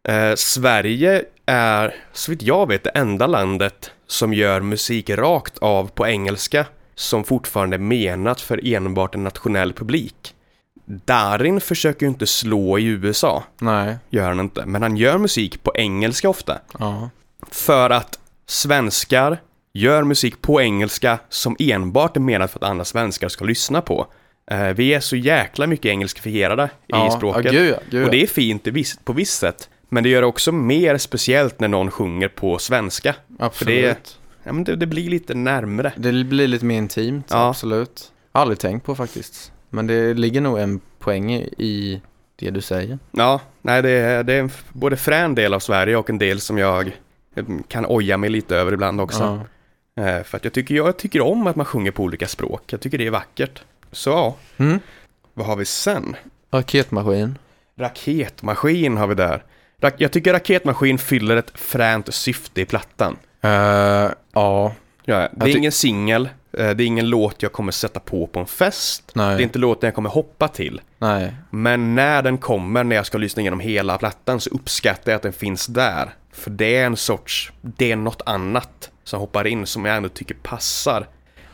Speaker 1: Eh, Sverige är, så vitt jag vet, det enda landet som gör musik rakt av på engelska som fortfarande är menat för enbart en nationell publik. Darin försöker ju inte slå i USA,
Speaker 2: Nej,
Speaker 1: gör han inte, men han gör musik på engelska ofta.
Speaker 2: ja.
Speaker 1: För att svenskar gör musik på engelska som enbart är menat för att andra svenskar ska lyssna på. Eh, Vi är så jäkla mycket engelskifierade
Speaker 2: Ja,
Speaker 1: i språket.
Speaker 2: ja, gud ja, gud ja.
Speaker 1: och det är fint i viss- på visst sätt. Men det gör det också mer speciellt när någon sjunger på svenska. För det,
Speaker 2: Absolut.
Speaker 1: ja, men det, det blir lite närmre.
Speaker 2: Det blir lite mer intimt,
Speaker 1: Ja.
Speaker 2: absolut. Jag har aldrig tänkt på faktiskt. Men det ligger nog en poäng i det du säger.
Speaker 1: Ja, nej det är, det är en f- både frän del av Sverige och en del som jag eh, kan oja mig lite över ibland också.
Speaker 2: Ja.
Speaker 1: Eh, För att jag tycker, jag tycker om att man sjunger på olika språk. Jag tycker det är vackert. Så ja,
Speaker 2: Mm.
Speaker 1: vad har vi sen?
Speaker 2: Raketmaskin.
Speaker 1: Raketmaskin har vi där. Ra- jag tycker Raketmaskin fyller ett fränt syfte i plattan.
Speaker 2: Eh, ja,
Speaker 1: Ja, det
Speaker 2: Jag
Speaker 1: är
Speaker 2: ty-
Speaker 1: ingen singel, eh, det är ingen låt jag kommer sätta på på en fest.
Speaker 2: Nej.
Speaker 1: Det är inte låten jag kommer hoppa till.
Speaker 2: nej.
Speaker 1: Men när den kommer, när jag ska lyssna igenom hela plattan, så uppskattar jag att den finns där. För det är en sorts, det är något annat som hoppar in som jag ändå tycker passar.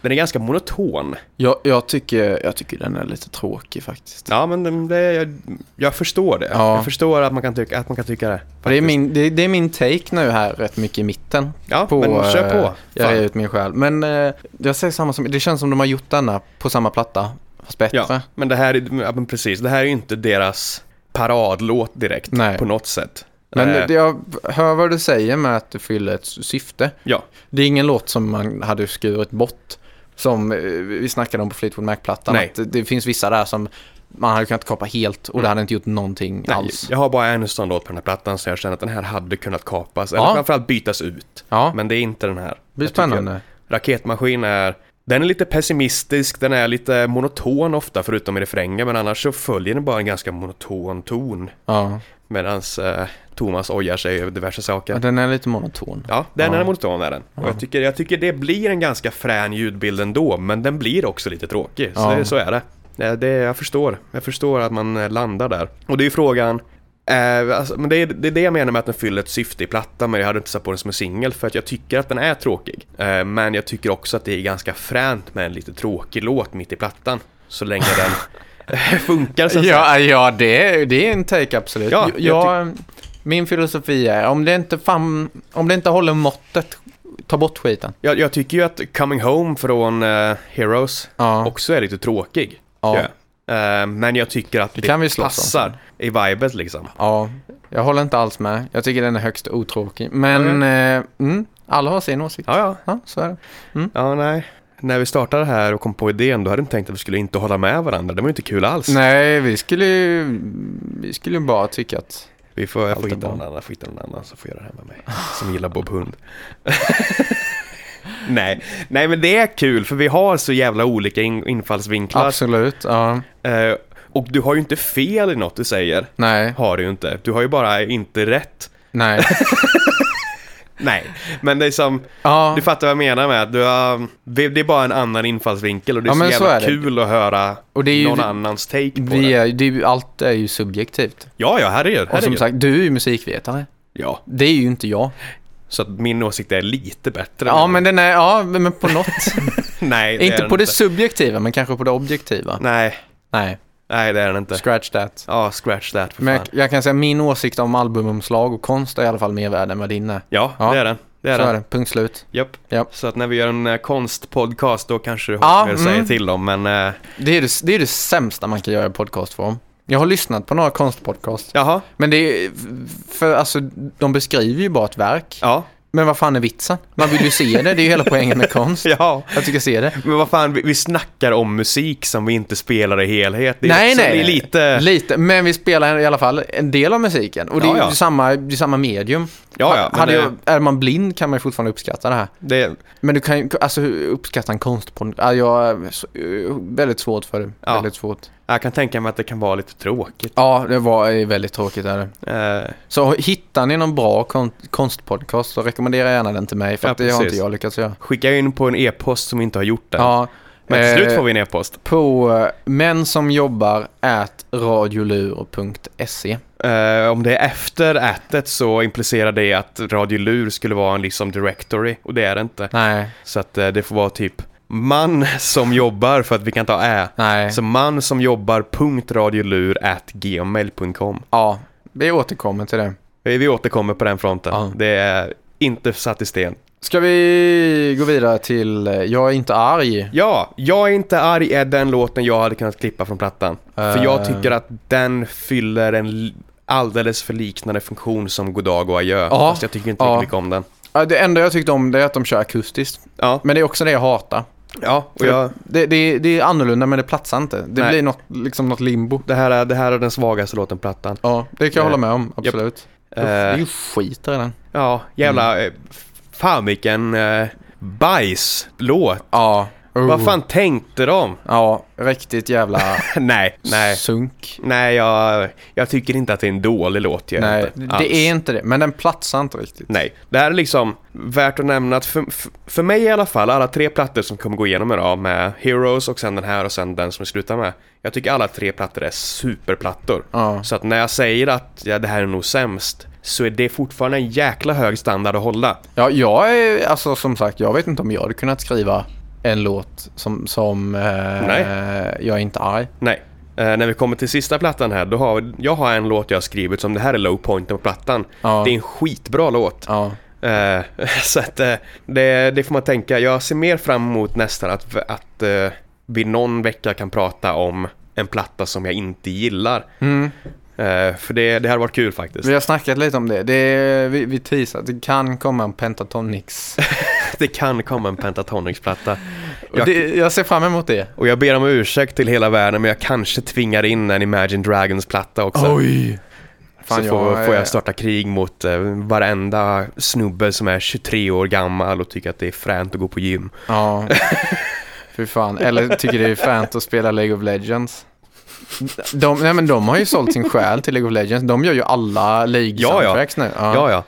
Speaker 1: Den är ganska monoton.
Speaker 2: Jag, jag, tycker, jag tycker den är lite tråkig faktiskt.
Speaker 1: Ja, men det, det, jag, jag förstår det.
Speaker 2: Ja.
Speaker 1: Jag förstår att man kan tycka, att man kan tycka det.
Speaker 2: Det är, min, det, det är min take nu här rätt mycket i mitten.
Speaker 1: Ja, men kör på.
Speaker 2: eh, Jag
Speaker 1: Fan.
Speaker 2: är ut min själ. Men eh, jag säger samma som, det känns som de har gjort denna på samma platta. Fast bättre.
Speaker 1: Ja, men det här är, ja, men precis, det här är ju inte deras paradlåt direkt
Speaker 2: Nej.
Speaker 1: på något sätt.
Speaker 2: Men
Speaker 1: Eh,
Speaker 2: det- jag hör vad du säger med att det fyller ett syfte.
Speaker 1: Ja,
Speaker 2: Det är ingen låt som man hade skurit bort. Som eh, vi snackade om på Fleetwood Mac-plattan.
Speaker 1: Nej. Mm.
Speaker 2: Att det- det finns vissa där som man hade kunnat kapa helt och det hade inte gjort någonting
Speaker 1: nej,
Speaker 2: alls.
Speaker 1: jag har bara en sån låt på den här plattan så jag känner att den här hade kunnat kapas,
Speaker 2: Ja.
Speaker 1: eller framförallt bytas ut.
Speaker 2: Ja, det
Speaker 1: Men det är inte den här.
Speaker 2: blir
Speaker 1: Jag tycker
Speaker 2: spännande.
Speaker 1: att Raketmaskin är, den är lite pessimistisk, den är lite monoton ofta förutom i refrängen, men annars så följer den bara en ganska monoton ton.
Speaker 2: Ja.
Speaker 1: Medan eh, Thomas ojar sig över diverse saker.
Speaker 2: ja, den är lite monoton.
Speaker 1: Ja, den
Speaker 2: Ja.
Speaker 1: är monoton är den. Och jag, tycker, jag tycker det blir en ganska frän ljudbild ändå, men den blir också lite tråkig. Så,
Speaker 2: Ja.
Speaker 1: det, så är det. Eh, det. Jag förstår. Jag förstår att man eh, landar där. Och det är ju frågan, eh, alltså, men det är, det är det jag menar med att den fyller ett syfte i plattan, men jag hade inte satt på den som en singel för att jag tycker att den är tråkig. Eh, men jag tycker också att det är ganska fränt med en lite tråkig låt mitt i plattan. Så länge den funkar så att säga.
Speaker 2: Ja, ja det, är, det är en take absolut.
Speaker 1: Ja,
Speaker 2: Ja, jag, min filosofi är om det inte, fan, om det inte håller måttet, ta bort skiten.
Speaker 1: Jag, jag tycker ju att Coming Home från eh, Heroes
Speaker 2: Ja.
Speaker 1: också är lite tråkig.
Speaker 2: Ja.
Speaker 1: tycker jag. Eh, men jag tycker att det,
Speaker 2: kan vi slåss om.
Speaker 1: passar i vibet liksom.
Speaker 2: Ja, jag håller inte alls med. Jag tycker den är högst otråkig. Men eh, mm, alla har sin åsikt.
Speaker 1: Ja, ja.
Speaker 2: Ja, Mm. så är det.
Speaker 1: Mm. Ja, nej. När vi startade här och kom på idén, då hade jag inte tänkt att vi skulle inte hålla med varandra. Det var ju inte kul alls.
Speaker 2: Nej, vi skulle ju, vi skulle ju bara tycka att...
Speaker 1: Vi får, jag
Speaker 2: Allt
Speaker 1: får
Speaker 2: är
Speaker 1: hitta
Speaker 2: bra.
Speaker 1: någon annan, får hitta någon annan som får göra det här med mig. Som gillar Bob Hund. nej. nej, men det är kul för vi har så jävla olika in- infallsvinklar.
Speaker 2: Absolut, ja.
Speaker 1: Eh, och du har ju inte fel i något du säger.
Speaker 2: Nej,
Speaker 1: Har du ju inte. Du har ju bara inte rätt.
Speaker 2: nej.
Speaker 1: Nej, men det är som,
Speaker 2: Ja,
Speaker 1: du fattar vad jag menar med att du har, det det är bara en annan infallsvinkel och det är
Speaker 2: Ja, men
Speaker 1: så
Speaker 2: så
Speaker 1: jävla
Speaker 2: är det.
Speaker 1: kul att höra
Speaker 2: Och det är ju-
Speaker 1: någon annans take på
Speaker 2: vi
Speaker 1: det.
Speaker 2: är, det är, ju- allt är ju subjektivt.
Speaker 1: Ja, ja, herregud.
Speaker 2: Och som
Speaker 1: herregud.
Speaker 2: sagt, du är ju musikvetare.
Speaker 1: Ja,
Speaker 2: Det är ju inte jag.
Speaker 1: så att min åsikt är lite bättre.
Speaker 2: Ja, men den är... Ja, men på något.
Speaker 1: Nej, det är
Speaker 2: Inte
Speaker 1: den
Speaker 2: på det subjektiva, men kanske på det objektiva.
Speaker 1: Nej,
Speaker 2: Nej,
Speaker 1: nej det är den inte.
Speaker 2: scratch that.
Speaker 1: Ja, scratch that för
Speaker 2: Men
Speaker 1: fan.
Speaker 2: jag, jag kan säga min åsikt om albumomslag och konst är i alla fall mer värd än vad din är.
Speaker 1: Ja,
Speaker 2: Ja,
Speaker 1: det är den. Det är
Speaker 2: Så är
Speaker 1: den.
Speaker 2: det, punkt slut.
Speaker 1: Japp.
Speaker 2: Japp.
Speaker 1: Så att när vi gör en eh, konstpodcast då kanske du har
Speaker 2: Ja,
Speaker 1: mer att säga
Speaker 2: mm.
Speaker 1: till dem, men eh,
Speaker 2: Det är det, det är det sämsta man kan göra i podcastform. Jag har lyssnat på några konstpodcast.
Speaker 1: jaha,
Speaker 2: Men det är, för alltså, de beskriver ju bara ett verk.
Speaker 1: ja,
Speaker 2: Men vad fan är vitsen? Man vill ju se det, det är ju hela poängen med konst.
Speaker 1: ja.
Speaker 2: Jag tycker se det.
Speaker 1: Men vad fan, vi, vi snackar om musik som vi inte spelar i helhet. Det är,
Speaker 2: nej,
Speaker 1: så
Speaker 2: nej.
Speaker 1: Det är lite...
Speaker 2: lite. Men vi spelar i alla fall en del av musiken. Och det är
Speaker 1: Ja,
Speaker 2: ju
Speaker 1: ja.
Speaker 2: samma, det är samma medium.
Speaker 1: Ja, ja, men
Speaker 2: Hade
Speaker 1: det-
Speaker 2: jag, är man blind kan man ju fortfarande uppskatta det här.
Speaker 1: det,
Speaker 2: Men du kan ju, alltså hur uppskatta en konstpod... Ja, jag är så- eh, väldigt svårt för det.
Speaker 1: Ja.
Speaker 2: Väldigt svårt.
Speaker 1: Jag kan tänka mig att det kan vara lite tråkigt.
Speaker 2: Ja, det var eh, väldigt tråkigt där.
Speaker 1: Eh,
Speaker 2: Så hittar ni någon bra kon- konstpodcast så rekommendera gärna den till mig för
Speaker 1: Ja,
Speaker 2: att det har
Speaker 1: precis.
Speaker 2: inte jag lyckats göra.
Speaker 1: skicka in på en e-post som inte har gjort det.
Speaker 2: Ja,
Speaker 1: Men till slut
Speaker 2: eh,
Speaker 1: får vi en e-post.
Speaker 2: På eh, män som jobbar at radiolur.se.
Speaker 1: Eh, om det är efter ätet så implicerar det att Radio Lur skulle vara en liksom directory och det är det inte.
Speaker 2: Nej,
Speaker 1: Så att eh, det får vara typ man som jobbar för att vi kan ta ä.
Speaker 2: nej.
Speaker 1: Så man som jobbar punkt radiolur at gmail.com.
Speaker 2: Ja, vi återkommer till det.
Speaker 1: Eh, Vi återkommer på den fronten.
Speaker 2: Ja.
Speaker 1: Det är inte satt i sten.
Speaker 2: Ska vi gå vidare till eh, Jag är inte arg.
Speaker 1: Ja, Jag är inte arg är den låten jag hade kunnat klippa från plattan. För
Speaker 2: Eh.
Speaker 1: jag tycker att den fyller en l- alldeles för liknande funktion som Goddag och adjö.
Speaker 2: Ja.
Speaker 1: Fast jag tycker inte
Speaker 2: Ja.
Speaker 1: riktigt mycket om den.
Speaker 2: Ja, Det enda jag tyckte om det är att de kör akustiskt.
Speaker 1: Ja,
Speaker 2: Men det är också det jag hatar.
Speaker 1: ja och jag,
Speaker 2: Det, det, det är annorlunda men det platsar inte. Det
Speaker 1: Nej.
Speaker 2: blir något, liksom något limbo.
Speaker 1: det, här är, det här är den svagaste låten på plattan.
Speaker 2: Ja, det kan jag
Speaker 1: Eh,
Speaker 2: hålla med om. Absolut.
Speaker 1: Eh,
Speaker 2: Det är ju skit i den.
Speaker 1: ja, jävla... Mm. Fan vilken eh, bajslåt.
Speaker 2: Ja. Oh,
Speaker 1: Vad fan tänkte de?
Speaker 2: Ja, riktigt jävla
Speaker 1: nej, nej.
Speaker 2: sunk.
Speaker 1: Nej, jag, jag tycker inte att det är en dålig låt. Jag
Speaker 2: Nej,
Speaker 1: inte, alls.
Speaker 2: det är inte det. Men den platsar inte riktigt.
Speaker 1: Nej, det här är liksom värt att nämna att för, för, för mig i alla fall, alla tre plattor som kommer gå igenom idag med Heroes och sen den här och sen den som vi slutar med. Jag tycker alla tre plattor är superplattor.
Speaker 2: Ja.
Speaker 1: Så att när jag säger att ja, det här är nog sämst, så är det fortfarande en jäkla hög standard att hålla.
Speaker 2: Ja, jag är, alltså som sagt, jag vet inte om jag hade kunnat skriva en låt som, som eh,
Speaker 1: Nej.
Speaker 2: jag är inte arg.
Speaker 1: Nej. Eh, när vi kommer till sista plattan här, då har jag har en låt jag har skrivit som det här är low pointen på plattan.
Speaker 2: Ja.
Speaker 1: Det är en skitbra låt.
Speaker 2: Ja.
Speaker 1: Eh, så att eh, det, det får man tänka. Jag ser mer fram emot nästan att, att eh, vi någon vecka kan prata om en platta som jag inte gillar.
Speaker 2: Mm.
Speaker 1: Eh, för det, det här varit kul faktiskt.
Speaker 2: Vi har snackat lite om det. det är, vi, vi teasar att det kan komma en Pentatonix.
Speaker 1: Det kan komma en Pentatonix-platta.
Speaker 2: Jag,
Speaker 1: Jag,
Speaker 2: det, jag ser fram emot det.
Speaker 1: och jag ber om ursäkt till hela världen men jag kanske tvingar in en Imagine Dragons-platta också.
Speaker 2: Oj! Fan,
Speaker 1: så får,
Speaker 2: jag-
Speaker 1: får jag starta krig mot eh, varenda snubbe som är 23 år gammal och tycker att det är fränt att gå på gym.
Speaker 2: Ja. Fy fan. Eller tycker det är fänt att spela League of Legends. De, nej men de har ju sålt sin själ till League of Legends. De gör ju alla
Speaker 1: ja.
Speaker 2: League-soundtracks nu.
Speaker 1: Ja, ja.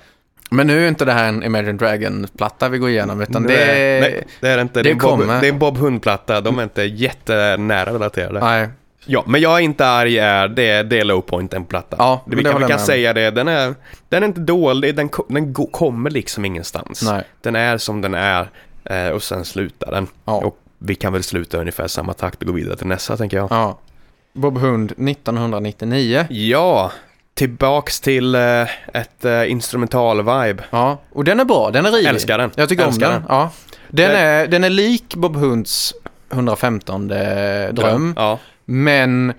Speaker 2: Men nu är inte det här en Imagine Dragon-platta vi går igenom, utan det
Speaker 1: nej,
Speaker 2: är...
Speaker 1: nej, det är det inte. Det, är
Speaker 2: det
Speaker 1: en Bob,
Speaker 2: kommer.
Speaker 1: det är en Bob Hund-platta. De är inte jättenära relaterade.
Speaker 2: Nej.
Speaker 1: Ja, men jag är inte arg. Är, det, är- det är low point, en platta.
Speaker 2: Ja,
Speaker 1: det,
Speaker 2: men
Speaker 1: vi
Speaker 2: det
Speaker 1: kan,
Speaker 2: håller
Speaker 1: vi
Speaker 2: jag
Speaker 1: kan
Speaker 2: med om.
Speaker 1: säga det. Den är, den är inte dålig. Den, ko- den go- kommer liksom ingenstans.
Speaker 2: Nej.
Speaker 1: Den är som den är eh, och sen slutar den.
Speaker 2: Ja.
Speaker 1: Och vi kan väl sluta i ungefär samma takt och gå vidare till nästa, tänker jag.
Speaker 2: Ja. Bob Hund 1999.
Speaker 1: Ja, tillbaks till eh, ett eh, instrumental-vibe.
Speaker 2: Ja, och den är bra. Den är rivig.
Speaker 1: Älskar den.
Speaker 2: Jag tycker
Speaker 1: Älskar
Speaker 2: om den.
Speaker 1: den.
Speaker 2: Ja. Den,
Speaker 1: Den-
Speaker 2: är, den är lik Bob Hunds 115 dröm,
Speaker 1: Ja.
Speaker 2: men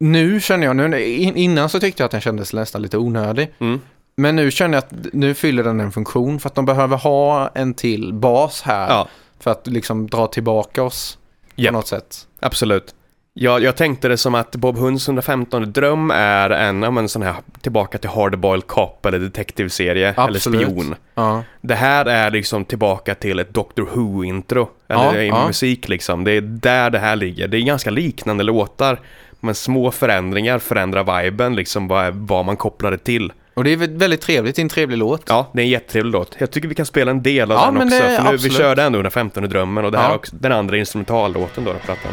Speaker 2: nu känner jag, nu, in- innan så tyckte jag att den kändes nästan lite onödig.
Speaker 1: Mm.
Speaker 2: Men nu känner jag att nu fyller den en funktion för att de behöver ha en till bas här
Speaker 1: ja,
Speaker 2: för att liksom dra tillbaka oss
Speaker 1: Japp.
Speaker 2: på något sätt.
Speaker 1: absolut. Jag, jag tänkte det som att Bob Hunds 115 dröm är en ja, men sån här tillbaka till Hardboiled Cop eller detektivserie
Speaker 2: Absolut.
Speaker 1: eller spion.
Speaker 2: Ja.
Speaker 1: Det här är liksom tillbaka till ett Doctor Who-intro, eller
Speaker 2: Ja,
Speaker 1: i
Speaker 2: ja.
Speaker 1: musik liksom. Det är där det här ligger. Det är ganska liknande låtar, men små förändringar förändrar viben, liksom vad, vad man kopplar det till.
Speaker 2: Och det är väl- väldigt trevligt, det är en trevlig låt.
Speaker 1: Ja, det är en jättetrevlig låt. Jag tycker vi kan spela en del av
Speaker 2: Ja,
Speaker 1: den
Speaker 2: men
Speaker 1: också.
Speaker 2: det-
Speaker 1: för nu, vi
Speaker 2: absolut.
Speaker 1: körde ändå den 15 drömmen och det här
Speaker 2: Ja.
Speaker 1: är också, den andra instrumentallåten då, den plattan.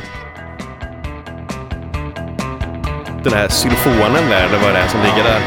Speaker 1: Den här xylofonen där, eller vad det är som ligger där.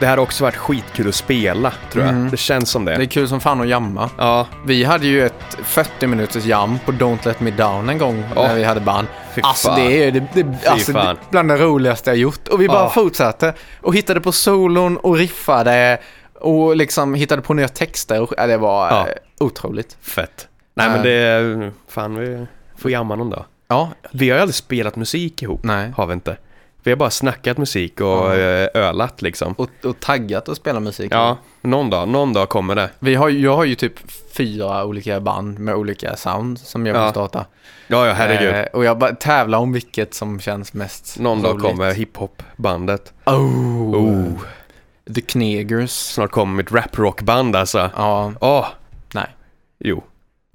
Speaker 1: Det här har också varit skitkul att spela, tror jag. Det känns som
Speaker 2: Mm. Det är kul som fan att jamma.
Speaker 1: Ja,
Speaker 2: Vi hade ju ett 40 minuters jam på Don't Let Me Down en gång
Speaker 1: Ja.
Speaker 2: när vi hade band.
Speaker 1: Fy
Speaker 2: Alltså
Speaker 1: fan.
Speaker 2: det är det, det, alltså, det,
Speaker 1: fan.
Speaker 2: bland det roligaste jag gjort. Och vi bara
Speaker 1: Ja.
Speaker 2: fortsatte och hittade på solon och riffade och liksom hittade på nya texter. Och, ja, det var
Speaker 1: Ja.
Speaker 2: eh, otroligt.
Speaker 1: fett. Nej
Speaker 2: Eh.
Speaker 1: men det, fan vi får jamma någon dag.
Speaker 2: Ja,
Speaker 1: Vi har ju aldrig spelat musik ihop,
Speaker 2: Nej.
Speaker 1: har vi inte. Vi har bara snackat musik och eh, ölat liksom.
Speaker 2: och, och taggat att spela musik.
Speaker 1: Ja, någon dag, någon dag kommer det.
Speaker 2: Vi har, ju- jag har ju typ fyra olika band med olika sound som jag vill
Speaker 1: Ja.
Speaker 2: starta.
Speaker 1: Ja, ja herregud.
Speaker 2: Eh, och jag bara tävlar om vilket som känns mest
Speaker 1: någon dag
Speaker 2: roligt.
Speaker 1: kommer hiphopbandet.
Speaker 2: Oh.
Speaker 1: Oh,
Speaker 2: The Knegers.
Speaker 1: snart kommer mitt raprockband alltså.
Speaker 2: Ja,
Speaker 1: Åh,
Speaker 2: nej.
Speaker 1: jo.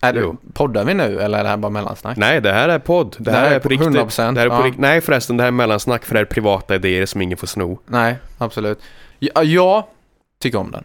Speaker 2: Är det,
Speaker 1: Jo.
Speaker 2: poddar vi nu eller är det här bara mellansnack?
Speaker 1: Nej, det här är podd. Det här, är på riktigt.
Speaker 2: 100%,
Speaker 1: det här är på
Speaker 2: ja.
Speaker 1: rikt- Nej förresten, det här är mellansnack för det här är privata idéer som ingen får sno.
Speaker 2: Nej, absolut. Ja, jag tycker om den.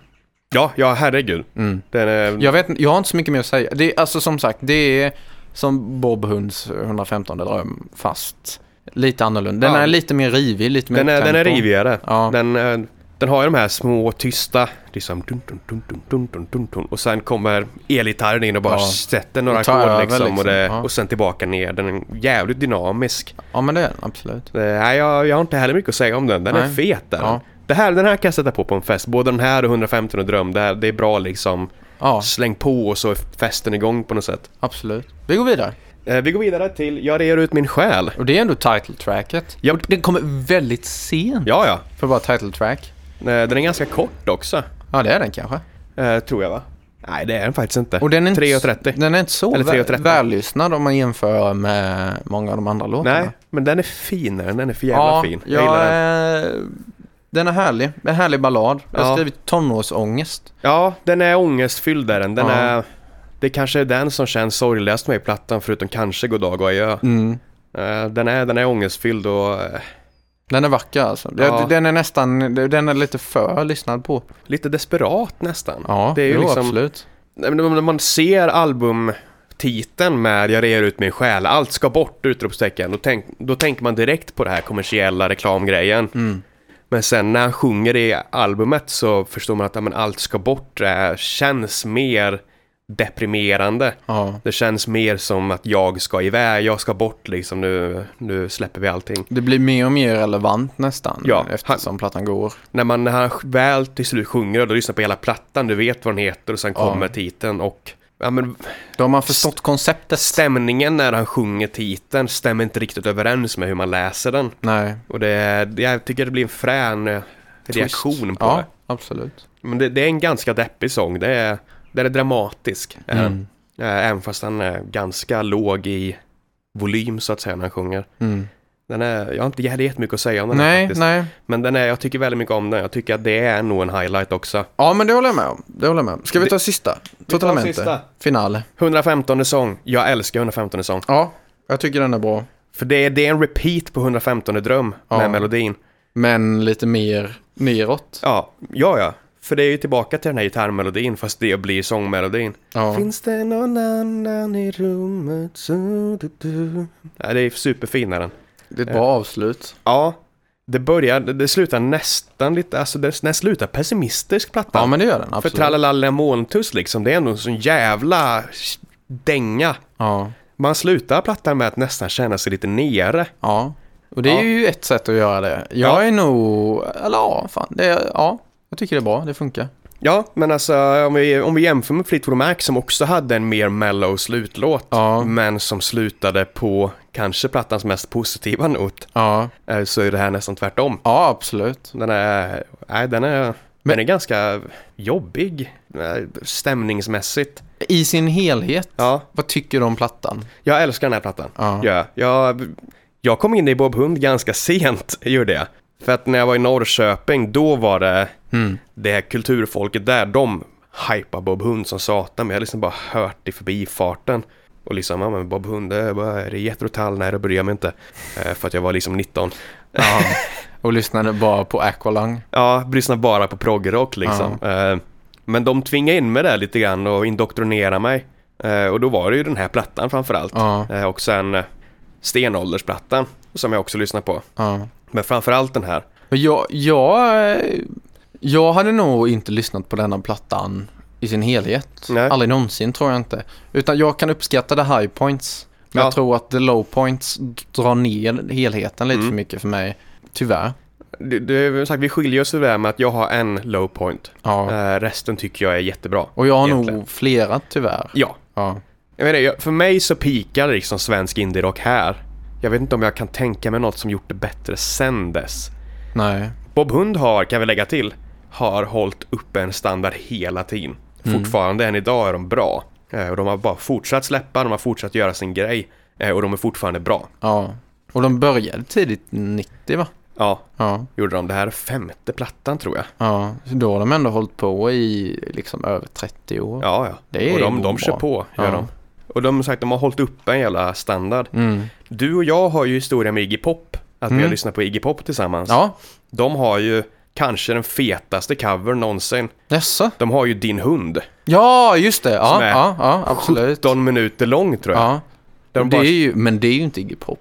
Speaker 1: Ja, ja herregud.
Speaker 2: Mm.
Speaker 1: Den är...
Speaker 2: Jag, vet, inte- jag har inte så mycket mer att säga. Det är, alltså som sagt, det är som Bob Hunds 115 dröm, fast lite annorlunda. Den
Speaker 1: Ja.
Speaker 2: är lite mer rivig, lite mer
Speaker 1: Den är, den är
Speaker 2: tempo.
Speaker 1: rivigare.
Speaker 2: Ja.
Speaker 1: Den, eh, den har ju de här små tysta, liksom dun, dun, dun, dun, dun, dun, dun, dun. och sen kommer elgitarren in och bara
Speaker 2: Ja.
Speaker 1: sätter några
Speaker 2: Och tar
Speaker 1: ackord
Speaker 2: över,
Speaker 1: liksom, och,
Speaker 2: liksom.
Speaker 1: det,
Speaker 2: Ja.
Speaker 1: och sen tillbaka ner. Den är jävligt dynamisk.
Speaker 2: Ja, men det är den absolut.
Speaker 1: Eh, Nej, jag, jag har inte heller mycket att säga om den. Den är
Speaker 2: Nej.
Speaker 1: fet den.
Speaker 2: Ja.
Speaker 1: Det här, den här kan jag sätta på på en fest. Både den här och 115 och Dröm. Det, här, det är bra liksom.
Speaker 2: Ja,
Speaker 1: Släng på och så är festen igång på något sätt.
Speaker 2: absolut. Vi går vidare.
Speaker 1: Eh, Vi går vidare till Jag rear ut min själ.
Speaker 2: Och det är ändå title tracket.
Speaker 1: Ja.
Speaker 2: Den kommer väldigt sent
Speaker 1: Ja, ja.
Speaker 2: för att vara title track.
Speaker 1: Eh, Den är ganska kort också.
Speaker 2: Ja, det är den kanske.
Speaker 1: eh, Tror jag va? Nej, det är den faktiskt inte.
Speaker 2: Och den är inte,
Speaker 1: 3.30.
Speaker 2: Den är inte så
Speaker 1: Eller 3.30.
Speaker 2: väl, vällyssnad om man jämför med många av de andra låtarna.
Speaker 1: Nej, men den är fin den. Den är för jävla fin. Jag
Speaker 2: ja,
Speaker 1: gillar den.
Speaker 2: eh, den är härlig. En härlig ballad. Jag har
Speaker 1: Ja.
Speaker 2: skrivit tonårsångest.
Speaker 1: Ja, den är ångestfylld där den. den
Speaker 2: Ja.
Speaker 1: är, det kanske är den som känns sorgligast med i plattan förutom kanske Goddag och adjö.
Speaker 2: Mm.
Speaker 1: Eh, Den är, den är ångestfylld och eh,
Speaker 2: Den är vacker alltså.
Speaker 1: Ja.
Speaker 2: Den är nästan, den är lite för lyssnad på.
Speaker 1: Lite desperat nästan.
Speaker 2: Ja,
Speaker 1: det är ju
Speaker 2: jo,
Speaker 1: liksom,
Speaker 2: absolut.
Speaker 1: Nej, men När man ser albumtiteln med “Jag rear ut min själ”, allt ska bort! Utropstecken. Då, tänk, då tänker man direkt på det här kommersiella reklamgrejen.
Speaker 2: Mm.
Speaker 1: Men sen när han sjunger i albumet så förstår man att ja, men allt ska bort eh, känns mer deprimerande.
Speaker 2: Ja.
Speaker 1: Det känns mer som att jag ska iväg, jag ska bort liksom, nu, nu släpper vi allting.
Speaker 2: Det blir mer och mer relevant nästan
Speaker 1: Ja,
Speaker 2: eftersom plattan går.
Speaker 1: När man när han väl till slut sjunger och du lyssnar på hela plattan, du vet vad den heter och sen
Speaker 2: Ja.
Speaker 1: kommer titeln och ja, men
Speaker 2: Då har man förstått konceptet.
Speaker 1: stämningen när han sjunger titeln stämmer inte riktigt överens med hur man läser den.
Speaker 2: Nej.
Speaker 1: Och det, jag tycker det blir en frän eh, reaktion på
Speaker 2: ja,
Speaker 1: det.
Speaker 2: absolut.
Speaker 1: Men det, det är en ganska deppig sång. Det är, den är dramatisk. är den.
Speaker 2: Mm.
Speaker 1: Eh, Även fast den är ganska låg i volym så att säga när han sjunger.
Speaker 2: Mm.
Speaker 1: Den är, jag har inte jag hade jättemycket att säga om den här
Speaker 2: Nej,
Speaker 1: faktiskt.
Speaker 2: nej.
Speaker 1: Men den är, jag tycker väldigt mycket om den. Jag tycker att det är nog en highlight också.
Speaker 2: Ja, men det håller jag med om. Det håller jag med om. Ska vi ta sista? Totalmente.
Speaker 1: sista.
Speaker 2: Finale.
Speaker 1: 115 sång. Jag älskar 115 sång.
Speaker 2: Ja, jag tycker den är bra.
Speaker 1: För det är, det är en repeat på 115 dröm
Speaker 2: Ja.
Speaker 1: med melodin.
Speaker 2: Men lite mer neråt.
Speaker 1: Ja, ja, ja. För det är ju tillbaka till den här gitarrmelodin fast det blir sångmelodin.
Speaker 2: Ja.
Speaker 1: Finns det någon annan i rummet? Så du, du. Ja, det är superfin är den.
Speaker 2: Det är ett bra avslut.
Speaker 1: Ja, det börjar, det det slutar nästan lite, alltså det, den slutar pessimistisk plattan.
Speaker 2: Ja, men det gör den.
Speaker 1: För
Speaker 2: Absolut.
Speaker 1: Tralala Molntuss liksom, det är ändå en sån jävla dänga.
Speaker 2: Ja.
Speaker 1: Man slutar plattan med att nästan känna sig lite nere.
Speaker 2: ja. Och det är
Speaker 1: Ja.
Speaker 2: ju ett sätt att göra det. Jag
Speaker 1: Ja.
Speaker 2: är nog... Eller ja, fan. Det är, ja, jag tycker det är bra. Det funkar.
Speaker 1: Ja, men alltså om vi, om vi jämför med Fleetwood Mac som också hade en mer mellow slutlåt.
Speaker 2: Ja.
Speaker 1: Men som slutade på kanske plattans mest positiva not.
Speaker 2: Ja,
Speaker 1: eh, Så är det här nästan tvärtom.
Speaker 2: ja absolut.
Speaker 1: Den är, nej, den är,
Speaker 2: Men-
Speaker 1: den är ganska jobbig eh, stämningsmässigt.
Speaker 2: I sin helhet.
Speaker 1: Ja,
Speaker 2: Vad tycker du om plattan?
Speaker 1: jag älskar den här plattan.
Speaker 2: Ja.
Speaker 1: Ja, jag, jag kom in i Bob Hund ganska sent, gjorde jag. För att när jag var i Norrköping, då var det
Speaker 2: Mm.
Speaker 1: det här kulturfolket där, de hypar Bob Hund som satan, men jag har liksom bara hört det i förbifarten. Och liksom, ja men Bob Hund, det är, bara, är det Jethro Nej, det bryr jag mig inte. Eh, för att jag var liksom 19.
Speaker 2: Ja. Och lyssnade bara på Aqualung.
Speaker 1: Ja, lyssnar bara på proggrock liksom. Eh, men de tvingade in mig där lite grann och indoktrinerade mig. Eh, och då var det ju den här plattan framförallt.
Speaker 2: Ja.
Speaker 1: Eh, och sen eh, Stenåldersplattan, som jag också lyssnar på.
Speaker 2: Ja.
Speaker 1: Men framförallt den här.
Speaker 2: Men Jag, jag, eh, jag hade nog inte lyssnat på denna plattan i sin helhet.
Speaker 1: Nej.
Speaker 2: Aldrig någonsin tror jag inte. Utan jag kan uppskatta the high points. Men
Speaker 1: Ja.
Speaker 2: jag tror att the low points drar ner helheten
Speaker 1: Mm.
Speaker 2: lite för mycket för mig. Tyvärr.
Speaker 1: Det, det, är väl sagt, vi skiljer oss där med att jag har en low point.
Speaker 2: Ja.
Speaker 1: Eh, resten tycker jag är jättebra.
Speaker 2: Och jag har
Speaker 1: egentligen.
Speaker 2: nog flera tyvärr.
Speaker 1: Ja,
Speaker 2: Ja.
Speaker 1: jag menar, jag, för mig så peakar liksom svensk indie-rock här. Jag vet inte om jag kan tänka mig något som gjort det bättre sen dess.
Speaker 2: Nej.
Speaker 1: Bob Hund har, kan vi lägga till, har hållit uppe en standard hela tiden.
Speaker 2: Mm.
Speaker 1: Fortfarande än idag är de bra. Eh, Och de har bara fortsatt släppa, de har fortsatt göra sin grej eh, och de är fortfarande bra.
Speaker 2: Ja. Och de började tidigt 90 va?
Speaker 1: Ja,
Speaker 2: Ja.
Speaker 1: gjorde de. Det här är femte plattan tror jag.
Speaker 2: ja. Så Då har de ändå hållit på i liksom över 30 år.
Speaker 1: Ja, ja.
Speaker 2: Det är
Speaker 1: och de,
Speaker 2: bra.
Speaker 1: de kör på, gör
Speaker 2: Ja.
Speaker 1: de. Och de, har sagt, de har hållit uppe en jävla standard.
Speaker 2: Mm.
Speaker 1: Du och jag har ju historia med Iggy Pop, att vi har
Speaker 2: Mm.
Speaker 1: lyssnat på Iggy Pop tillsammans.
Speaker 2: Ja.
Speaker 1: De har ju kanske den fetaste covern någonsin.
Speaker 2: Jaså?
Speaker 1: De har ju Din hund.
Speaker 2: Ja, just det. Ja,
Speaker 1: Som är
Speaker 2: ja, ja absolut.
Speaker 1: 17 minuter lång tror jag.
Speaker 2: Ja.
Speaker 1: Där de
Speaker 2: det
Speaker 1: bara...
Speaker 2: är ju, men det är ju inte Iggy Pop.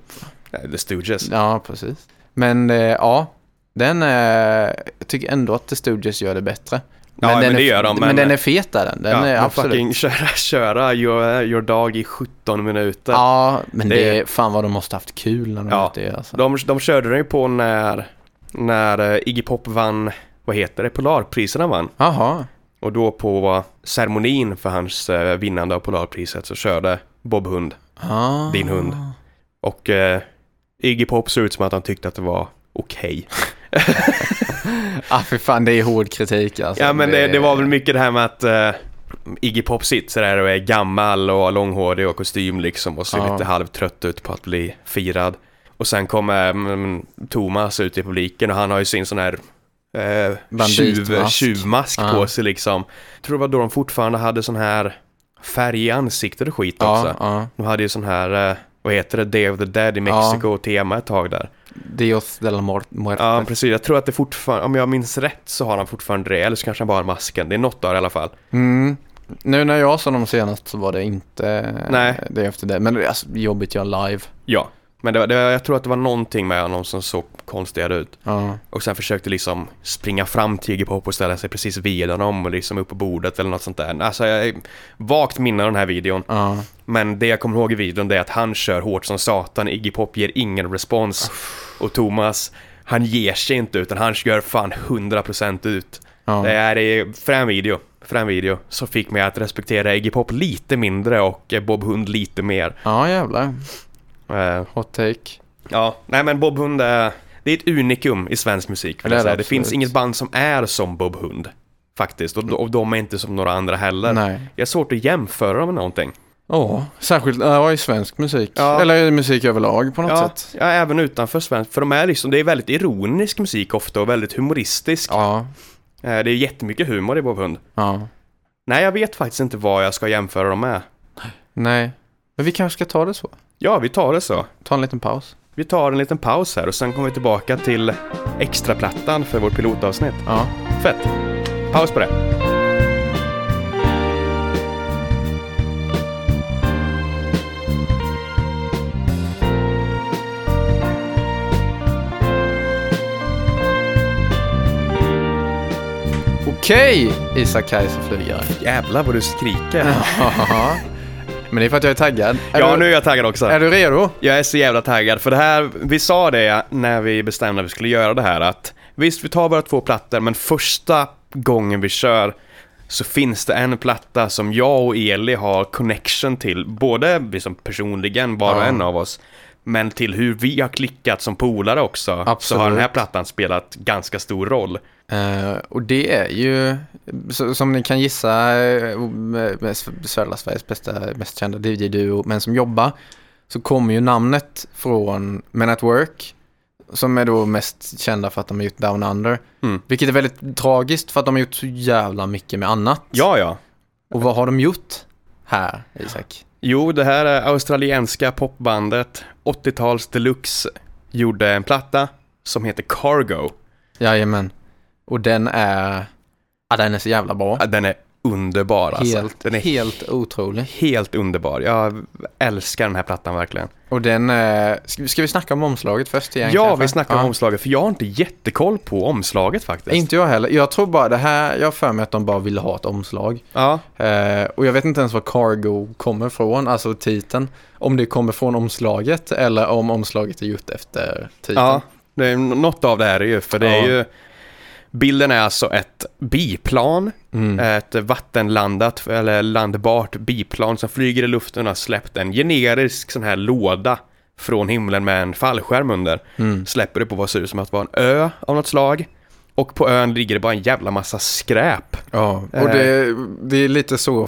Speaker 1: Nej, The Stooges.
Speaker 2: Ja, precis. Men eh, ja, den är, jag tycker ändå att The Stooges gör det bättre.
Speaker 1: Ja, men
Speaker 2: den
Speaker 1: det
Speaker 2: är,
Speaker 1: gör de,
Speaker 2: Men,
Speaker 1: men-
Speaker 2: den är fetare. Den, den
Speaker 1: ja,
Speaker 2: är
Speaker 1: men
Speaker 2: absolut.
Speaker 1: fucking köra, köra your, your Dog i 17 minuter.
Speaker 2: Ja, men
Speaker 1: Det-
Speaker 2: det, är fan vad de måste haft kul när de
Speaker 1: Ja,
Speaker 2: gjort det. Alltså.
Speaker 1: De, de körde den ju på när, när eh, Iggy Pop vann, vad heter det, Polarpriserna vann.
Speaker 2: Jaha,
Speaker 1: Och då på ceremonin för hans eh, vinnande av Polarpriset så körde Bob Hund
Speaker 2: ah,
Speaker 1: Din hund. Och eh, Iggy Pop såg ut som att han tyckte att det var okej.
Speaker 2: Ah, för fan, det är hård kritik alltså.
Speaker 1: Ja men det, det var väl mycket det här med att eh, Iggy Pop sitter där och är gammal och långhårig och kostym liksom och ser
Speaker 2: Ja.
Speaker 1: lite halvtrött ut på att bli firad. Och sen kommer mm, Thomas ut i publiken och han har ju sin sån här eh, tjuv,
Speaker 2: Banditmask.
Speaker 1: tjuvmask
Speaker 2: Ja.
Speaker 1: på sig liksom. Jag tror det var då de fortfarande hade sån här färg i ansiktet och skit
Speaker 2: ja,
Speaker 1: också.
Speaker 2: ja.
Speaker 1: De hade ju sån här, eh, vad heter det, Day of the Dead i Mexiko-tema ett tag där.
Speaker 2: Dios de la Mor- Muerte.
Speaker 1: Ja, precis. Jag tror att det fortfarande, om jag minns rätt så har han fortfarande det, eller så kanske han bara har masken. Det är något där i alla fall.
Speaker 2: Mm. Nu när jag såg dem senast så var det inte
Speaker 1: Nej.
Speaker 2: det efter det. Men det är alltså, jobbigt att göra live.
Speaker 1: Ja. Men det, var- det, var- jag tror att det var någonting med honom som såg konstigare ut.
Speaker 2: Ja.
Speaker 1: Och sen försökte liksom springa fram till Iggy-Pop och ställa sig precis vid honom och liksom upp på bordet eller något sånt där. Alltså jag vagt minne av den här videon.
Speaker 2: Ja.
Speaker 1: Men det jag kommer ihåg i videon det är att han kör hårt som satan, Iggy Pop ger ingen respons. Och Thomas, han ger sig inte utan han gör fan 100% ut.
Speaker 2: Ja.
Speaker 1: Det här är frän video, frän video, som fick mig att respektera Iggy Pop lite mindre och eh, Bob Hund lite mer.
Speaker 2: ja, jävlar.
Speaker 1: Eh,
Speaker 2: Hot take.
Speaker 1: Ja, nej men Bob Hund är, det är ett unikum i svensk musik. vill
Speaker 2: Det är
Speaker 1: jag säga.
Speaker 2: det
Speaker 1: det finns
Speaker 2: absolut.
Speaker 1: inget band som är som Bob Hund, faktiskt. Och, och de är inte som några andra heller.
Speaker 2: Nej.
Speaker 1: Jag har svårt att jämföra dem med någonting.
Speaker 2: Ja, särskilt ja, i svensk musik.
Speaker 1: Ja.
Speaker 2: Eller i musik överlag på något
Speaker 1: Ja,
Speaker 2: sätt.
Speaker 1: ja, även utanför svenskt. För de är liksom, det är väldigt ironisk musik ofta och väldigt humoristisk.
Speaker 2: Ja,
Speaker 1: Eh, Det är jättemycket humor i Bob Hund.
Speaker 2: ja.
Speaker 1: Nej, jag vet faktiskt inte vad jag ska jämföra dem med.
Speaker 2: Nej. Men vi kanske ska ta det så.
Speaker 1: Ja, vi tar det så.
Speaker 2: Ta en liten paus.
Speaker 1: Vi tar en liten paus här och sen kommer vi tillbaka till extraplattan för vårt pilotavsnitt.
Speaker 2: Ja.
Speaker 1: Fett! Paus på det.
Speaker 2: Okej, Isak Kajsa flygare.
Speaker 1: Jävlar vad du skriker.
Speaker 2: Jaha. Men det är för att jag är taggad. Är
Speaker 1: Ja,
Speaker 2: du,
Speaker 1: nu är jag taggad också.
Speaker 2: Är du redo?
Speaker 1: Jag är så jävla taggad, för det här, vi sa det när vi bestämde att vi skulle göra det här att visst, vi tar bara två plattor, men första gången vi kör så finns det en platta som jag och Eli har connection till, både liksom personligen, var och
Speaker 2: Ja.
Speaker 1: en av oss, men till hur vi har klickat som polare också, så
Speaker 2: Absolut.
Speaker 1: har den här plattan spelat ganska stor roll.
Speaker 2: Eh, och det är ju, så, som ni kan gissa, eh, med- med södra Sveriges bästa, mest kända DJ-duo, men som jobbar, så kommer ju namnet från Men at Work, som är då mest kända för att de har gjort Down Under.
Speaker 1: Mm.
Speaker 2: Vilket är väldigt tragiskt för att de har gjort så jävla mycket med annat.
Speaker 1: Ja, ja.
Speaker 2: Och vad har de gjort här, Isak?
Speaker 1: Jo, det här är australienska popbandet 80-tals deluxe gjorde en platta som heter Cargo.
Speaker 2: Jajamän. Och den är, ja den är så jävla bra.
Speaker 1: Ja, Den är underbar alltså.
Speaker 2: Helt,
Speaker 1: den är helt,
Speaker 2: helt otrolig.
Speaker 1: underbar. Jag älskar den här plattan verkligen.
Speaker 2: Och den, eh, ska, ska vi snacka om omslaget först igen?
Speaker 1: Ja,
Speaker 2: kanske?
Speaker 1: vi snackar om
Speaker 2: Ja.
Speaker 1: omslaget, för jag har inte jättekoll på omslaget faktiskt.
Speaker 2: Inte jag heller. Jag tror bara det här, jag har för mig att de bara ville ha ett omslag.
Speaker 1: Ja,
Speaker 2: Eh, och jag vet inte ens var cargo kommer från, alltså titeln. Om det kommer från omslaget eller om omslaget är gjort efter titeln.
Speaker 1: ja det är, något av det här är ju, för det är
Speaker 2: Ja.
Speaker 1: ju... Bilden är alltså ett biplan,
Speaker 2: Mm.
Speaker 1: ett vattenlandat eller landbart biplan som flyger i luften och har släppt en generisk sån här låda från himlen med en fallskärm under.
Speaker 2: Mm.
Speaker 1: Släpper det på vad ser ut som att vara en ö av något slag. Och på ön ligger det bara en jävla massa skräp.
Speaker 2: ja. Och
Speaker 1: Eh.
Speaker 2: det, det är lite så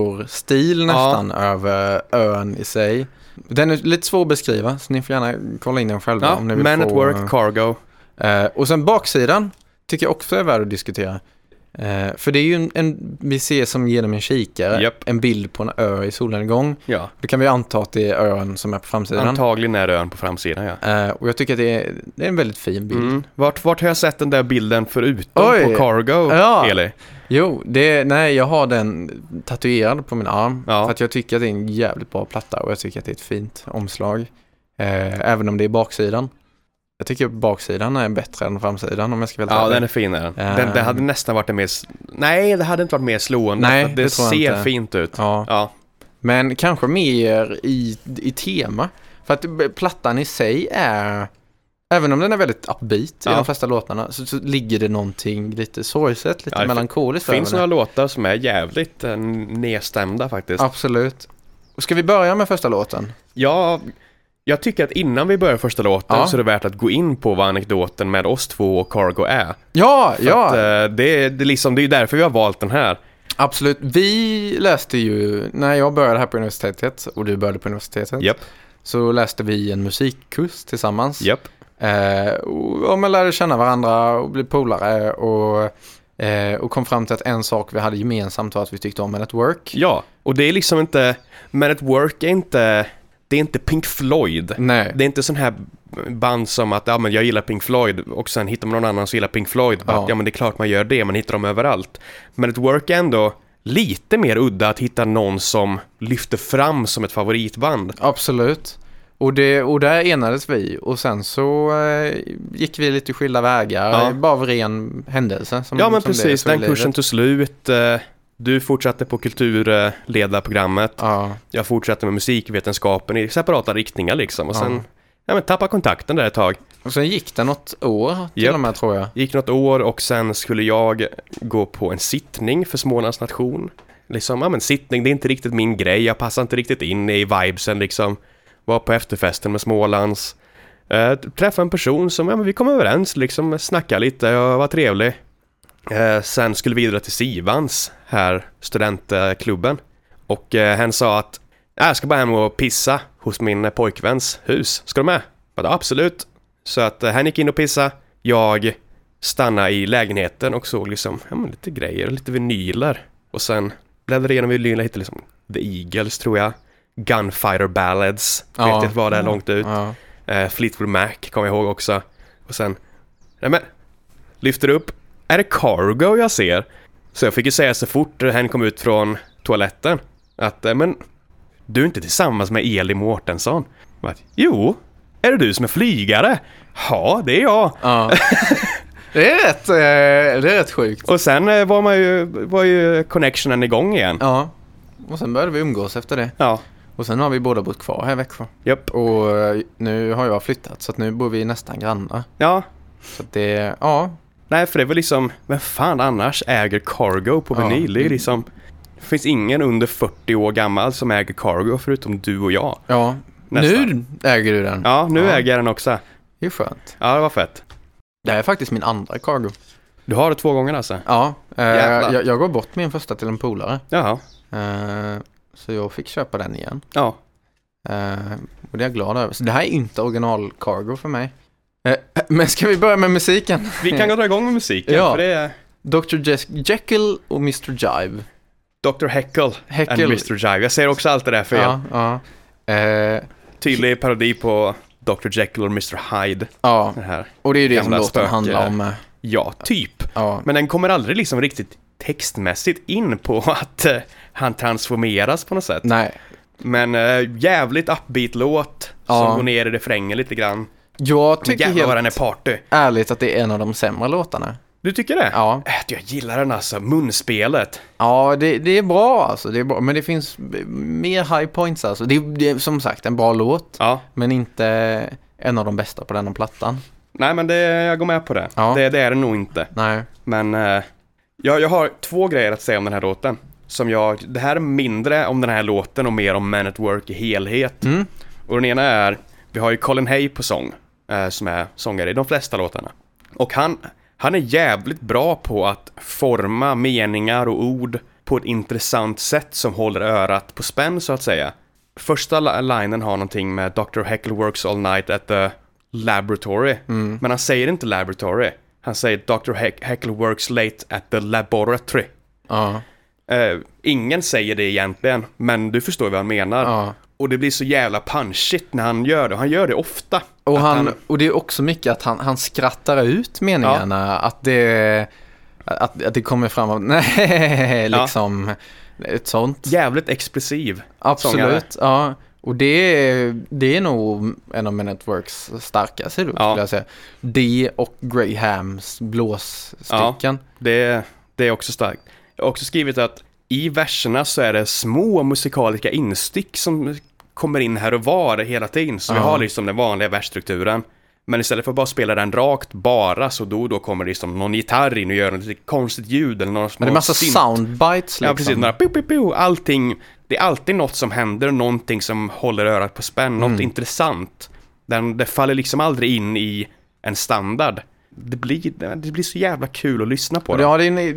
Speaker 2: Famyror-stil nästan över ön i sig. Den är lite svår att beskriva, så ni får gärna kolla in den själva
Speaker 1: Ja,
Speaker 2: om ni vill
Speaker 1: Man
Speaker 2: få,
Speaker 1: at Work Cargo.
Speaker 2: Eh, och sen baksidan tycker jag också är värd att diskutera. Eh, för det är ju en, en, vi ser som genom en kikare,
Speaker 1: Japp.
Speaker 2: en bild på en ö i solnedgång.
Speaker 1: Ja.
Speaker 2: Då kan vi anta att det är ön som är på framsidan.
Speaker 1: Antagligen är ön på framsidan, ja.
Speaker 2: Eh, och jag tycker att det är, det är en väldigt fin bild.
Speaker 1: Mm. Vart, vart har jag sett den där bilden förutom
Speaker 2: Oj.
Speaker 1: på Cargo,
Speaker 2: Ja.
Speaker 1: Eli?
Speaker 2: Jo, det, nej, jag har den tatuerad på min arm.
Speaker 1: Ja.
Speaker 2: För att jag tycker att det är en jävligt bra platta och jag tycker att det är ett fint omslag. Eh, även om det är baksidan. Jag tycker baksidan är bättre än framsidan om jag ska vara helt
Speaker 1: Ja,
Speaker 2: ärlig.
Speaker 1: den är fin är den. den. Det
Speaker 2: Ehm.
Speaker 1: hade nästan varit en mer... s- Nej, det hade inte varit mer slående.
Speaker 2: Nej,
Speaker 1: för att det,
Speaker 2: det tror jag
Speaker 1: ser
Speaker 2: inte.
Speaker 1: fint ut.
Speaker 2: Ja.
Speaker 1: Ja.
Speaker 2: Men kanske mer i, i tema. För att b- plattan i sig är, även om den är väldigt upbeat i
Speaker 1: Ja.
Speaker 2: de flesta låtarna, så, så ligger det någonting lite sorgset, lite
Speaker 1: Ja, det fin-
Speaker 2: melankoliskt
Speaker 1: Det finns
Speaker 2: över
Speaker 1: några
Speaker 2: den.
Speaker 1: låtar som är jävligt eh, nedstämda faktiskt.
Speaker 2: Absolut. Och Ska vi börja med första låten?
Speaker 1: Ja, jag tycker att innan vi börjar första låten
Speaker 2: Ja.
Speaker 1: så är det värt att gå in på vad anekdoten med oss två och Cargo är.
Speaker 2: Ja,
Speaker 1: För
Speaker 2: ja,
Speaker 1: att, eh, det, är- det, är liksom, det är ju därför vi har valt den här.
Speaker 2: absolut. Vi läste ju, när jag började här på universitetet och du började på universitetet,
Speaker 1: Japp,
Speaker 2: så läste vi en musikkurs tillsammans.
Speaker 1: japp.
Speaker 2: Eh, och ja, man lärde känna varandra och blev polare och, eh, och kom fram till att en sak vi hade gemensamt var att vi tyckte om Men at Work.
Speaker 1: Ja, och det är liksom inte, Men at Work är inte, det är inte Pink Floyd.
Speaker 2: Nej,
Speaker 1: Det är inte sån här band som att ja, men jag gillar Pink Floyd och sen hittar man någon annan som gillar Pink Floyd. Bara
Speaker 2: Ja.
Speaker 1: Att, ja men det är klart man gör det, man hittar dem överallt. Men ett work är ändå lite mer udda att hitta någon som lyfter fram som ett favoritband.
Speaker 2: Mm, Absolut. Och, det, och där enades vi och sen så eh, gick vi lite skilda vägar,
Speaker 1: Ja.
Speaker 2: eh, bara av ren händelse. Som,
Speaker 1: ja men
Speaker 2: som det är
Speaker 1: precis,
Speaker 2: så i
Speaker 1: den
Speaker 2: livet.
Speaker 1: kursen tog slut. eh, Du fortsatte på kulturledarprogrammet.
Speaker 2: Ja,
Speaker 1: Jag fortsatte med musikvetenskapen i separata riktningar liksom. Och sen ja. men, tappade kontakten där ett tag.
Speaker 2: och sen gick det något år till
Speaker 1: Japp.
Speaker 2: och med tror jag.
Speaker 1: gick något år och sen skulle jag gå på en sittning för Smålands nation. Liksom, ja men sittning, det är inte riktigt min grej, jag passar inte riktigt in i vibesen liksom. Var på efterfesten med Smålands. Eh, träffade en person som, ja men vi kom överens liksom, snackade lite och var trevlig. Eh, sen skulle vi vidare till Sivans, här, studentklubben. Och eh, hen sa att, "Äh, jag ska bara hem och pissa hos min pojkväns hus, ska du med? Jag bara, absolut. Så att eh, han gick in och pissade, jag stanna i lägenheten och såg liksom, ja men lite grejer, lite vinyler. Och sen bläddrade igenom vinyler och hittade liksom The Eagles tror jag. Gunfighter Ballads,
Speaker 2: Ja.
Speaker 1: vet inte vad det är långt ut.
Speaker 2: Ja.
Speaker 1: Eh, Fleetwood Mac kommer jag ihåg också. Och sen, nej men, lyfter upp, är det Cargo jag ser? Så jag fick ju säga så fort hen kom ut från toaletten att, eh, men, du är inte tillsammans med Eli Mårtensson? Jag bara, Jo, är det du som är flygare? Ja, det är jag.
Speaker 2: Ja. det, är rätt, eh, det är rätt sjukt.
Speaker 1: Och sen eh, var, man ju, var ju connectionen igång igen.
Speaker 2: Ja, och sen började vi umgås efter det.
Speaker 1: Ja.
Speaker 2: Och sen har vi båda bott kvar här i Växjö.
Speaker 1: Japp.
Speaker 2: Och eh, nu har jag flyttat så att nu bor vi nästan grannar.
Speaker 1: Ja.
Speaker 2: Så att det, ja,
Speaker 1: Nej, för det var liksom, vem fan annars äger Cargo på
Speaker 2: Ja.
Speaker 1: vinyl? Det är liksom, det finns ingen under 40 år gammal som äger Cargo förutom du och jag.
Speaker 2: ja.
Speaker 1: Nästan.
Speaker 2: Nu äger du den.
Speaker 1: Ja, nu
Speaker 2: Ja.
Speaker 1: äger jag den också.
Speaker 2: Det är skönt.
Speaker 1: Ja, det var fett.
Speaker 2: Det här är faktiskt min andra cargo.
Speaker 1: Du har det två gånger alltså?
Speaker 2: Ja, eh,
Speaker 1: Jävlar.
Speaker 2: jag, jag gav bort min första till en polare.
Speaker 1: Jaha.
Speaker 2: Eh, så jag fick köpa den igen.
Speaker 1: Ja.
Speaker 2: Eh, och det är jag glad över. Så det här är inte original cargo för mig. Eh, men ska vi börja med musiken?
Speaker 1: Vi kan gå dra igång med musiken,
Speaker 2: Ja.
Speaker 1: för det är
Speaker 2: Dr. Jes- Jekyll och Mr. Jive.
Speaker 1: Dr. Heckle, and
Speaker 2: Heckle.
Speaker 1: Mr. Jive. Jag säger också alltid det här fel.
Speaker 2: Ja, ja. Eh,
Speaker 1: Tydlig parodi på Dr. Jekyll och Mr. Hyde.
Speaker 2: ja,
Speaker 1: Det här.
Speaker 2: och det är ju det som
Speaker 1: Gamla
Speaker 2: låten
Speaker 1: spöke.
Speaker 2: handlar om. eh.
Speaker 1: Ja, typ.
Speaker 2: Ja,
Speaker 1: Men den kommer aldrig liksom riktigt textmässigt in på att eh, han transformeras på något sätt.
Speaker 2: nej.
Speaker 1: Men eh, jävligt upbeat låt
Speaker 2: Ja.
Speaker 1: som går ner i refrängen lite grann.
Speaker 2: Jag
Speaker 1: Men
Speaker 2: tycker
Speaker 1: jävlar vad
Speaker 2: helt
Speaker 1: den är party.
Speaker 2: ärligt att det är en av de sämre låtarna.
Speaker 1: Du tycker det?
Speaker 2: Ja,
Speaker 1: Äh, jag gillar den alltså, munspelet.
Speaker 2: ja det, det är bra alltså. Det är bra. Men det finns b- mer high points alltså. Det, det är som sagt en bra låt,
Speaker 1: Ja,
Speaker 2: men inte en av de bästa på denna plattan.
Speaker 1: nej men det, jag går med på det.
Speaker 2: Ja.
Speaker 1: det. Det är det nog inte.
Speaker 2: Nej.
Speaker 1: Men eh, jag, jag har två grejer att säga om den här låten. Som jag, det här är mindre om den här låten och mer om Man at Work i helhet.
Speaker 2: Mm.
Speaker 1: Och den ena är, vi har ju Colin Hay på sång, eh, som är sångare i de flesta låtarna. Och han, han är jävligt bra på att forma meningar och ord på ett intressant sätt som håller örat på spänn så att säga. Första li- linen har någonting med Dr. Heckle works all night at the laboratory.
Speaker 2: Mm.
Speaker 1: Men han säger inte laboratory. Han säger Dr. Heck- Heckle works late at the laboratory.
Speaker 2: Ja,
Speaker 1: Eh, ingen säger det egentligen, men du förstår vad han menar.
Speaker 2: ja.
Speaker 1: Och det blir så jävla punchigt när han gör det. Och han gör det ofta.
Speaker 2: Och,
Speaker 1: Att
Speaker 2: han, och det är också mycket att han, han skrattar ut meningarna. Att, det, att, att det kommer fram av nej,
Speaker 1: Ja.
Speaker 2: liksom. Ett sånt.
Speaker 1: Jävligt expressiv. sångare.
Speaker 2: Absolut, ja. Och det är, det är nog en av Minetworks starka sidor
Speaker 1: Ja.
Speaker 2: skulle jag säga. Det och Grahams blåsstycken.
Speaker 1: Det, det är också starkt. Jag har också skrivit att i verserna så är det små musikaliska instick som kommer in här och var hela tiden. Så vi
Speaker 2: Ja.
Speaker 1: har liksom den vanliga versstrukturen. Men istället för att bara spela den rakt bara så då och då kommer det liksom någon gitarr in och gör ett lite konstigt ljud eller några små
Speaker 2: Men det är massa
Speaker 1: synt-
Speaker 2: soundbites liksom.
Speaker 1: Ja, precis. Några pio, pio, pio, allting. Det är alltid något som händer, någonting som håller örat på spänn,
Speaker 2: Mm.
Speaker 1: något intressant. Den, det faller liksom aldrig in i en standard. Det blir, det blir så jävla kul att lyssna på.
Speaker 2: Och
Speaker 1: det.
Speaker 2: det, ja, det är en, det är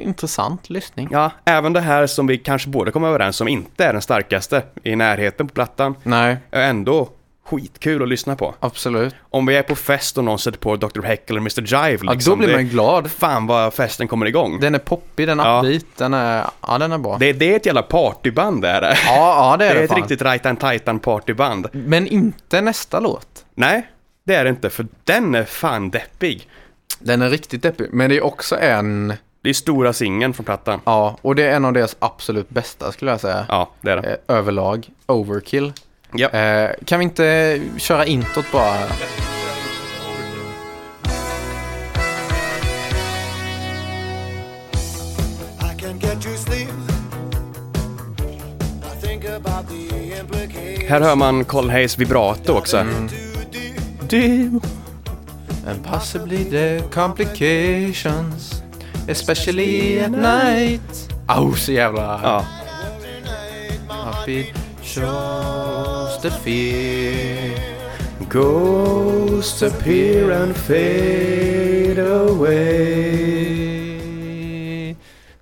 Speaker 2: en intressant lyssning.
Speaker 1: Ja, även det här som vi kanske båda kommer överens om inte är den starkaste i närheten på plattan,
Speaker 2: Nej,
Speaker 1: är ändå skitkul att lyssna på.
Speaker 2: absolut.
Speaker 1: Om vi är på fest och någon sätter på Dr. Heckle eller Mr. Jive
Speaker 2: Ja,
Speaker 1: liksom,
Speaker 2: då blir
Speaker 1: det,
Speaker 2: man ju glad.
Speaker 1: fan vad festen kommer igång. Det,
Speaker 2: Den är poppig, den
Speaker 1: Ja.
Speaker 2: är upbeat, den är, ja den är bra.
Speaker 1: det, är ett jävla partyband det är det.
Speaker 2: ja, ja det
Speaker 1: Det
Speaker 2: är
Speaker 1: är
Speaker 2: det
Speaker 1: ett
Speaker 2: fan. Mm.
Speaker 1: riktigt Right and Titan partyband.
Speaker 2: Men inte nästa låt.
Speaker 1: Nej, Det är det inte, för den är fan deppig.
Speaker 2: Den är riktigt deppig, men det är också en...
Speaker 1: Det är stora singeln från plattan.
Speaker 2: Ja, och det är en av deras absolut bästa skulle jag säga.
Speaker 1: Ja, det är det.
Speaker 2: Eh, överlag. Overkill.
Speaker 1: Ja.
Speaker 2: Eh, kan vi inte köra introt bara?
Speaker 6: I can get you sleep. I think about the implications
Speaker 1: Här hör man Colin Hayes vibrato också.
Speaker 2: Mm.
Speaker 6: too deep.
Speaker 1: Du-
Speaker 2: And possibly the complications Especially at night Au, så jävla...
Speaker 1: Ja,
Speaker 2: Happy shows the fear
Speaker 1: Ghosts appear and fade away.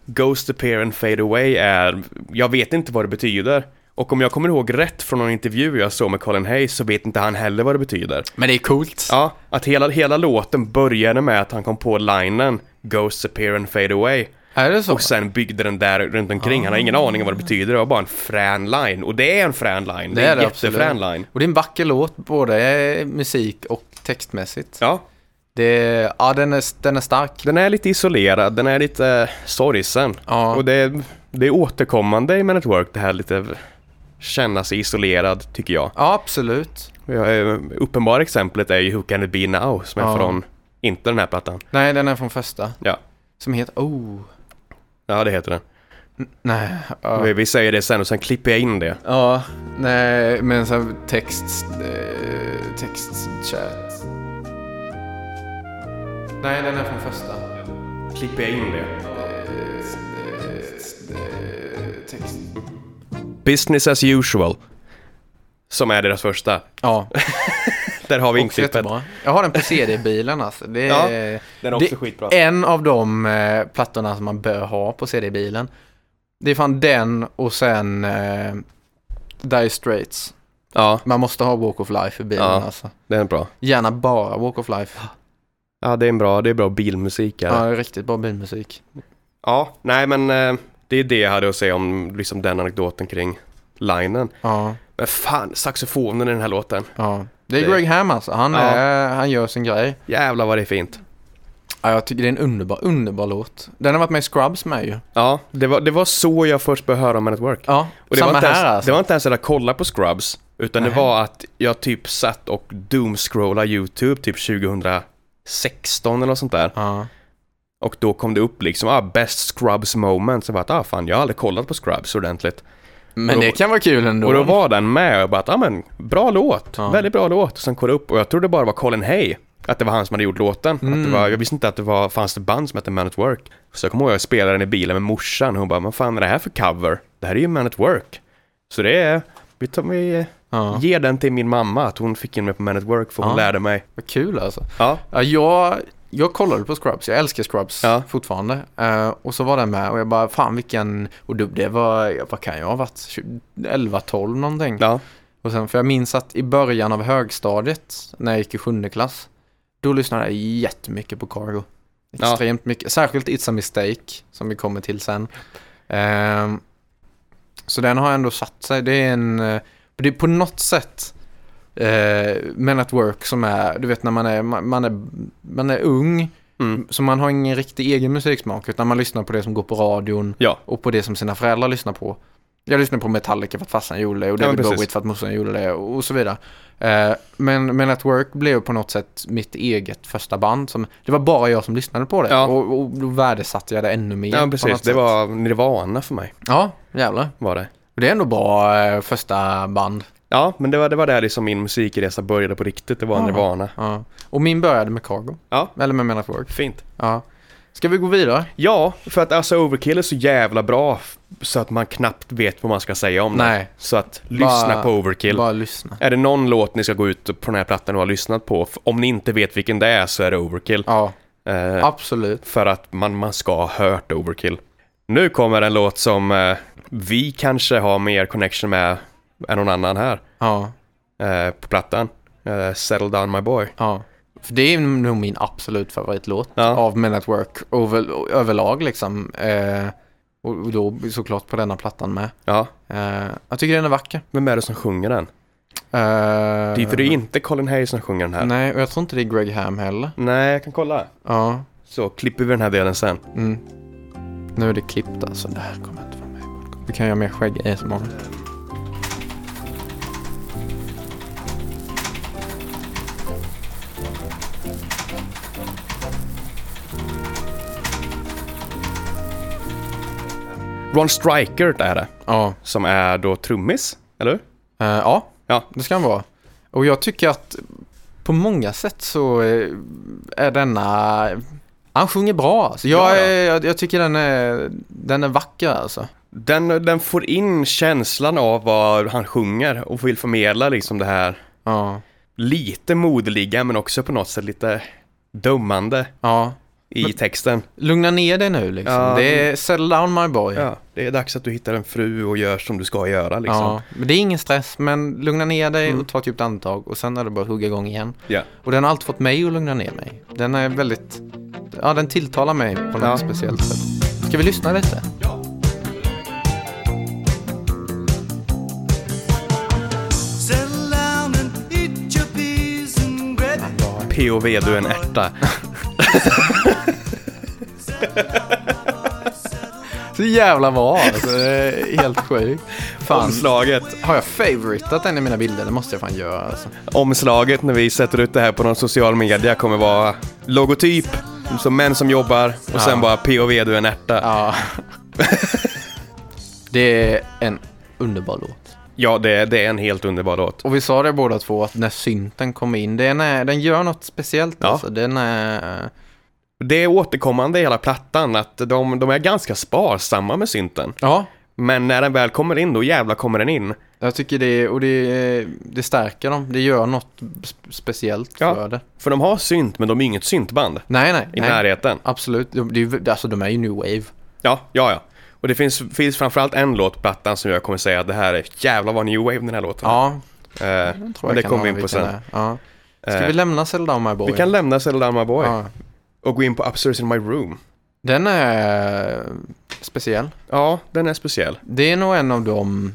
Speaker 1: Ghost appear and fade away är, jag vet inte vad det betyder. Och om jag kommer ihåg rätt från någon intervju jag såg med Colin Hayes så vet inte han heller vad det betyder.
Speaker 2: Men det är coolt.
Speaker 1: Ja, att hela, hela låten började med att han kom på linen Ghosts appear and fade away.
Speaker 2: Är det så?
Speaker 1: Och sen byggde den där runt omkring. Han har ingen
Speaker 2: Ah.
Speaker 1: aning om vad det betyder. Det var bara en frän line. Och det är en frän line. Det, är en jättefrän
Speaker 2: absolut.
Speaker 1: line.
Speaker 2: Och det är en vacker låt, både musik och textmässigt.
Speaker 1: Ja,
Speaker 2: Det, ja, den är, den är stark.
Speaker 1: Den är lite isolerad, den är lite eh, sorgsen.
Speaker 2: Ja.
Speaker 1: Och det, det är återkommande i Men at Work, det här lite känna sig isolerad, tycker jag.
Speaker 2: Ja, absolut.
Speaker 1: jag eh, uppenbara exemplet är ju Who Can It Be Now, som är
Speaker 2: Ja.
Speaker 1: från, inte den här plattan.
Speaker 2: Nej, den är från första.
Speaker 1: Ja,
Speaker 2: Som heter... Oh.
Speaker 1: ja det heter den.
Speaker 2: Nej. Ja.
Speaker 1: Vi, vi säger det sen och sen klipper jag in det.
Speaker 2: Ja, nej, men sen text... Eh, textchat. Nej, den är från första.
Speaker 1: Klipper jag in det?
Speaker 2: Eh, text.
Speaker 1: Business as usual, som är deras första.
Speaker 2: Ja,
Speaker 1: Där har vi
Speaker 2: också
Speaker 1: inklippet.
Speaker 2: jättebra. Jag har den på CD-bilen alltså. Det
Speaker 1: Ja,
Speaker 2: är,
Speaker 1: den är också
Speaker 2: det
Speaker 1: skitbra.
Speaker 2: en av de eh, plattorna som man bör ha på CD-bilen. Det är fan den och sen eh, Dire Straits.
Speaker 1: Ja,
Speaker 2: Man måste ha Walk of Life i bilen
Speaker 1: Ja.
Speaker 2: alltså.
Speaker 1: det är en bra.
Speaker 2: Gärna bara Walk of Life.
Speaker 1: Ja, det är en bra, det är bra bilmusik. Här.
Speaker 2: Ja, det är riktigt bra bilmusik.
Speaker 1: Ja, nej men eh, det är det jag hade att säga om liksom den anekdoten kring linen.
Speaker 2: Ja,
Speaker 1: Men fan, saxofonen i den här låten.
Speaker 2: ja. Det är
Speaker 1: Det-
Speaker 2: Greg Ham alltså. Han,
Speaker 1: Ja.
Speaker 2: är, han gör sin grej.
Speaker 1: Jävlar vad det är fint.
Speaker 2: Ja, jag tycker det är en underbar, underbar låt. Den har varit med i Scrubs med ju.
Speaker 1: Ja, det var, det var så jag först började höra om Man at Work.
Speaker 2: Ja,
Speaker 1: Och det
Speaker 2: samma
Speaker 1: var inte ens,
Speaker 2: här alltså.
Speaker 1: Det var inte ens att jag kollade på Scrubs, utan det
Speaker 2: Nej.
Speaker 1: var att jag typ satt och doomscrollade YouTube typ 2016 eller något sånt där.
Speaker 2: Ja.
Speaker 1: Och då kom det upp liksom, ah, best Scrubs moment. Så jag bara, ah fan, jag har aldrig kollat på Scrubs ordentligt.
Speaker 2: Men det kan vara kul ändå.
Speaker 1: Och då var den med och jag bara att, ah, men bra låt,
Speaker 2: Ja.
Speaker 1: väldigt bra låt. Och sen kollade jag upp och jag trodde bara var Colin Hay, att det var han som hade gjort låten. Att
Speaker 2: Mm.
Speaker 1: det var, jag visste inte att det var, fanns ett band som hette Man at Work. Så jag kommer ihåg jag spelade den i bilen med morsan och hon bara, vad fan är det här för cover? Det här är ju Man at Work. Så det är, vi, tar, vi
Speaker 2: ja.
Speaker 1: ger den till min mamma, att hon fick in mig på Man at Work för hon
Speaker 2: Ja.
Speaker 1: lärde mig.
Speaker 2: Vad kul alltså.
Speaker 1: Ja,
Speaker 2: Ja, jag, jag kollade på Scrubs, jag älskar Scrubs
Speaker 1: Ja.
Speaker 2: fortfarande. Eh, och så var den med och jag bara, fan vilken, och då- det var, vad kan jag ha varit, 20 11, 12 någonting.
Speaker 1: ja,
Speaker 2: Och sen, för jag minns att i början av högstadiet, när jag gick i sjunde klass, då lyssnade jag jättemycket på Cargo.
Speaker 1: Ja.
Speaker 2: Extremt mycket, särskilt It's a Mistake, som vi kommer till sen. Ehm, så den har ändå satt sig, det är en, eh, det är på något sätt eh, Men at Work som är, du vet när man är, man, man är, man är ung,
Speaker 1: Mm.
Speaker 2: så man har ingen riktig egen musiksmak, utan man lyssnar på det som går på radion
Speaker 1: ja,
Speaker 2: och på det som sina föräldrar lyssnar på. Jag lyssnade på Metallica för att farsan gjorde det och
Speaker 1: Ja, men
Speaker 2: David
Speaker 1: precis.
Speaker 2: Bowie för att morsan gjorde det och så vidare. Eh, men, men At Work blev på något sätt mitt eget första band. Som, det var bara jag som lyssnade på det
Speaker 1: Ja.
Speaker 2: och, och då värdesatte jag det ännu mer.
Speaker 1: ja
Speaker 2: på
Speaker 1: precis.
Speaker 2: något
Speaker 1: Det
Speaker 2: sätt.
Speaker 1: var Nirvana för mig,
Speaker 2: Ja, jävlar.
Speaker 1: var det.
Speaker 2: Det är ändå bra eh, första band.
Speaker 1: Ja, men det var, det var där liksom min musikresa började på riktigt, det var
Speaker 2: Ja.
Speaker 1: Nirvana.
Speaker 2: Ja. Och min började med Cargo.
Speaker 1: Ja.
Speaker 2: Eller med Men At Work.
Speaker 1: Fint.
Speaker 2: Ja. Ska vi gå vidare?
Speaker 1: Ja, för att alltså Overkill är så jävla bra f- så att man knappt vet vad man ska säga om den.
Speaker 2: Nej.
Speaker 1: Så att lyssna på Overkill.
Speaker 2: Bara lyssna.
Speaker 1: Är det någon låt ni ska gå ut på den här plattan och ha lyssnat på? F- Om ni inte vet vilken det är så är det Overkill.
Speaker 2: Ja,
Speaker 1: Eh,
Speaker 2: absolut.
Speaker 1: för att man, man ska ha hört Overkill. Nu kommer en låt som eh, vi kanske har mer connection med än någon annan här
Speaker 2: Ja,
Speaker 1: eh, på plattan. Eh, Settle Down My Boy.
Speaker 2: ja. För det är nog min absolut favoritlåt.
Speaker 1: Ja.
Speaker 2: av Men at Work over, överlag liksom. Eh, och och då såklart på denna plattan med.
Speaker 1: ja.
Speaker 2: Eh, jag tycker den är vacker. Eh,
Speaker 1: Vem är det som sjunger den? Det är för det är inte Colin Hayes som sjunger den här. Nej,
Speaker 2: Nej, och jag tror inte det är Greg Ham heller.
Speaker 1: jag kan kolla.
Speaker 2: Ja,
Speaker 1: Så klipper vi den här delen sen.
Speaker 2: mm. Nu är det klippt alltså. Det här kommer inte vara med. Vi kan göra mer skägg i så många.
Speaker 1: Ron Stryker är det,
Speaker 2: Ja,
Speaker 1: som är då trummis, eller hur?
Speaker 2: eh, ja.
Speaker 1: Ja.
Speaker 2: det ska han vara. Och jag tycker att på många sätt så eh, är denna... Han sjunger bra alltså. Jag,
Speaker 1: Ja, ja.
Speaker 2: är- jag, jag tycker den är, den är vacker alltså.
Speaker 1: Den, den får in känslan av vad han sjunger och vill förmedla liksom det här
Speaker 2: Ja,
Speaker 1: lite moderliga men också på något sätt lite dömande
Speaker 2: ja.
Speaker 1: i texten.
Speaker 2: Lugna ner dig nu liksom.
Speaker 1: Ja.
Speaker 2: Det är settle down my boy.
Speaker 1: Ja, det är dags att du hittar en fru och gör som du ska göra liksom.
Speaker 2: Ja, men det är ingen stress, men lugna ner dig och ta ett djupt andetag och sen är det bara att hugga igång igen.
Speaker 1: Ja.
Speaker 2: Och den har alltid fått mig att lugna ner mig. Den är väldigt, ja den tilltalar mig på något
Speaker 1: Ja.
Speaker 2: speciellt sätt. Ska vi lyssna lite?
Speaker 5: Settle down and eat your peas and bread.
Speaker 1: POV, du är en ärta.
Speaker 2: Så jävla bra alltså, det är helt sjukt. Fan,
Speaker 1: Omslaget.
Speaker 2: har jag favoritat den i mina bilder? Det måste jag fan göra alltså.
Speaker 1: Omslaget när vi sätter ut det här på någon social media kommer vara logotyp, som män som jobbar och sen bara POV, du är en ärta.
Speaker 2: Ja. det är en underbar låt.
Speaker 1: Ja, det, det är en helt underbar låt.
Speaker 2: Och vi sa det båda två att när synten kommer in, den, är, den gör något speciellt
Speaker 1: Ja.
Speaker 2: alltså. Den är...
Speaker 1: Det är återkommande i hela plattan att de, de är ganska sparsamma med synten.
Speaker 2: Ja,
Speaker 1: Men när den väl kommer in, då jävla kommer den in.
Speaker 2: jag tycker det, och det, det stärker dem. Det gör något sp- speciellt
Speaker 1: Ja.
Speaker 2: för det.
Speaker 1: För de har synt, men de är inget syntband
Speaker 2: Nej, nej.
Speaker 1: i
Speaker 2: nej.
Speaker 1: närheten.
Speaker 2: Absolut. De, det är ju- alltså, de är ju new wave.
Speaker 1: Ja, ja, ja. Och det finns, finns framförallt en låt på plattan som jag kommer säga att det här är jävla vad new wave den här låten är.
Speaker 2: Ja,
Speaker 1: Eh,
Speaker 2: jag tror
Speaker 1: men
Speaker 2: jag
Speaker 1: det
Speaker 2: kan
Speaker 1: kommer vi
Speaker 2: ana
Speaker 1: in på
Speaker 2: vilken
Speaker 1: sen.
Speaker 2: det är. Ja. Ska
Speaker 1: Eh,
Speaker 2: vi lämna Zelda och My Boy?
Speaker 1: Vi kan lämna Zelda My Boy
Speaker 2: ja.
Speaker 1: och gå in på Upstairs in My Room.
Speaker 2: Den är eh, speciell.
Speaker 1: Ja, den är speciell.
Speaker 2: Det är nog en av de...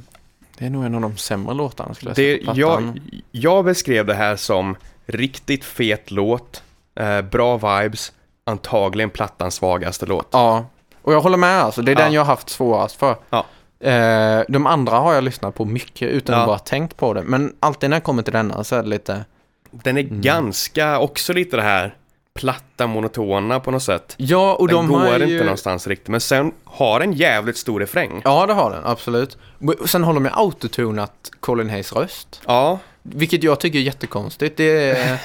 Speaker 2: Det är nog en av de sämre låtarna skulle jag
Speaker 1: Det,
Speaker 2: säga på plattan.
Speaker 1: jag, jag beskrev det här som riktigt fet låt, eh, bra vibes, antagligen plattans svagaste låt.
Speaker 2: Ja, och jag håller med alltså. Det är
Speaker 1: Ja.
Speaker 2: den jag har haft svårast för.
Speaker 1: Ja.
Speaker 2: Eh, de andra har jag lyssnat på mycket utan
Speaker 1: Ja.
Speaker 2: att bara tänkt på det. Men alltid när jag kommer till denna så är det lite...
Speaker 1: Den är
Speaker 2: Mm.
Speaker 1: ganska, också lite det här platta, monotona på något sätt.
Speaker 2: Ja, och
Speaker 1: Den
Speaker 2: de
Speaker 1: går
Speaker 2: har ju...
Speaker 1: inte någonstans riktigt, men sen har en jävligt stor refräng.
Speaker 2: Ja, det har den. Absolut. Men Sen har de ju autotunat Colin Hayes röst.
Speaker 1: Ja,
Speaker 2: Vilket jag tycker är jättekonstigt. Det är...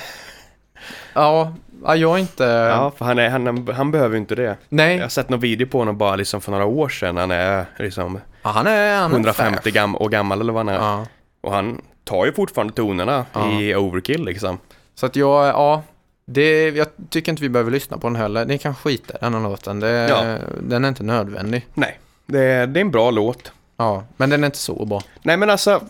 Speaker 2: ja, ja, jag är inte...
Speaker 1: ja för han, är, han, han behöver ju inte det.
Speaker 2: Nej,
Speaker 1: Jag har sett någon video på honom bara liksom för några år sedan. Han är liksom
Speaker 2: Ja, han är... Han är
Speaker 1: 150
Speaker 2: fair.
Speaker 1: gam- år gammal eller vad han är.
Speaker 2: Ja.
Speaker 1: Och han tar ju fortfarande tonerna i Overkill liksom.
Speaker 2: Så att jag, ja. Det, jag tycker inte vi behöver lyssna på den heller. Ni kan skita i den här låten. Det,
Speaker 1: Ja.
Speaker 2: Den är inte nödvändig.
Speaker 1: Nej, det är, det är en bra låt.
Speaker 2: Ja, men den är inte så bra.
Speaker 1: Nej men alltså,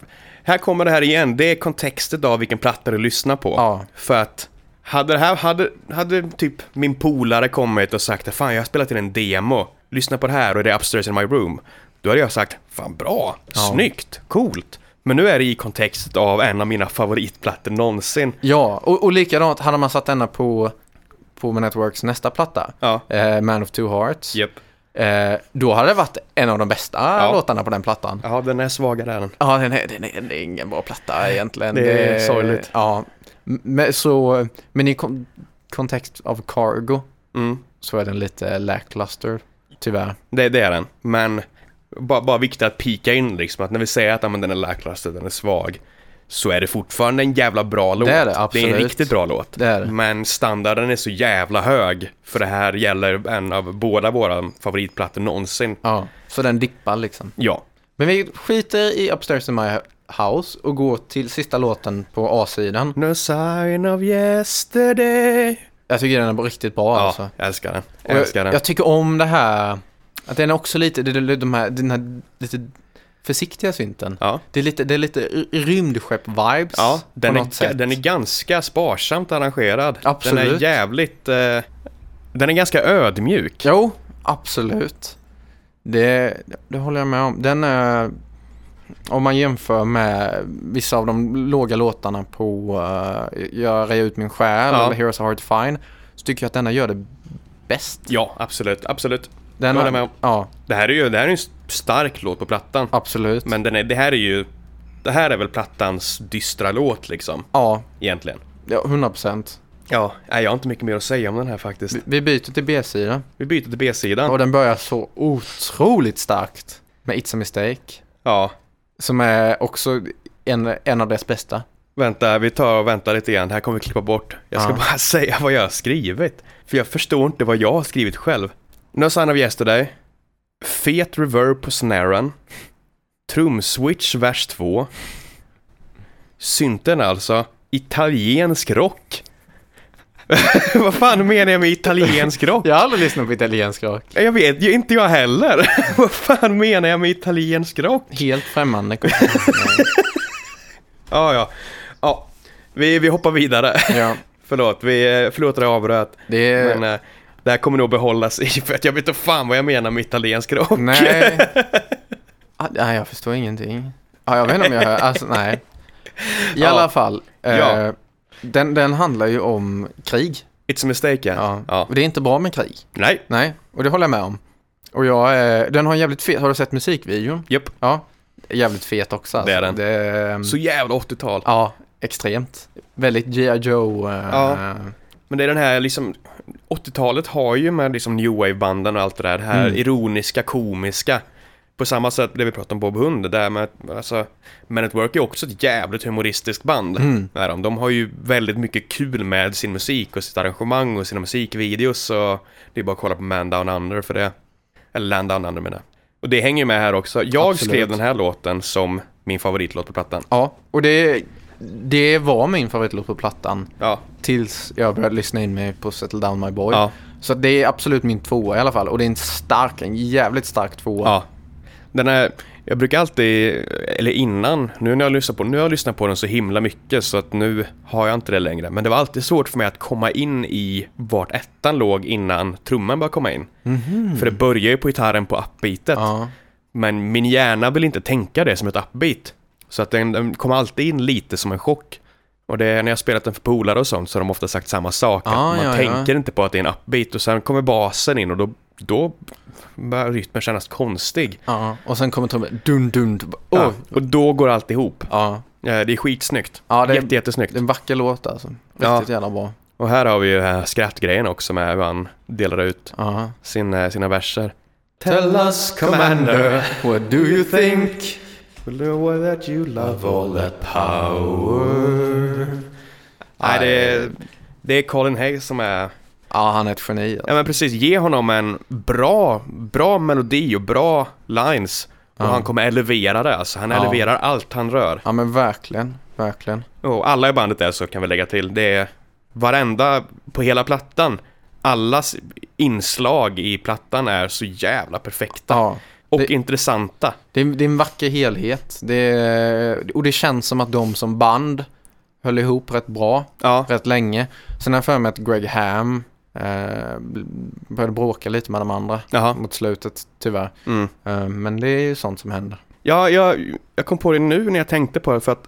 Speaker 1: här kommer det här igen. Det är kontextet av vilken platta du lyssnar på.
Speaker 2: Ja.
Speaker 1: För att hade det här, hade, hade typ min polare kommit och sagt Fan jag har spelat in en demo, lyssna på det här och det är upstairs in my room. Då hade jag sagt Fan bra, snyggt, coolt. Men nu är det i kontextet av en av mina favoritplattor någonsin.
Speaker 2: Ja, och, och likadant hade man satt denna på, på Networks nästa platta,
Speaker 1: Ja.
Speaker 2: eh, Man of Two Hearts,
Speaker 1: Japp.
Speaker 2: eh, då hade det varit en av de bästa
Speaker 1: Ja.
Speaker 2: låtarna på den plattan.
Speaker 1: Ja, den är svagare än.
Speaker 2: Ja, den är, den är, det är ingen bra platta egentligen.
Speaker 1: Det är sorgligt.
Speaker 2: Ja, M- men, så, men i kon- kontext av Cargo
Speaker 1: Mm.
Speaker 2: så är den lite lackluster, tyvärr.
Speaker 1: Det, det är den. Men bara, bara viktigt att pika in liksom att när vi säger att ja, men den är lackluster, den är svag. Så är det fortfarande en jävla bra låt.
Speaker 2: är det,
Speaker 1: Det är en
Speaker 2: absolut.
Speaker 1: riktigt bra låt.
Speaker 2: Det är det.
Speaker 1: Men standarden är så jävla hög. För det här gäller en av båda våra favoritplattor någonsin.
Speaker 2: Ja, så den dippar liksom.
Speaker 1: Ja.
Speaker 2: Men vi skiter i Upstairs in My House och går till sista låten på A-sidan.
Speaker 1: No sign of yesterday.
Speaker 2: Jag tycker den är riktigt bra
Speaker 1: Ja,
Speaker 2: alltså.
Speaker 1: jag älskar den. Jag
Speaker 2: Och
Speaker 1: älskar
Speaker 2: jag,
Speaker 1: den.
Speaker 2: jag tycker om det här, att den är också lite, det, det, de här, den här lite försiktiga synten.
Speaker 1: Ja.
Speaker 2: Det är lite, det är lite r- rymdskepp-vibes
Speaker 1: Ja, den
Speaker 2: på något
Speaker 1: är,
Speaker 2: sätt.
Speaker 1: den är ganska sparsamt arrangerad. Den är
Speaker 2: Absolut.
Speaker 1: jävligt... Eh, den är ganska ödmjuk.
Speaker 2: Jo, absolut. Det, det håller jag med om. Den är, eh, Om man jämför med vissa av de låga låtarna på eh, Jag rear ut min själ
Speaker 1: Ja.
Speaker 2: eller Here's a hard to find så tycker jag att denna gör det bäst.
Speaker 1: Ja, absolut, absolut.
Speaker 2: Den
Speaker 1: Jag håller med om.
Speaker 2: Ja,
Speaker 1: Det här är ju det här är ju en stark låt på plattan.
Speaker 2: absolut.
Speaker 1: Men den är, det här är ju... Det här är väl plattans dystra låt liksom,
Speaker 2: Ja,
Speaker 1: egentligen.
Speaker 2: ja, 100 procent.
Speaker 1: Ja, nej, jag har inte mycket mer att säga om den här faktiskt.
Speaker 2: Vi byter till B-sidan
Speaker 1: Vi byter till B-sidan.
Speaker 2: och den börjar så otroligt starkt med It's a Mistake.
Speaker 1: Ja,
Speaker 2: Som är också en, en av dess bästa.
Speaker 1: vänta, vi tar och väntar lite grann. Det här kommer vi klippa bort. Jag ska
Speaker 2: Ja.
Speaker 1: bara säga vad jag har skrivit. För jag förstår inte vad jag har skrivit själv. No Sign of Yesterday. Fet reverb på snaren. Trumswitch vers 2. Synten alltså. Italiensk rock. vad fan menar jag med italiensk rock?
Speaker 2: Jag har aldrig lyssnat på italiensk rock.
Speaker 1: Jag vet ju inte jag heller. Vad fan menar jag med italiensk rock?
Speaker 2: Helt främmande.
Speaker 1: Ja, ja. ja. Vi, vi hoppar vidare.
Speaker 2: ja,
Speaker 1: Förlåt, vi, eh, förlåt att jag avbröt.
Speaker 2: det är...
Speaker 1: Men eh, det här kommer nog behållas i, för att jag vet inte fan vad jag menar med italiensk rock.
Speaker 2: Nej. Ah, nej, jag förstår ingenting. Ah, jag vet inte om jag hör. Alltså, nej. I
Speaker 1: Ja.
Speaker 2: alla fall. Eh,
Speaker 1: Ja.
Speaker 2: den, den handlar ju om krig.
Speaker 1: It's a mistake,
Speaker 2: Ja.
Speaker 1: ja. ja.
Speaker 2: Och det är inte bra med krig.
Speaker 1: Nej,
Speaker 2: Nej, och det håller jag med om. Och jag, eh, den har en jävligt fet, har du sett musikvideon?
Speaker 1: japp.
Speaker 2: Ja, jävligt fet också. Alltså.
Speaker 1: Det är den.
Speaker 2: Det,
Speaker 1: Så jävla 80-tal.
Speaker 2: ja, extremt. Väldigt G.I. Joe. Eh,
Speaker 1: Ja. Men det är den här liksom, 80-talet har ju med liksom new wave-banden och allt det där, det här
Speaker 2: Mm.
Speaker 1: ironiska, komiska. På samma sätt det vi pratade om Bob Hund, det där med att, alltså, Men at Work är också ett jävligt humoristiskt band.
Speaker 2: Mm.
Speaker 1: Är de. de har ju väldigt mycket kul med sin musik och sitt arrangemang och sina musikvideos och det är bara att kolla på Man Down Under för det. Eller Land Down Under menar jag. Och det hänger ju med här också. Jag
Speaker 2: Absolut.
Speaker 1: skrev den här låten som min favoritlåt på plattan.
Speaker 2: ja, och det, det var min favoritlåt på plattan.
Speaker 1: Ja,
Speaker 2: Tills jag började lyssna in mig på Settle Down My Boy.
Speaker 1: Ja.
Speaker 2: Så att det är absolut min tvåa i alla fall. Och det är en stark, en jävligt stark tvåa.
Speaker 1: Ja. Den är, jag brukar alltid, eller innan, nu när jag lyssnar på nu har jag lyssnat på den så himla mycket så att nu har jag inte det längre. Men det var alltid svårt för mig att komma in i vart ettan låg innan trumman började komma in. För det börjar ju på gitarren på upbeatet.
Speaker 2: Mhm. Ja.
Speaker 1: Men min hjärna vill inte tänka det som ett upbeat. Så att den, den kommer alltid in lite som en chock. Och det är när jag spelat den för polare och sånt så har de ofta sagt samma sak. att
Speaker 2: Ah,
Speaker 1: man
Speaker 2: ja, ja.
Speaker 1: tänker inte på att det är en upbeat och sen kommer basen in och då, då börjar rytmen kännas konstig.
Speaker 2: Ja, Och sen kommer trummen. Dun, dun. dun. Åh.
Speaker 1: Ja, och då går allt ihop.
Speaker 2: Ja.
Speaker 1: Eh, Det är skitsnyggt.
Speaker 2: Ja, det-
Speaker 1: Jätte, jättesnyggt.
Speaker 2: Det är en vacker låt alltså. Riktigt jävla bra.
Speaker 1: Och här har vi ju den här skrattgrejen också med hur han delar ut
Speaker 2: Ja.
Speaker 1: sina, sina verser.
Speaker 2: Tell us, Commander, what do you think?
Speaker 1: Nej, det är, det är Colin Hayes som är...
Speaker 2: Ja, han är ett geni.
Speaker 1: Ja, men precis. Ge honom en bra, bra melodi och bra lines. Och han kommer elevera det alltså. Han
Speaker 2: Ja.
Speaker 1: eleverar allt han rör.
Speaker 2: Ja, men verkligen, verkligen.
Speaker 1: Och alla i bandet är så kan vi lägga till. Det är varenda på hela plattan. Allas inslag i plattan är så jävla perfekta
Speaker 2: Ja.
Speaker 1: och
Speaker 2: det-
Speaker 1: intressanta.
Speaker 2: Det är, det är en vacker helhet. Det är, och det känns som att de som band höll ihop rätt bra,
Speaker 1: Ja,
Speaker 2: rätt länge. Sen har jag för mig att Greg Ham eh, började bråka lite med de andra
Speaker 1: Jaha.
Speaker 2: mot slutet, tyvärr.
Speaker 1: Mm.
Speaker 2: Eh, men det är ju sånt som händer.
Speaker 1: ja jag, jag kom på det nu när jag tänkte på det för att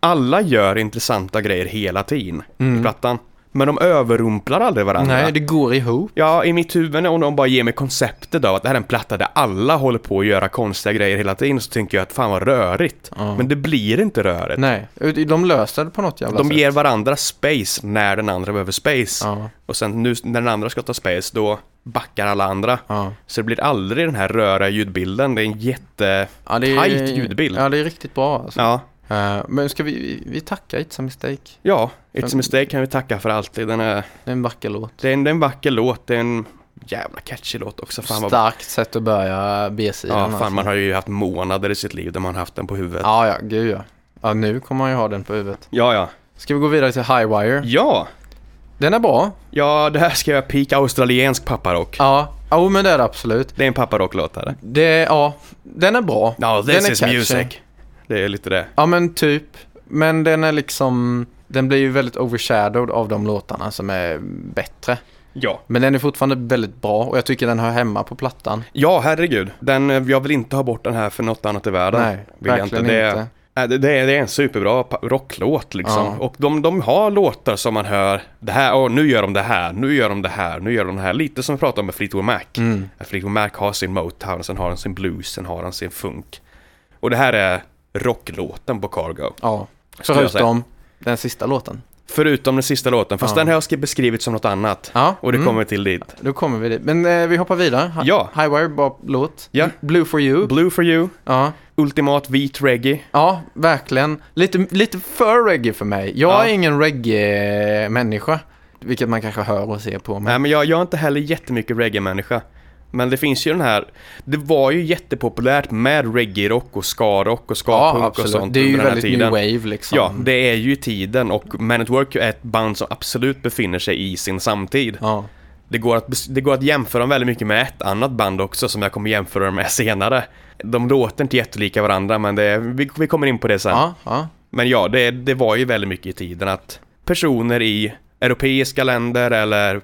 Speaker 1: alla gör intressanta grejer hela tiden i plattan. Men de överrumplar aldrig varandra.
Speaker 2: Mm. Nej, det går ihop.
Speaker 1: Ja, i mitt huvud om de bara ger mig konceptet av att det här är en platta där alla håller på att göra konstiga grejer hela tiden så tänker jag att fan vad rörigt.
Speaker 2: Ja.
Speaker 1: Men det blir inte rörigt.
Speaker 2: Nej, de löser det på något jävla
Speaker 1: De
Speaker 2: sätt.
Speaker 1: ger varandra space när den andra behöver space.
Speaker 2: Ja,
Speaker 1: Och sen nu när den andra ska ta space, då backar alla andra.
Speaker 2: ja.
Speaker 1: Så det blir aldrig den här röra ljudbilden. Det är en jätte...
Speaker 2: Ja, det är,
Speaker 1: Tight ljudbild.
Speaker 2: Ja, det är riktigt bra. Alltså.
Speaker 1: Ja,
Speaker 2: Eh, men ska vi, vi tacka It's a Mistake?
Speaker 1: ja. It's a mistake kan vi tacka för alltid. Den är,
Speaker 2: Det är en vacker låt.
Speaker 1: det är en, det är en vacker låt. Det är en jävla catchy låt också. Fan vad...
Speaker 2: Starkt sätt att börja B-sidan.
Speaker 1: Ja,
Speaker 2: alltså.
Speaker 1: fan man har ju haft månader i sitt liv där man har haft den på huvudet.
Speaker 2: ja, ja, gud ja. Ja, nu kommer man ju ha den på huvudet.
Speaker 1: Ja, ja.
Speaker 2: Ska vi gå vidare till Highwire?
Speaker 1: Ja!
Speaker 2: Den är bra.
Speaker 1: Ja, det här ska jag peak australiensk papparock.
Speaker 2: Ja, jo men det är det absolut.
Speaker 1: Det är en papparocklåt här.
Speaker 2: Det, ja, den är bra.
Speaker 1: Ja,
Speaker 2: den
Speaker 1: this is
Speaker 2: catchy.
Speaker 1: music. Det är lite det.
Speaker 2: Ja, men typ. Men den är liksom, den blir ju väldigt overshadowed av de låtarna som är bättre.
Speaker 1: Ja.
Speaker 2: Men den är fortfarande väldigt bra och jag tycker den hör hemma på plattan.
Speaker 1: Ja, herregud. Den, eh, jag vill inte ha bort den här för något annat i världen.
Speaker 2: Nej,
Speaker 1: vill jag
Speaker 2: verkligen
Speaker 1: Det är-
Speaker 2: inte.
Speaker 1: Nej, Det, det, är, det är en superbra pa- rocklåt liksom.
Speaker 2: Ja.
Speaker 1: Och de, de har låtar som man hör, det här, åh, nu gör de det här, nu gör de det här, nu gör de det här. Lite som vi pratade om med Fleetwood Mac.
Speaker 2: Mm.
Speaker 1: Att Fleetwood Mac har sin Motown, sen har han sin blues, sen har han sin funk. Och det här är rocklåten på Cargo.
Speaker 2: Ja.
Speaker 1: Skulle jag säga.
Speaker 2: Förutom den sista låten.
Speaker 1: Förutom den sista låten, fast den har jag skri- beskrivit som något annat.
Speaker 2: Ja.
Speaker 1: Och det
Speaker 2: Mm.
Speaker 1: kommer till dit.
Speaker 2: Då kommer vi dit. Men eh, vi hoppar vidare. Hi-
Speaker 1: Ja.
Speaker 2: Highwire, bra låt.
Speaker 1: Ja.
Speaker 2: Blue for you.
Speaker 1: Blue for you,
Speaker 2: ja.
Speaker 1: ultimat vit reggae.
Speaker 2: Ja, verkligen. Lite, lite för reggae för mig. Jag
Speaker 1: Ja.
Speaker 2: är ingen reggae-människa. Vilket man kanske hör och ser på mig.
Speaker 1: Nej, men jag, jag är inte heller jättemycket reggae-människa. Men det finns ju den här, det var ju jättepopulärt med reggae-rock och ska-rock och ska-punk och sånt
Speaker 2: Det är ju
Speaker 1: under den här
Speaker 2: väldigt
Speaker 1: tiden.
Speaker 2: new wave liksom.
Speaker 1: Ja, det är ju i tiden och Man at Work är ett band som absolut befinner sig i sin samtid.
Speaker 2: Ja.
Speaker 1: Det, går att, bes- det går att jämföra dem väldigt mycket med ett annat band också som jag kommer jämföra dem med senare. De låter inte jättelika varandra men det, är- vi, vi kommer in på det sen.
Speaker 2: Ja, ja.
Speaker 1: Men ja, det, det var ju väldigt mycket i tiden att personer i europeiska länder eller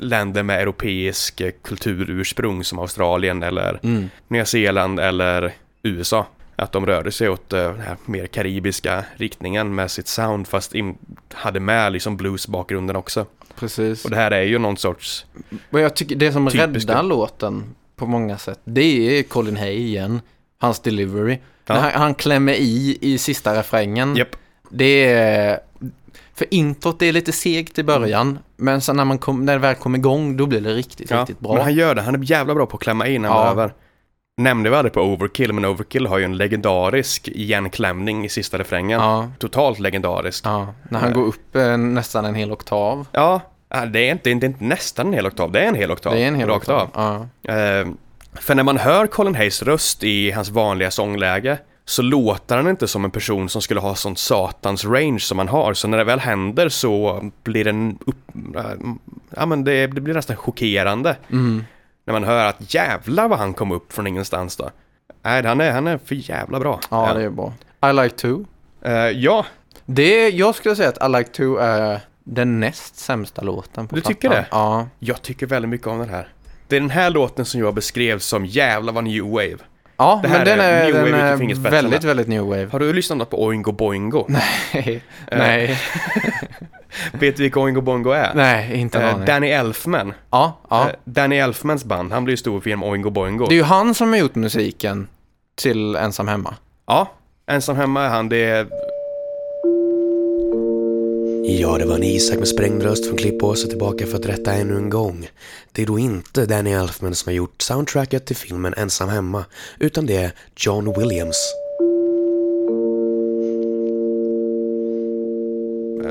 Speaker 1: länder med europeisk eh, kulturursprung som Australien eller Nya Zeeland eller USA. Att de rörde sig åt eh, den här mer karibiska riktningen med sitt sound fast in, hade med liksom bluesbakgrunden också.
Speaker 2: Precis.
Speaker 1: Och det här är ju någon sorts,
Speaker 2: Men jag tycker det som
Speaker 1: Typiskt
Speaker 2: räddar
Speaker 1: det.
Speaker 2: låten på många sätt, det är Colin Hay igen. Hans delivery.
Speaker 1: Ja.
Speaker 2: När han, han klämmer i i sista refrängen.
Speaker 1: japp,
Speaker 2: Det är... För introt det är lite segt i början, men sen när, man kom, när det väl kommer igång då blir det riktigt,
Speaker 1: ja.
Speaker 2: riktigt
Speaker 1: Men
Speaker 2: bra.
Speaker 1: han gör det, han är jävla bra på att klämma in när han
Speaker 2: Ja.
Speaker 1: behöver. Nämnde vi aldrig på Overkill, men Overkill har ju en legendarisk igenklämning i sista refrängen.
Speaker 2: Ja.
Speaker 1: Totalt legendarisk.
Speaker 2: Ja, när han går upp eh, nästan en hel oktav.
Speaker 1: Ja, äh, det är inte, det är inte nästan en hel oktav, det är en hel oktav.
Speaker 2: det är en hel
Speaker 1: rakt
Speaker 2: oktav.
Speaker 1: av.
Speaker 2: Ja.
Speaker 1: Eh, för när man hör Colin Hayes röst i hans vanliga sångläge så låter han inte som en person som skulle ha sånt satans range som han har. Så när det väl händer så blir den upp... eh, ja, men det, det blir nästan chockerande.
Speaker 2: Mm.
Speaker 1: När man hör att jävlar vad han kom upp från ingenstans då. Nej, han är, han är för jävla bra.
Speaker 2: ja, det är bra. I like to.
Speaker 1: Eh, ja,
Speaker 2: Det är, jag skulle säga att I like to är den näst sämsta låten på
Speaker 1: Du
Speaker 2: plattan.
Speaker 1: tycker det?
Speaker 2: Ja.
Speaker 1: jag tycker väldigt mycket om den här. Det är den här låten som jag beskrev som jävla vad new wave.
Speaker 2: Ja,
Speaker 1: Det här
Speaker 2: men den
Speaker 1: är
Speaker 2: är,
Speaker 1: new wave
Speaker 2: den
Speaker 1: ut i typ
Speaker 2: är
Speaker 1: fingerspetsarna.
Speaker 2: väldigt, väldigt new wave.
Speaker 1: Har du lyssnat på Oingo Boingo? Eh,
Speaker 2: Nej, nej,
Speaker 1: Vet du vilka Oingo Boingo är?
Speaker 2: nej, inte en
Speaker 1: Eh,
Speaker 2: aning.
Speaker 1: Danny Elfman.
Speaker 2: Ja, ja.
Speaker 1: Eh, Danny Elfmans band, han blev ju stor för genom Oingo Boingo.
Speaker 2: Det är ju han som har gjort musiken till Ensam Hemma.
Speaker 1: Ja, ensam hemma är han, det är...
Speaker 4: Ja, det var en Isak med sprängd röst från Klippåsen tillbaka för att rätta ännu en gång. Det är då inte Danny Elfman som har gjort soundtracket till filmen Ensam Hemma, utan det är John Williams.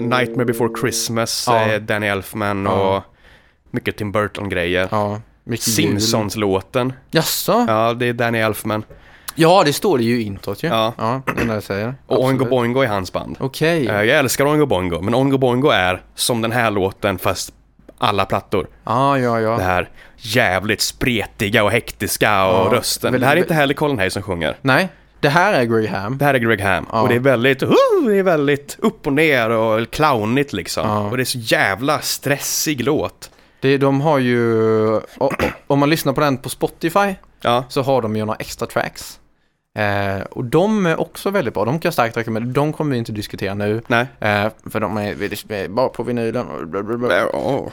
Speaker 1: Nightmare Before Christmas,
Speaker 2: Ja.
Speaker 1: eh, Danny Elfman
Speaker 2: Ja.
Speaker 1: och mycket Tim Burton-grejer.
Speaker 2: Ja, mycket jul.
Speaker 1: Simpsons-låten,
Speaker 2: Jaså? Ja.
Speaker 1: ja det är Danny Elfman.
Speaker 2: det står det ju i introt ju.
Speaker 1: Ja.
Speaker 2: ja det är det jag säger.
Speaker 1: Och Oingo
Speaker 2: Absolut.
Speaker 1: Boingo är hans band.
Speaker 2: Okej.
Speaker 1: Eh, Jag älskar Oingo Boingo, men Oingo Boingo är som den här låten fast alla plattor.
Speaker 2: Ja, ja, ja.
Speaker 1: Det här jävligt spretiga och hektiska och
Speaker 2: Ja,
Speaker 1: rösten.
Speaker 2: väldigt-
Speaker 1: det här är inte heller Colin Hay som sjunger.
Speaker 2: Nej, det här är Graham.
Speaker 1: Det här är Greg Ham och det är väldigt, "Huh!" det är väldigt upp och ner och clownigt liksom. Och det är så jävla stressig låt.
Speaker 2: Det, de har ju, o- o- om man lyssnar på den på Spotify
Speaker 1: Ja,
Speaker 2: så har de ju några extra tracks. Eh, och de är också väldigt bra, de kan jag starkt rekommendera. De kommer vi inte diskutera nu.
Speaker 1: nej.
Speaker 2: Eh, för de är, vi är bara på vinylen. och blablabla.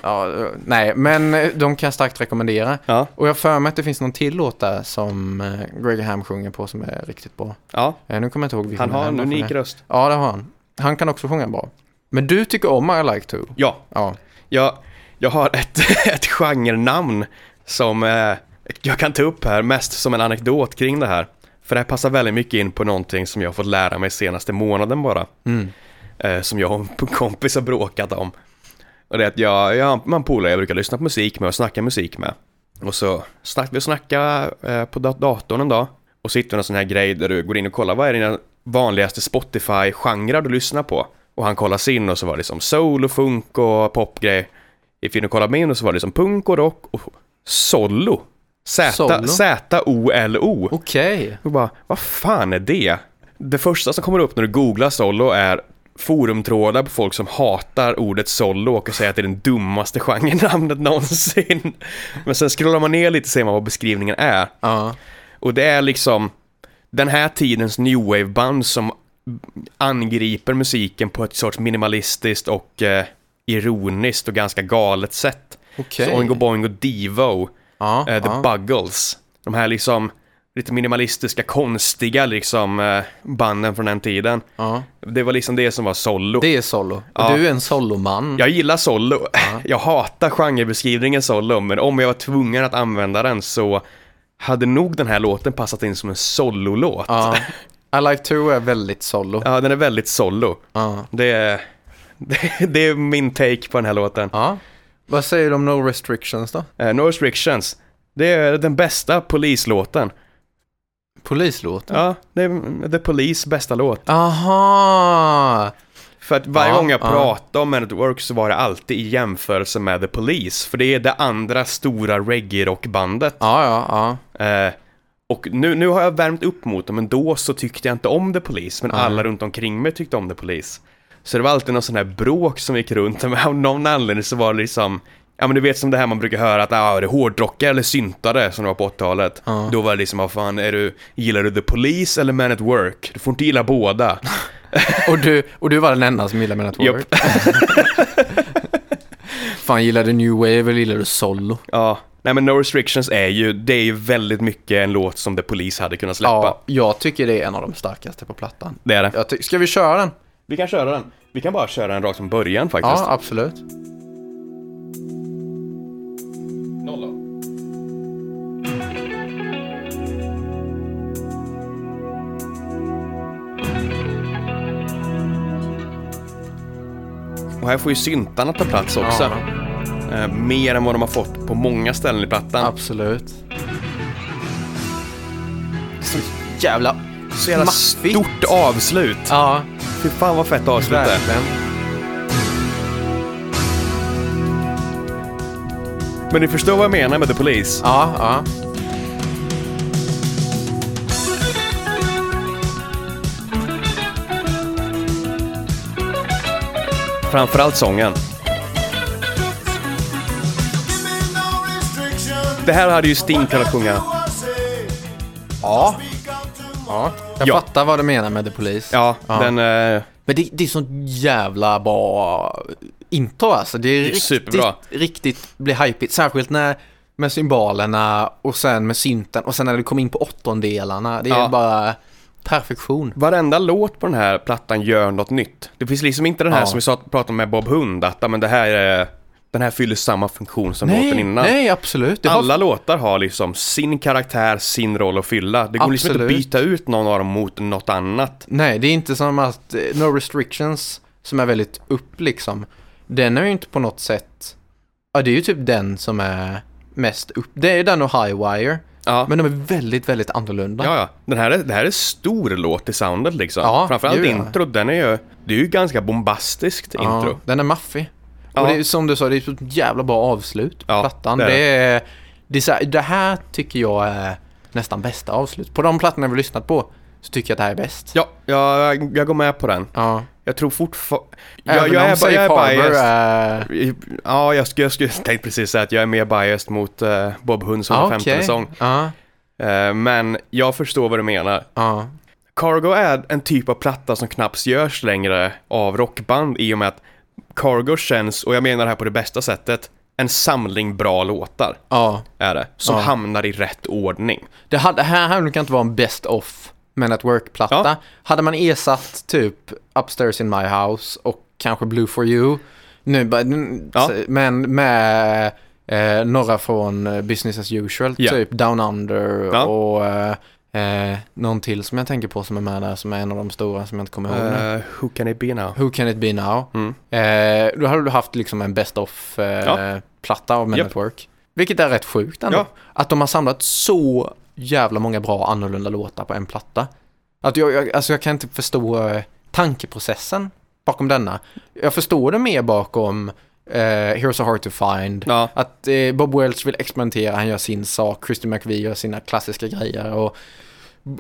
Speaker 2: Ja, eh, nej, men eh, de kan jag starkt rekommendera.
Speaker 1: Ja,
Speaker 2: Och jag har för mig att det finns någon till låt där som eh, Greg Ham sjunger på som är riktigt bra.
Speaker 1: ja.
Speaker 2: Eh, nu kommer jag inte ihåg vilken
Speaker 1: Han har
Speaker 2: det
Speaker 1: en
Speaker 2: är, men-
Speaker 1: unik röst.
Speaker 2: Ja, det har han. Han kan också sjunga bra. Men du tycker om I Like To?
Speaker 1: Ja,
Speaker 2: Ja.
Speaker 1: jag, jag har ett, ett genrenamn som eh, jag kan ta upp här mest som en anekdot kring det här. För det här passar väldigt mycket in på någonting som jag har fått lära mig senaste månaden bara. Eh, som jag och en kompis har bråkat om. Och det är att jag, jag har en polare jag brukar lyssna på musik med och snacka musik med. Och så snack, vi snackar eh, på dat- datorn en dag. Och så hittar vi en sån här grej där du går in och kollar vad är dina vanligaste Spotify-genrer du lyssnar på. Och han kollar sin och så var det liksom soul och funk och popgrej. If you kollar min och så var det liksom punk och rock och solo.
Speaker 2: Solo?
Speaker 1: Z- Z-O-L-O.
Speaker 2: Okej.
Speaker 1: Och bara, vad fan är det? Det första som kommer upp när du googlar solo är forumtrådar på folk som hatar ordet sollåk och säger att det är den dummaste genrenamnet någonsin. Men sen scrollar man ner lite och ser man vad beskrivningen är.
Speaker 2: Ja.
Speaker 1: Och det är liksom den här tidens new wave-band som angriper musiken på ett sorts minimalistiskt och eh, ironiskt och ganska galet sätt.
Speaker 2: Okej.
Speaker 1: Så Oingo Boingo Devo,
Speaker 2: Ja,
Speaker 1: eh, The
Speaker 2: ja.
Speaker 1: Buggles, de här liksom lite minimalistiska, konstiga liksom eh, banden från den tiden.
Speaker 2: ja.
Speaker 1: Det var liksom det som var solo.
Speaker 2: Det är solo. Och
Speaker 1: Ja.
Speaker 2: du är en soloman.
Speaker 1: Jag gillar solo. Jag hatar genrebeskrivningen solo, men om jag var tvungen att använda den så hade nog den här låten passat in som en sololåt.
Speaker 2: Ja. I like to är väldigt solo.
Speaker 1: Ja, den är väldigt solo.
Speaker 2: Ja.
Speaker 1: Det är, det, det är min take på den här låten.
Speaker 2: ja. Vad säger du om No Restrictions då?
Speaker 1: Eh, no restrictions. Det är den bästa polislåten.
Speaker 2: Polislåten?
Speaker 1: Ja, det är The Police bästa låt.
Speaker 2: Aha!
Speaker 1: För att varje
Speaker 2: Ja,
Speaker 1: gång jag
Speaker 2: ja.
Speaker 1: pratade om Man at Work så var det alltid i jämförelse med The Police. För det är det andra stora reggae-rockbandet.
Speaker 2: Ja, ja, ja.
Speaker 1: Eh, och nu, nu har jag värmt upp mot dem, men då så tyckte jag inte om The Police, men alla runt omkring mig tyckte om The Police. Så det var alltid någon sån här bråk som gick runt, men av någon anledning så var det liksom, ja men du vet som det här man brukar höra att ah, är det hårdrockare eller syntare som det var på 80-talet. Då var det liksom, vad fan, är du, gillar du The Police eller Man at Work? Du får inte gilla båda.
Speaker 2: Och du, och du var den enda som gillade mina
Speaker 1: Japp.
Speaker 2: Work. Fan, gillar du New Wave eller gillar du solo?
Speaker 1: ja, nej men No Restrictions är ju, det är ju väldigt mycket en låt som The Police hade kunnat släppa.
Speaker 2: Ja, jag tycker det är en av de starkaste på plattan.
Speaker 1: Det är det.
Speaker 2: Jag ty- Ska vi köra den?
Speaker 1: Vi kan köra den. Vi kan bara köra den rakt från början faktiskt.
Speaker 2: Ja, absolut.
Speaker 1: Och här får ju syntarna ta plats också. Eh, mer än vad de har fått på många ställen i plattan.
Speaker 2: Absolut. Så jävla...
Speaker 1: Så jävla
Speaker 2: maffigt.
Speaker 1: stort avslut.
Speaker 2: Ja,
Speaker 1: Fy fan vad fett avslut det är.
Speaker 2: verkligen.
Speaker 1: Men ni förstår vad jag menar med The Police.
Speaker 2: Ja, ja.
Speaker 1: Framförallt sången. Det här hade ju Sting kunnat sjunga.
Speaker 2: Ja. ja. Jag
Speaker 1: Ja.
Speaker 2: fattar vad du menar med The Police.
Speaker 1: Ja, den... Eh,
Speaker 2: Men det, det är så jävla bra intro alltså. Det är, riktigt,
Speaker 1: superbra.
Speaker 2: riktigt blir hypigt. Särskilt när med symbolerna och sen med synten och sen när du kommer in på åttondelarna. Det är
Speaker 1: Ja.
Speaker 2: bara perfektion.
Speaker 1: varenda låt på den här plattan gör något nytt. Det finns liksom inte den här
Speaker 2: Ja.
Speaker 1: som vi sa- pratade om med Bob Hund, att ja, men det här är... Den här fyller samma funktion som låten innan.
Speaker 2: nej, absolut. Det var-
Speaker 1: Alla låtar har liksom sin karaktär, sin roll att fylla. Det går liksom inte att
Speaker 2: Absolut.
Speaker 1: byta ut någon av dem mot något annat.
Speaker 2: Nej, det är inte som att eh, No Restrictions, som är väldigt upp liksom, den är ju inte på något sätt, ja det är ju typ den som är mest upp, det är ju den och Highwire,
Speaker 1: Ja.
Speaker 2: men de är väldigt, väldigt annorlunda.
Speaker 1: Ja, ja. Den här, är- det här är stor låt i soundet liksom.
Speaker 2: Ja,
Speaker 1: Framförallt
Speaker 2: det är det.
Speaker 1: introt, den är ju... Det är ju ganska bombastiskt
Speaker 2: Ja,
Speaker 1: intro.
Speaker 2: Den är maffig.
Speaker 1: Ja.
Speaker 2: Och det är, som du sa, det är ett jävla bra avslut på
Speaker 1: Ja,
Speaker 2: plattan.
Speaker 1: det
Speaker 2: Det
Speaker 1: är
Speaker 2: är,
Speaker 1: det.
Speaker 2: det, är, så här, det här tycker jag är nästan bästa avslut. På de plattorna vi lyssnat på så tycker jag att det här är bäst.
Speaker 1: Ja, jag, jag går med på den.
Speaker 2: Ja.
Speaker 1: Jag tror fortfarande...
Speaker 2: Även
Speaker 1: Jag, jag, är,
Speaker 2: om
Speaker 1: ba- jag
Speaker 2: Safe
Speaker 1: är
Speaker 2: Harbor
Speaker 1: biased.
Speaker 2: är...
Speaker 1: Ja, jag, sk- jag, sk- jag tänkte precis säga att jag är mer biased mot eh, Bob Hunds
Speaker 2: Ja,
Speaker 1: 115
Speaker 2: Ah, okej.
Speaker 1: sång.
Speaker 2: Ja,
Speaker 1: Eh, men jag förstår vad du menar.
Speaker 2: ja.
Speaker 1: Cargo är en typ av platta som knappt görs längre av rockband i och med att Cargo känns, och jag menar det här på det bästa sättet, en samling bra låtar
Speaker 2: ja.
Speaker 1: är det, som
Speaker 2: Ja.
Speaker 1: hamnar i rätt ordning.
Speaker 2: Det hade, här hade det inte vara en best of men at work-platta.
Speaker 1: Ja.
Speaker 2: Hade man ersatt typ Upstairs in my house och kanske Blue for you, nu, bara- n-
Speaker 1: Ja.
Speaker 2: s- men med eh, några från eh, Business as usual,
Speaker 1: Ja.
Speaker 2: typ Down Under
Speaker 1: Ja.
Speaker 2: och eh, eh, någon till som jag tänker på som är med där, som är en av de stora som jag inte kommer ihåg nu.
Speaker 1: Eh, who can it be now?
Speaker 2: Who can it be now?
Speaker 1: Mm.
Speaker 2: Eh, då hade du haft liksom en best
Speaker 1: Ja.
Speaker 2: of-platta av Men
Speaker 1: Japp.
Speaker 2: at Work. Vilket är rätt sjukt ändå.
Speaker 1: Ja.
Speaker 2: Att de har samlat så jävla många bra annorlunda låtar på en platta. Att jag, jag, alltså jag kan inte förstå eh, tankeprocessen bakom denna. Jag förstår det mer bakom eh, Here's a hard to find.
Speaker 1: Ja.
Speaker 2: Att eh, Bob Welch vill experimentera, han gör sin sak, Christy McVie gör sina klassiska grejer och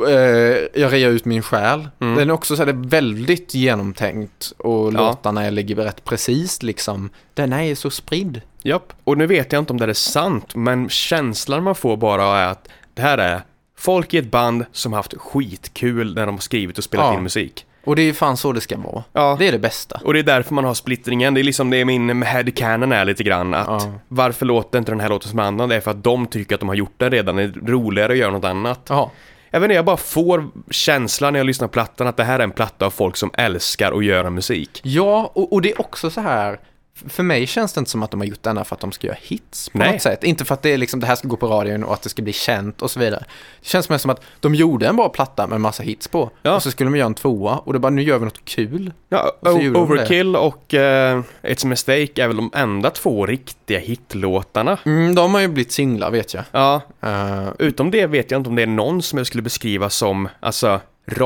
Speaker 2: eh, jag rear ut min själ.
Speaker 1: Mm.
Speaker 2: Den är också så här, det är väldigt genomtänkt och låtarna ligger rätt precis liksom. Den här är så spridd.
Speaker 1: Japp. Och nu vet jag inte om det här är sant, men känslan man får bara är att det här är folk i ett band som haft skitkul när de har skrivit och spelat
Speaker 2: Ja.
Speaker 1: in musik.
Speaker 2: Och det är fan så det ska vara.
Speaker 1: Ja.
Speaker 2: Det är det bästa.
Speaker 1: Och det är därför man har splittringen, det är liksom det min headcanon är lite grann att
Speaker 2: Ja.
Speaker 1: varför låter inte den här låten som en annan? Det är för att de tycker att de har gjort den redan, det är roligare att göra något annat.
Speaker 2: Ja.
Speaker 1: Jag vet inte, jag bara får känslan när jag lyssnar på plattan att det här är en platta av folk som älskar att göra musik.
Speaker 2: Ja, och, och det är också så här. f- För mig känns det inte som att de har gjort denna för att de ska göra hits på
Speaker 1: Nej.
Speaker 2: något sätt. Inte för att det, är liksom, det här ska gå på radion och att det ska bli känt och så vidare. Det känns mer som att de gjorde en bra platta med massa hits på.
Speaker 1: Ja.
Speaker 2: Och så skulle de göra en tvåa och då bara, nu gör vi något kul.
Speaker 1: Ja,
Speaker 2: Och så
Speaker 1: O-
Speaker 2: gjorde de det.
Speaker 1: Overkill och eh, It's a Mistake är väl de enda två riktiga hitlåtarna.
Speaker 2: Mm, de har ju blivit singlar vet jag.
Speaker 1: Ja,
Speaker 2: Eh,
Speaker 1: utom det vet jag inte om det är någon som jag skulle beskriva som, alltså,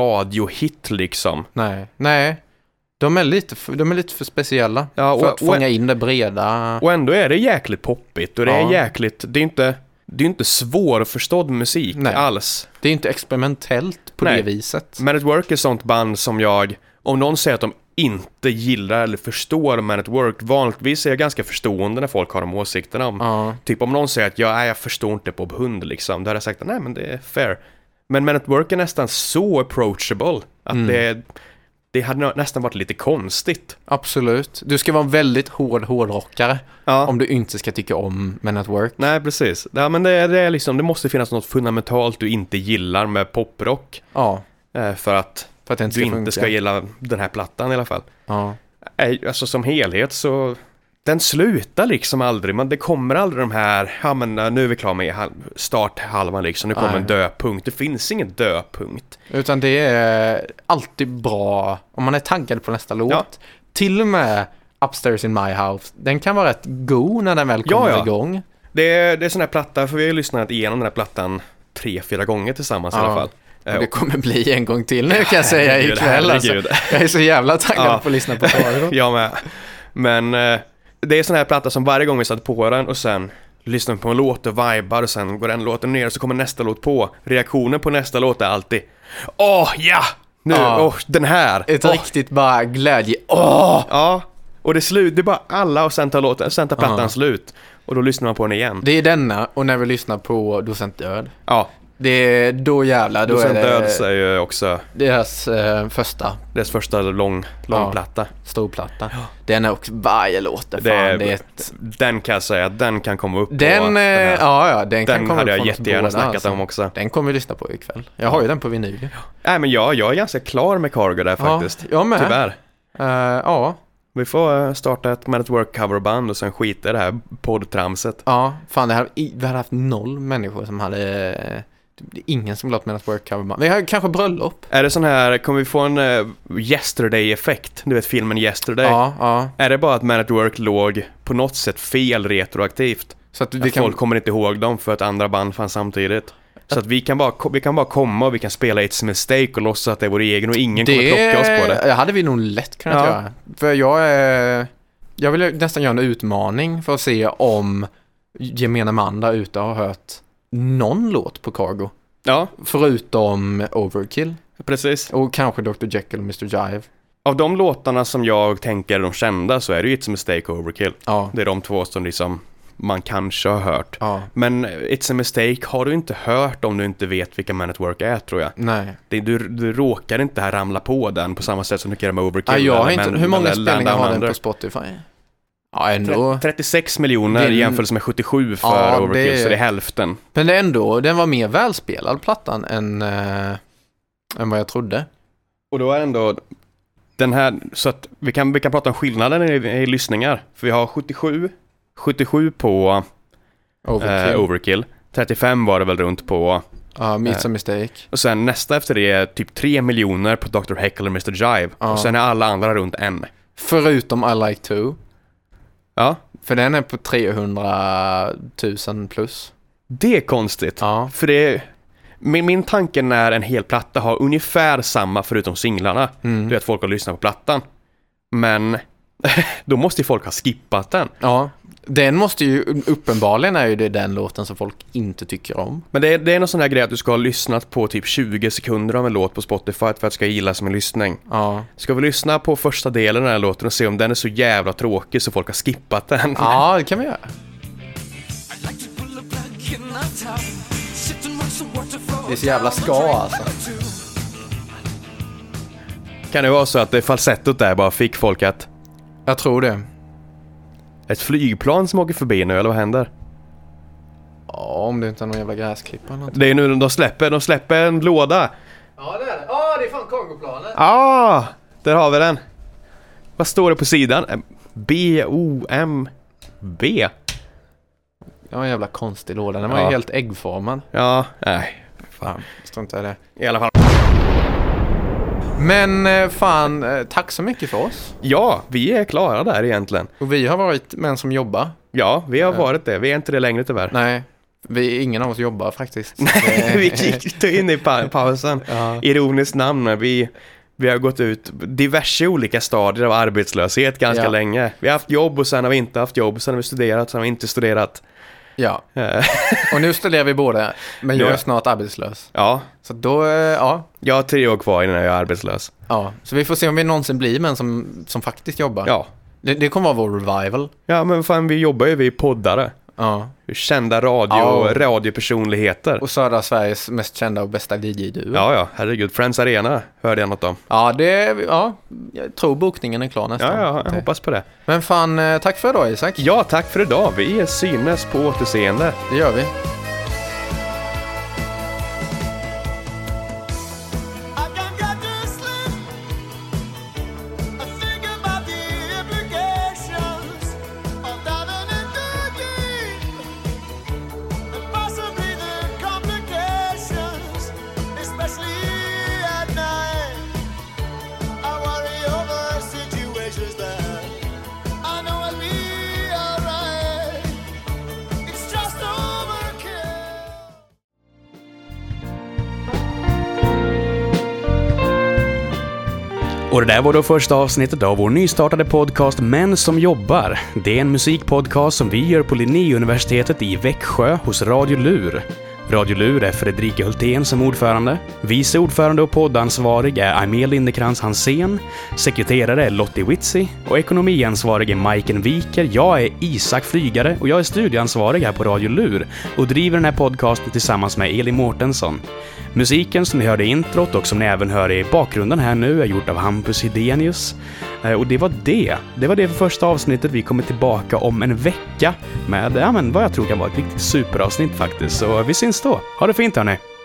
Speaker 1: radiohit liksom.
Speaker 2: nej, nej. De är lite för, de är lite för speciella
Speaker 1: Ja,
Speaker 2: för
Speaker 1: och-
Speaker 2: att fånga in det breda.
Speaker 1: Och ändå är det jäkligt poppigt och det är
Speaker 2: Ja.
Speaker 1: jäkligt, det är inte, det är inte svårförstådd musik
Speaker 2: Nej.
Speaker 1: alls.
Speaker 2: Det är inte experimentellt på
Speaker 1: Nej.
Speaker 2: det viset.
Speaker 1: Man at Work är ett sånt band som jag, om någon säger att de inte gillar eller förstår Man at Work, vanligtvis är jag ganska förstående när folk har de åsikterna om.
Speaker 2: Ja.
Speaker 1: Typ om någon säger att jag, nej, jag förstår inte på hund liksom, då hade jag sagt nej men det är fair. Men Man at Work är nästan så approachable att det, det hade nä- nästan varit lite konstigt.
Speaker 2: Absolut. Du ska vara en väldigt hård hårdrockare
Speaker 1: Ja.
Speaker 2: om du inte ska tycka om Men at Work.
Speaker 1: Nej, precis. Ja, men det, det är liksom, det måste finnas något fundamentalt du inte gillar med poprock
Speaker 2: Ja,
Speaker 1: eh, för att
Speaker 2: för att det inte
Speaker 1: du
Speaker 2: ska
Speaker 1: inte
Speaker 2: funka.
Speaker 1: ska gilla den här plattan i alla fall.
Speaker 2: Ja.
Speaker 1: Nej, Alltså som helhet så, den slutar liksom aldrig, men det kommer aldrig de här, ja men eh, nu är vi klara med hal- starthalvan liksom, nu kommer
Speaker 2: Nej.
Speaker 1: en döpunkt. Det finns ingen döpunkt.
Speaker 2: Utan det är alltid bra om man är taggad på nästa låt.
Speaker 1: Ja.
Speaker 2: Till och med Upstairs in my house, den kan vara rätt god när den väl kommer
Speaker 1: Ja, ja.
Speaker 2: igång.
Speaker 1: Det är, det är sån här platta, för vi har ju lyssnat igenom den här plattan tre, fyra gånger tillsammans i
Speaker 2: Ja.
Speaker 1: alla fall. Eh,
Speaker 2: Och det kommer bli en gång till nu kan jag säga
Speaker 1: Herregud,
Speaker 2: ikväll. Alltså.
Speaker 1: herregud.
Speaker 2: Jag är så jävla taggad
Speaker 1: Ja.
Speaker 2: på att lyssna på radion.
Speaker 1: Jag med. Men eh, det är sån här platta som varje gång vi satt på den och sen lyssnar vi på en låt och vibar och sen går den låten ner och så kommer nästa låt på. Reaktionen på nästa låt är alltid Åh ja! Nu,
Speaker 2: Ja.
Speaker 1: åh den här!
Speaker 2: Ett
Speaker 1: Åh,
Speaker 2: riktigt bara glädje. Åh!
Speaker 1: Ja, och det är slut, det är bara alla och sen tar, låten, sen tar plattan
Speaker 2: Ja.
Speaker 1: slut. Och då lyssnar man på den igen.
Speaker 2: Det är denna och när vi lyssnar på Docent Död.
Speaker 1: Ja,
Speaker 2: Det är då jävlar, då
Speaker 1: och sen
Speaker 2: är det
Speaker 1: Döds är ju också
Speaker 2: deras eh, första
Speaker 1: deras första lång,
Speaker 2: Ja.
Speaker 1: långplatta.
Speaker 2: storplatta. Den är också, varje låt är fan,
Speaker 1: Det,
Speaker 2: det är, ett
Speaker 1: Den kan jag säga, att den kan komma upp på
Speaker 2: Den,
Speaker 1: den
Speaker 2: eh,
Speaker 1: här.
Speaker 2: ja, ja, den,
Speaker 1: den
Speaker 2: kan komma
Speaker 1: hade
Speaker 2: upp
Speaker 1: jag
Speaker 2: från oss
Speaker 1: jättegärna
Speaker 2: båda, alltså.
Speaker 1: snackat om också.
Speaker 2: Den kommer vi lyssna på ikväll. Jag har ju den på vinyl.
Speaker 1: Nej men jag, jag är ganska klar med Cargo där faktiskt.
Speaker 2: jag med.
Speaker 1: Tyvärr.
Speaker 2: Eh, ja,
Speaker 1: Vi får eh, starta ett Man at Work coverband och sen skita i det här poddtramset.
Speaker 2: ja, fan det här, i- vi hade haft noll människor som hade, eh, det är ingen som låt menas work cover band. Vi har kanske bröllop.
Speaker 1: Är det sån här, kommer vi få en eh, yesterday-effekt? Du vet filmen Yesterday?
Speaker 2: Ja, ja.
Speaker 1: Är det bara att Man at Work låg på något sätt fel retroaktivt?
Speaker 2: Så att vi
Speaker 1: Att
Speaker 2: kan,
Speaker 1: Folk kommer inte ihåg dem för att andra band fanns samtidigt. Så att vi kan, bara, ko- vi kan bara komma och vi kan spela It's a Mistake och låtsas att det är vår egen och ingen kommer plocka oss på det.
Speaker 2: hade vi nog lätt kunnat
Speaker 1: Ja.
Speaker 2: göra. För jag är, jag vill nästan göra en utmaning för att se om gemene man där ute har hört någon låt på Cargo.
Speaker 1: Ja,
Speaker 2: Förutom Overkill.
Speaker 1: precis.
Speaker 2: Och kanske Dr. Jekyll och Mr. Jive.
Speaker 1: Av de låtarna som jag tänker är de kända så är det ju It's a Mistake och Overkill.
Speaker 2: Ja.
Speaker 1: Det är de två som liksom man kanske har hört.
Speaker 2: Ja.
Speaker 1: Men It's a Mistake har du inte hört om du inte vet vilka Man at Work är tror jag.
Speaker 2: Nej.
Speaker 1: Det, du, du råkar inte här ramla på den på samma sätt som du kan göra med Overkill.
Speaker 2: Ja, jag har
Speaker 1: eller
Speaker 2: inte,
Speaker 1: Man-
Speaker 2: hur många
Speaker 1: eller
Speaker 2: spelningar
Speaker 1: Land
Speaker 2: har
Speaker 1: Down
Speaker 2: den
Speaker 1: Under.
Speaker 2: på Spotify? Ja, ändå.
Speaker 1: Tre- 36 miljoner
Speaker 2: Det
Speaker 1: i
Speaker 2: är-
Speaker 1: jämförelse med 77 för
Speaker 2: Ja,
Speaker 1: Overkill,
Speaker 2: det-
Speaker 1: så det är hälften.
Speaker 2: Men det är ändå, den var mer välspelad plattan än, eh, än vad jag trodde.
Speaker 1: Och då är ändå den här, så att vi kan, vi kan prata om skillnaden i, i lyssningar. För vi har 77, 77 på
Speaker 2: Overkill.
Speaker 1: Overkill. Eh, overkill. 35 var det väl runt på.
Speaker 2: ja, It's a Mistake.
Speaker 1: Och sen nästa efter det är typ 3 miljoner på Dr. Heckle och Mr. Jive.
Speaker 2: Ja.
Speaker 1: Och sen är alla andra runt en.
Speaker 2: Förutom I Like To.
Speaker 1: Ja,
Speaker 2: För den är på 300 000 plus.
Speaker 1: det är konstigt.
Speaker 2: Ja.
Speaker 1: För det min, min tanke när en hel platta har ungefär samma förutom singlarna,
Speaker 2: Mm.
Speaker 1: det är att folk har lyssnat på plattan. Men då måste ju folk ha skippat den.
Speaker 2: Ja. Den måste ju, uppenbarligen är ju det den låten som folk inte tycker om.
Speaker 1: Men det är, det är någon sån här grej att du ska ha lyssnat på typ 20 sekunder av en låt på Spotify för att det ska gillas som en lyssning.
Speaker 2: Ja.
Speaker 1: Ska vi lyssna på första delen av den här låten och se om den är så jävla tråkig så folk har skippat den?
Speaker 2: Ja, det kan vi göra.
Speaker 5: I'd like to pull a plug in our top, sit and watch the water
Speaker 2: Det är så jävla ska alltså.
Speaker 1: Kan det vara så att det falsettot där bara fick folk att
Speaker 2: Jag tror det.
Speaker 1: ett flygplan som åker förbi nu eller vad händer?
Speaker 2: Ja, om det inte är någon jävla gräsklippa eller något.
Speaker 1: Det är nu de släpper, de släpper en låda.
Speaker 2: Ja, det är det. Ja, det är fan Kongoplanet.
Speaker 1: Ah, där har vi den. Vad står det på sidan? Eh, B-O-M-B?
Speaker 2: Ja, en jävla konstig låda. Den var
Speaker 1: Ja.
Speaker 2: ju helt äggformad.
Speaker 1: Ja, nej.
Speaker 2: Fan, strunta i det.
Speaker 1: I alla fall.
Speaker 2: Men eh, fan, eh, tack så mycket för oss.
Speaker 1: Ja, vi är klara där egentligen.
Speaker 2: Och vi har varit män som jobbar.
Speaker 1: Ja, vi har varit det. Vi är inte det längre tyvärr.
Speaker 2: Nej, vi, ingen av oss jobbar faktiskt. eh,
Speaker 1: vi gick in i pa- pausen.
Speaker 2: Ja.
Speaker 1: Ironiskt namn, vi, vi har gått ut diverse olika stadier av arbetslöshet ganska
Speaker 2: Ja.
Speaker 1: länge. Vi har haft jobb och sen har vi inte haft jobb, sen har vi studerat, sen har vi inte studerat.
Speaker 2: Ja,
Speaker 1: Eh,
Speaker 2: och nu studerar vi båda. Men jag
Speaker 1: Ja.
Speaker 2: är snart arbetslös.
Speaker 1: Ja,
Speaker 2: Så då, eh, ja.
Speaker 1: jag har tre år kvar innan jag är arbetslös.
Speaker 2: ja. Så vi får se om vi någonsin blir män som, som faktiskt jobbar.
Speaker 1: Ja,
Speaker 2: Det, det kommer vara vår revival.
Speaker 1: ja men fan vi jobbar ju, vi är poddare.
Speaker 2: Ja.
Speaker 1: Kända radio,
Speaker 2: Ja.
Speaker 1: radiopersonligheter.
Speaker 2: Och södra Sveriges mest kända och bästa DJ-duo.
Speaker 1: Ja, ja, herregud. Friends Arena hörde jag något om.
Speaker 2: Ja, det, ja, jag tror bokningen är klar nästan.
Speaker 1: Ja, ja, jag hoppas på det.
Speaker 2: Men fan, eh, tack för idag Isak.
Speaker 1: Ja, tack för idag. Vi är synes på återseende.
Speaker 2: Det gör vi.
Speaker 5: I can't get to sleep. I think about the implications of diving into deep, and possibly the complications, especially at night. I worry over situations that I know will be alright. It's just overkill.
Speaker 4: Och det där var då första avsnittet av vår nystartade podcast Män som jobbar. Det är en musikpodcast som vi gör på Linnéuniversitetet i Växjö hos Radio Lur. Radio Lur är Fredrika Hultén som ordförande. Vice ordförande och poddansvarig är Aimee Lindekrans Hansén. Sekreterare är Lottie Witsi och ekonomiansvarig är Majken Wiker. Jag är Isak Flygare och jag är studieansvarig här på Radio Lur och driver den här podcasten tillsammans med Elin Mårtensson. Musiken som ni hörde i introt och som ni även hör i bakgrunden här nu är gjort av Hampus Hedenius. Eh, Och det var det. Det var det för första avsnittet. Vi kommer tillbaka om en vecka med ja, men vad jag tror kan vara ett riktigt superavsnitt faktiskt. Så vi syns då. Ha det fint hörni!